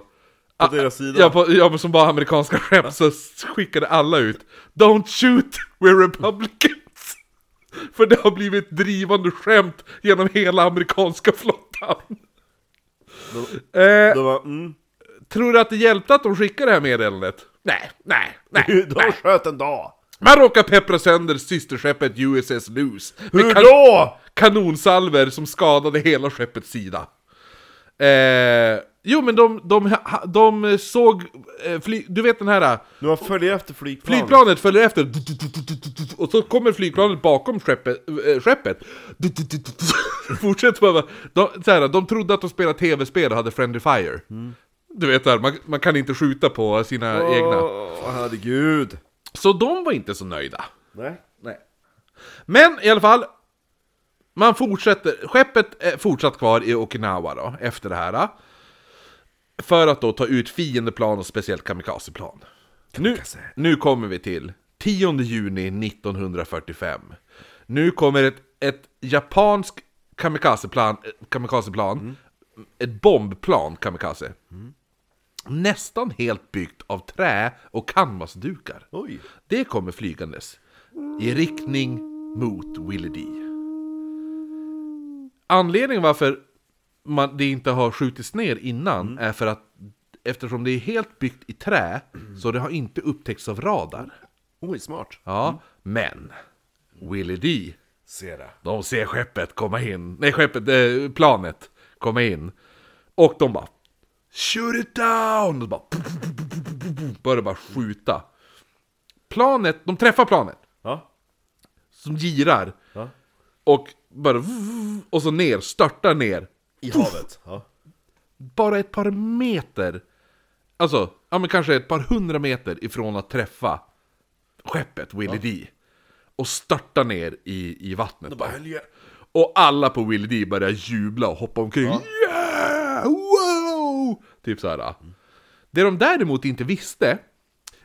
[SPEAKER 2] På deras sida.
[SPEAKER 1] Ja, på, ja, men som var amerikanska skepp så skickade alla ut Don't shoot, we're republicans! För det har blivit drivande skämt genom hela amerikanska flottan. Eh,
[SPEAKER 2] De bara, mm.
[SPEAKER 1] tror du att det hjälpte att de skickade det här meddelandet? Nej, nej, nej.
[SPEAKER 2] De sköt en dag.
[SPEAKER 1] Man råkar peppra sönder systerskeppet USS Luz
[SPEAKER 2] Hur då?
[SPEAKER 1] kanonsalver som skadade hela skeppets sida. Eh, jo, men de, de, de såg... Eh, fly, du vet den här...
[SPEAKER 2] Nu har följer efter flygplanet.
[SPEAKER 1] Flygplanet följer efter och så kommer flygplanet bakom skeppet. eh, skeppet. Fortsätter bara. De, så här, de trodde att de spelade tv-spel och hade Friendly Fire. Du vet där, man, man kan inte skjuta på sina egna.
[SPEAKER 2] Åh, herregud.
[SPEAKER 1] Så de var inte så nöjda.
[SPEAKER 2] Nej.
[SPEAKER 1] Nej. Men i alla fall, man fortsätter, skeppet är fortsatt kvar i Okinawa då, efter det här. ah. För att då ta ut fiendeplan och speciellt kamikazeplan. Nu, nu kommer vi till 10 juni 1945. Nu kommer ett, ett japanskt kamikazeplan, eh, kamikazeplan mm, ett bombplan kamikaze. Nästan helt byggt av trä och canvasdukar.
[SPEAKER 2] Oj.
[SPEAKER 1] Det kommer flygandes i riktning mot Willie D. Anledningen varför man, det inte har skjutits ner innan är för att eftersom det är helt byggt i trä så det har inte upptäckts av radar.
[SPEAKER 2] Oj, smart.
[SPEAKER 1] Ja, men Willie D
[SPEAKER 2] Ser det.
[SPEAKER 1] de ser skeppet komma in, nej skeppet, eh, planet komma in. Och de bara Shoot it down! Och bara, börjar bara skjuta. Planet, de träffar planet
[SPEAKER 2] Ja.
[SPEAKER 1] som girar.
[SPEAKER 2] Ja.
[SPEAKER 1] Och bara och så ner, störtar ner.
[SPEAKER 2] I havet. Ja.
[SPEAKER 1] Bara ett par meter. Alltså, ja men kanske ett par hundra meter ifrån att träffa skeppet Willie D. Och störtar ner i, i vattnet. bara. Och alla på Willy D börjar jubla och hoppa omkring. Yeah! Wow! Typ så här. Det de däremot inte visste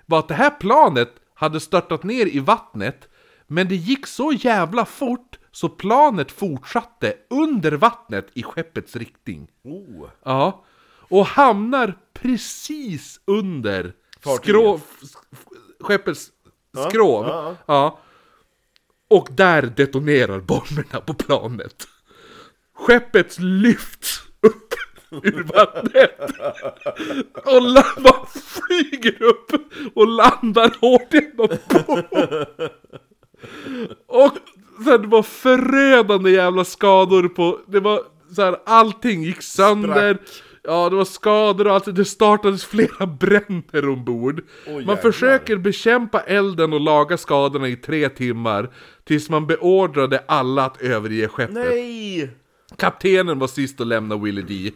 [SPEAKER 1] var att det här planet hade störtat ner i vattnet, men det gick så jävla fort så planet fortsatte under vattnet i skeppets riktning.
[SPEAKER 2] Oh.
[SPEAKER 1] Ja. Och hamnar precis under
[SPEAKER 2] Fartyget.
[SPEAKER 1] skrå, f- f- skeppets skrov.
[SPEAKER 2] ja, ja.
[SPEAKER 1] Ja. Och där detonerar bomberna på planet. Skeppet lyfts upp ur vattnet. Och la- bara flyger upp och landar hårt i en och så här, det var förödande jävla skador på... Det var så här, allting gick sönder. Ja, det var skador och allt. Det startades flera bränder ombord.
[SPEAKER 2] jävlar.
[SPEAKER 1] man försöker bekämpa elden och laga skadorna i tre timmar. Tills man beordrade alla att överge skeppet.
[SPEAKER 2] Nej!
[SPEAKER 1] Kaptenen var sist att lämna Willie D.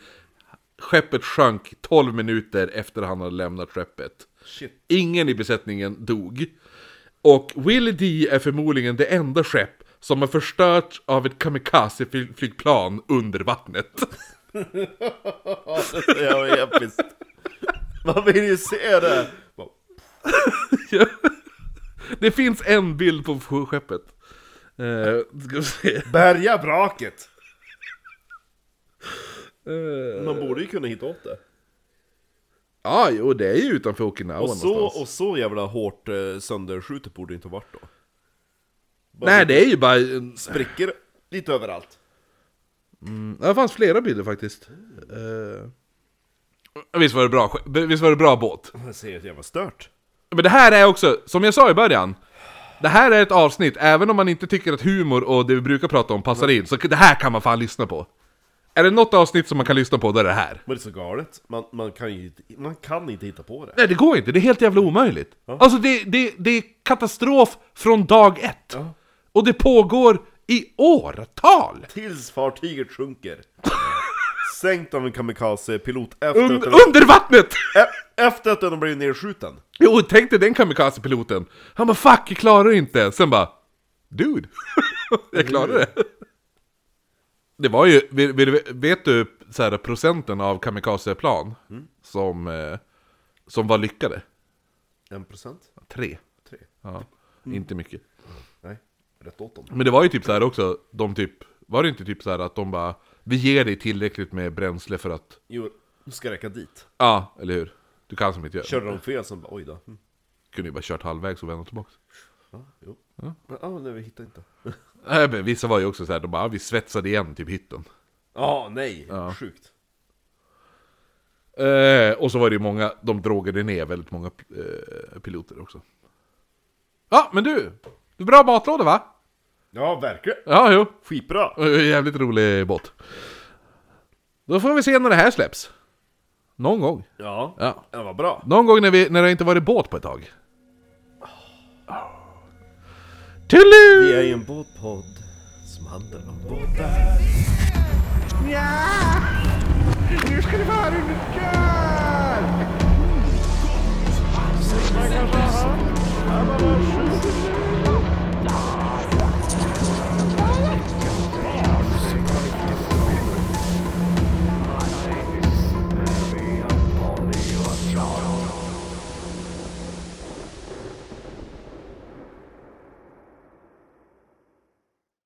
[SPEAKER 1] Skeppet sjönk 12 minuter efter han hade lämnat skeppet.
[SPEAKER 2] Shit.
[SPEAKER 1] Ingen i besättningen dog. Och Willie D är förmodligen det enda skepp som har förstörts av ett kamikazeflygplan under vattnet.
[SPEAKER 2] Det är jävla episkt. Man vill ju se det. Bara,
[SPEAKER 1] Det finns en bild på skeppet. Eh, ska vi se.
[SPEAKER 2] Bärga vraket.
[SPEAKER 1] Eh,
[SPEAKER 2] Man borde ju kunna hitta åt det.
[SPEAKER 1] ja, jo, det är ju utanför Okinawa
[SPEAKER 2] Och så,
[SPEAKER 1] någonstans.
[SPEAKER 2] och så jävla hårt eh, sönderskjutet borde det inte ha varit då. Bara
[SPEAKER 1] Nej,
[SPEAKER 2] lite
[SPEAKER 1] det är ju bara... en-
[SPEAKER 2] Sprickor lite överallt.
[SPEAKER 1] Ja, Det fanns flera bilder faktiskt. Eh, visst, var det bra, ske- visst var det bra båt?
[SPEAKER 2] Det ser helt jävla stört.
[SPEAKER 1] Men det här är också, som jag sa i början, det här är ett avsnitt, även om man inte tycker att humor och det vi brukar prata om passar in, så det här kan man fan lyssna på. Är det något avsnitt som man kan lyssna på, då är det här.
[SPEAKER 2] Men det är så galet. Man, man, kan ju, man kan inte hitta på det.
[SPEAKER 1] Nej, det går inte. Det är helt jävla omöjligt. Alltså, det, det, det är katastrof från dag ett. Och det pågår i åratal!
[SPEAKER 2] Tills fartyget sjunker. Sänkt av en kamikaze-pilot efter,
[SPEAKER 1] Un,
[SPEAKER 2] att den-
[SPEAKER 1] under vattnet!
[SPEAKER 2] e- efter att den blivit nedskjuten.
[SPEAKER 1] Jo, tänk dig den kamikazepiloten. Han bara 'Fuck, jag klarar det inte' Sen bara 'Dude, jag klarar det' Det var ju, vi- vi- vet du så här, procenten av kamikazeplan som, eh, som var lyckade?
[SPEAKER 2] En procent?
[SPEAKER 1] Tre.
[SPEAKER 2] Tre?
[SPEAKER 1] Ja, inte mycket.
[SPEAKER 2] Nej, rätt åt dem.
[SPEAKER 1] Men det var ju typ så här också, de typ, var det inte typ så här att de bara 'Vi ger dig tillräckligt med bränsle för att'
[SPEAKER 2] Jo, nu ska jag räcka dit.
[SPEAKER 1] Ja, eller hur? Du kan som inte göra
[SPEAKER 2] Körde de fel sen bara, oj då. Mm.
[SPEAKER 1] Kunde ju bara kört halvvägs och vända tillbaka.
[SPEAKER 2] Ja, jo. Men, ah, nej, vi hittar inte. Ja,
[SPEAKER 1] Nej, men Vissa var ju också så här, de bara "Ah, 'Vi svetsade igen typ hytten'
[SPEAKER 2] ah, nej. Sjukt.
[SPEAKER 1] Eh, och så var det ju många, de drogade ner väldigt många eh, piloter också. Ja, men du! du bra matlåda va?
[SPEAKER 2] Ja, verkligen.
[SPEAKER 1] Ja, jo.
[SPEAKER 2] Skitbra.
[SPEAKER 1] Eh, Jävligt rolig båt. Då får vi se när det här släpps. Någon gång.
[SPEAKER 2] Ja,
[SPEAKER 1] Ja.
[SPEAKER 2] ja vad bra.
[SPEAKER 1] Någon gång när, vi, när det inte varit båt på ett tag. Tulu!
[SPEAKER 2] Vi är ju en båtpodd som handlar om båtar.
[SPEAKER 4] Ja!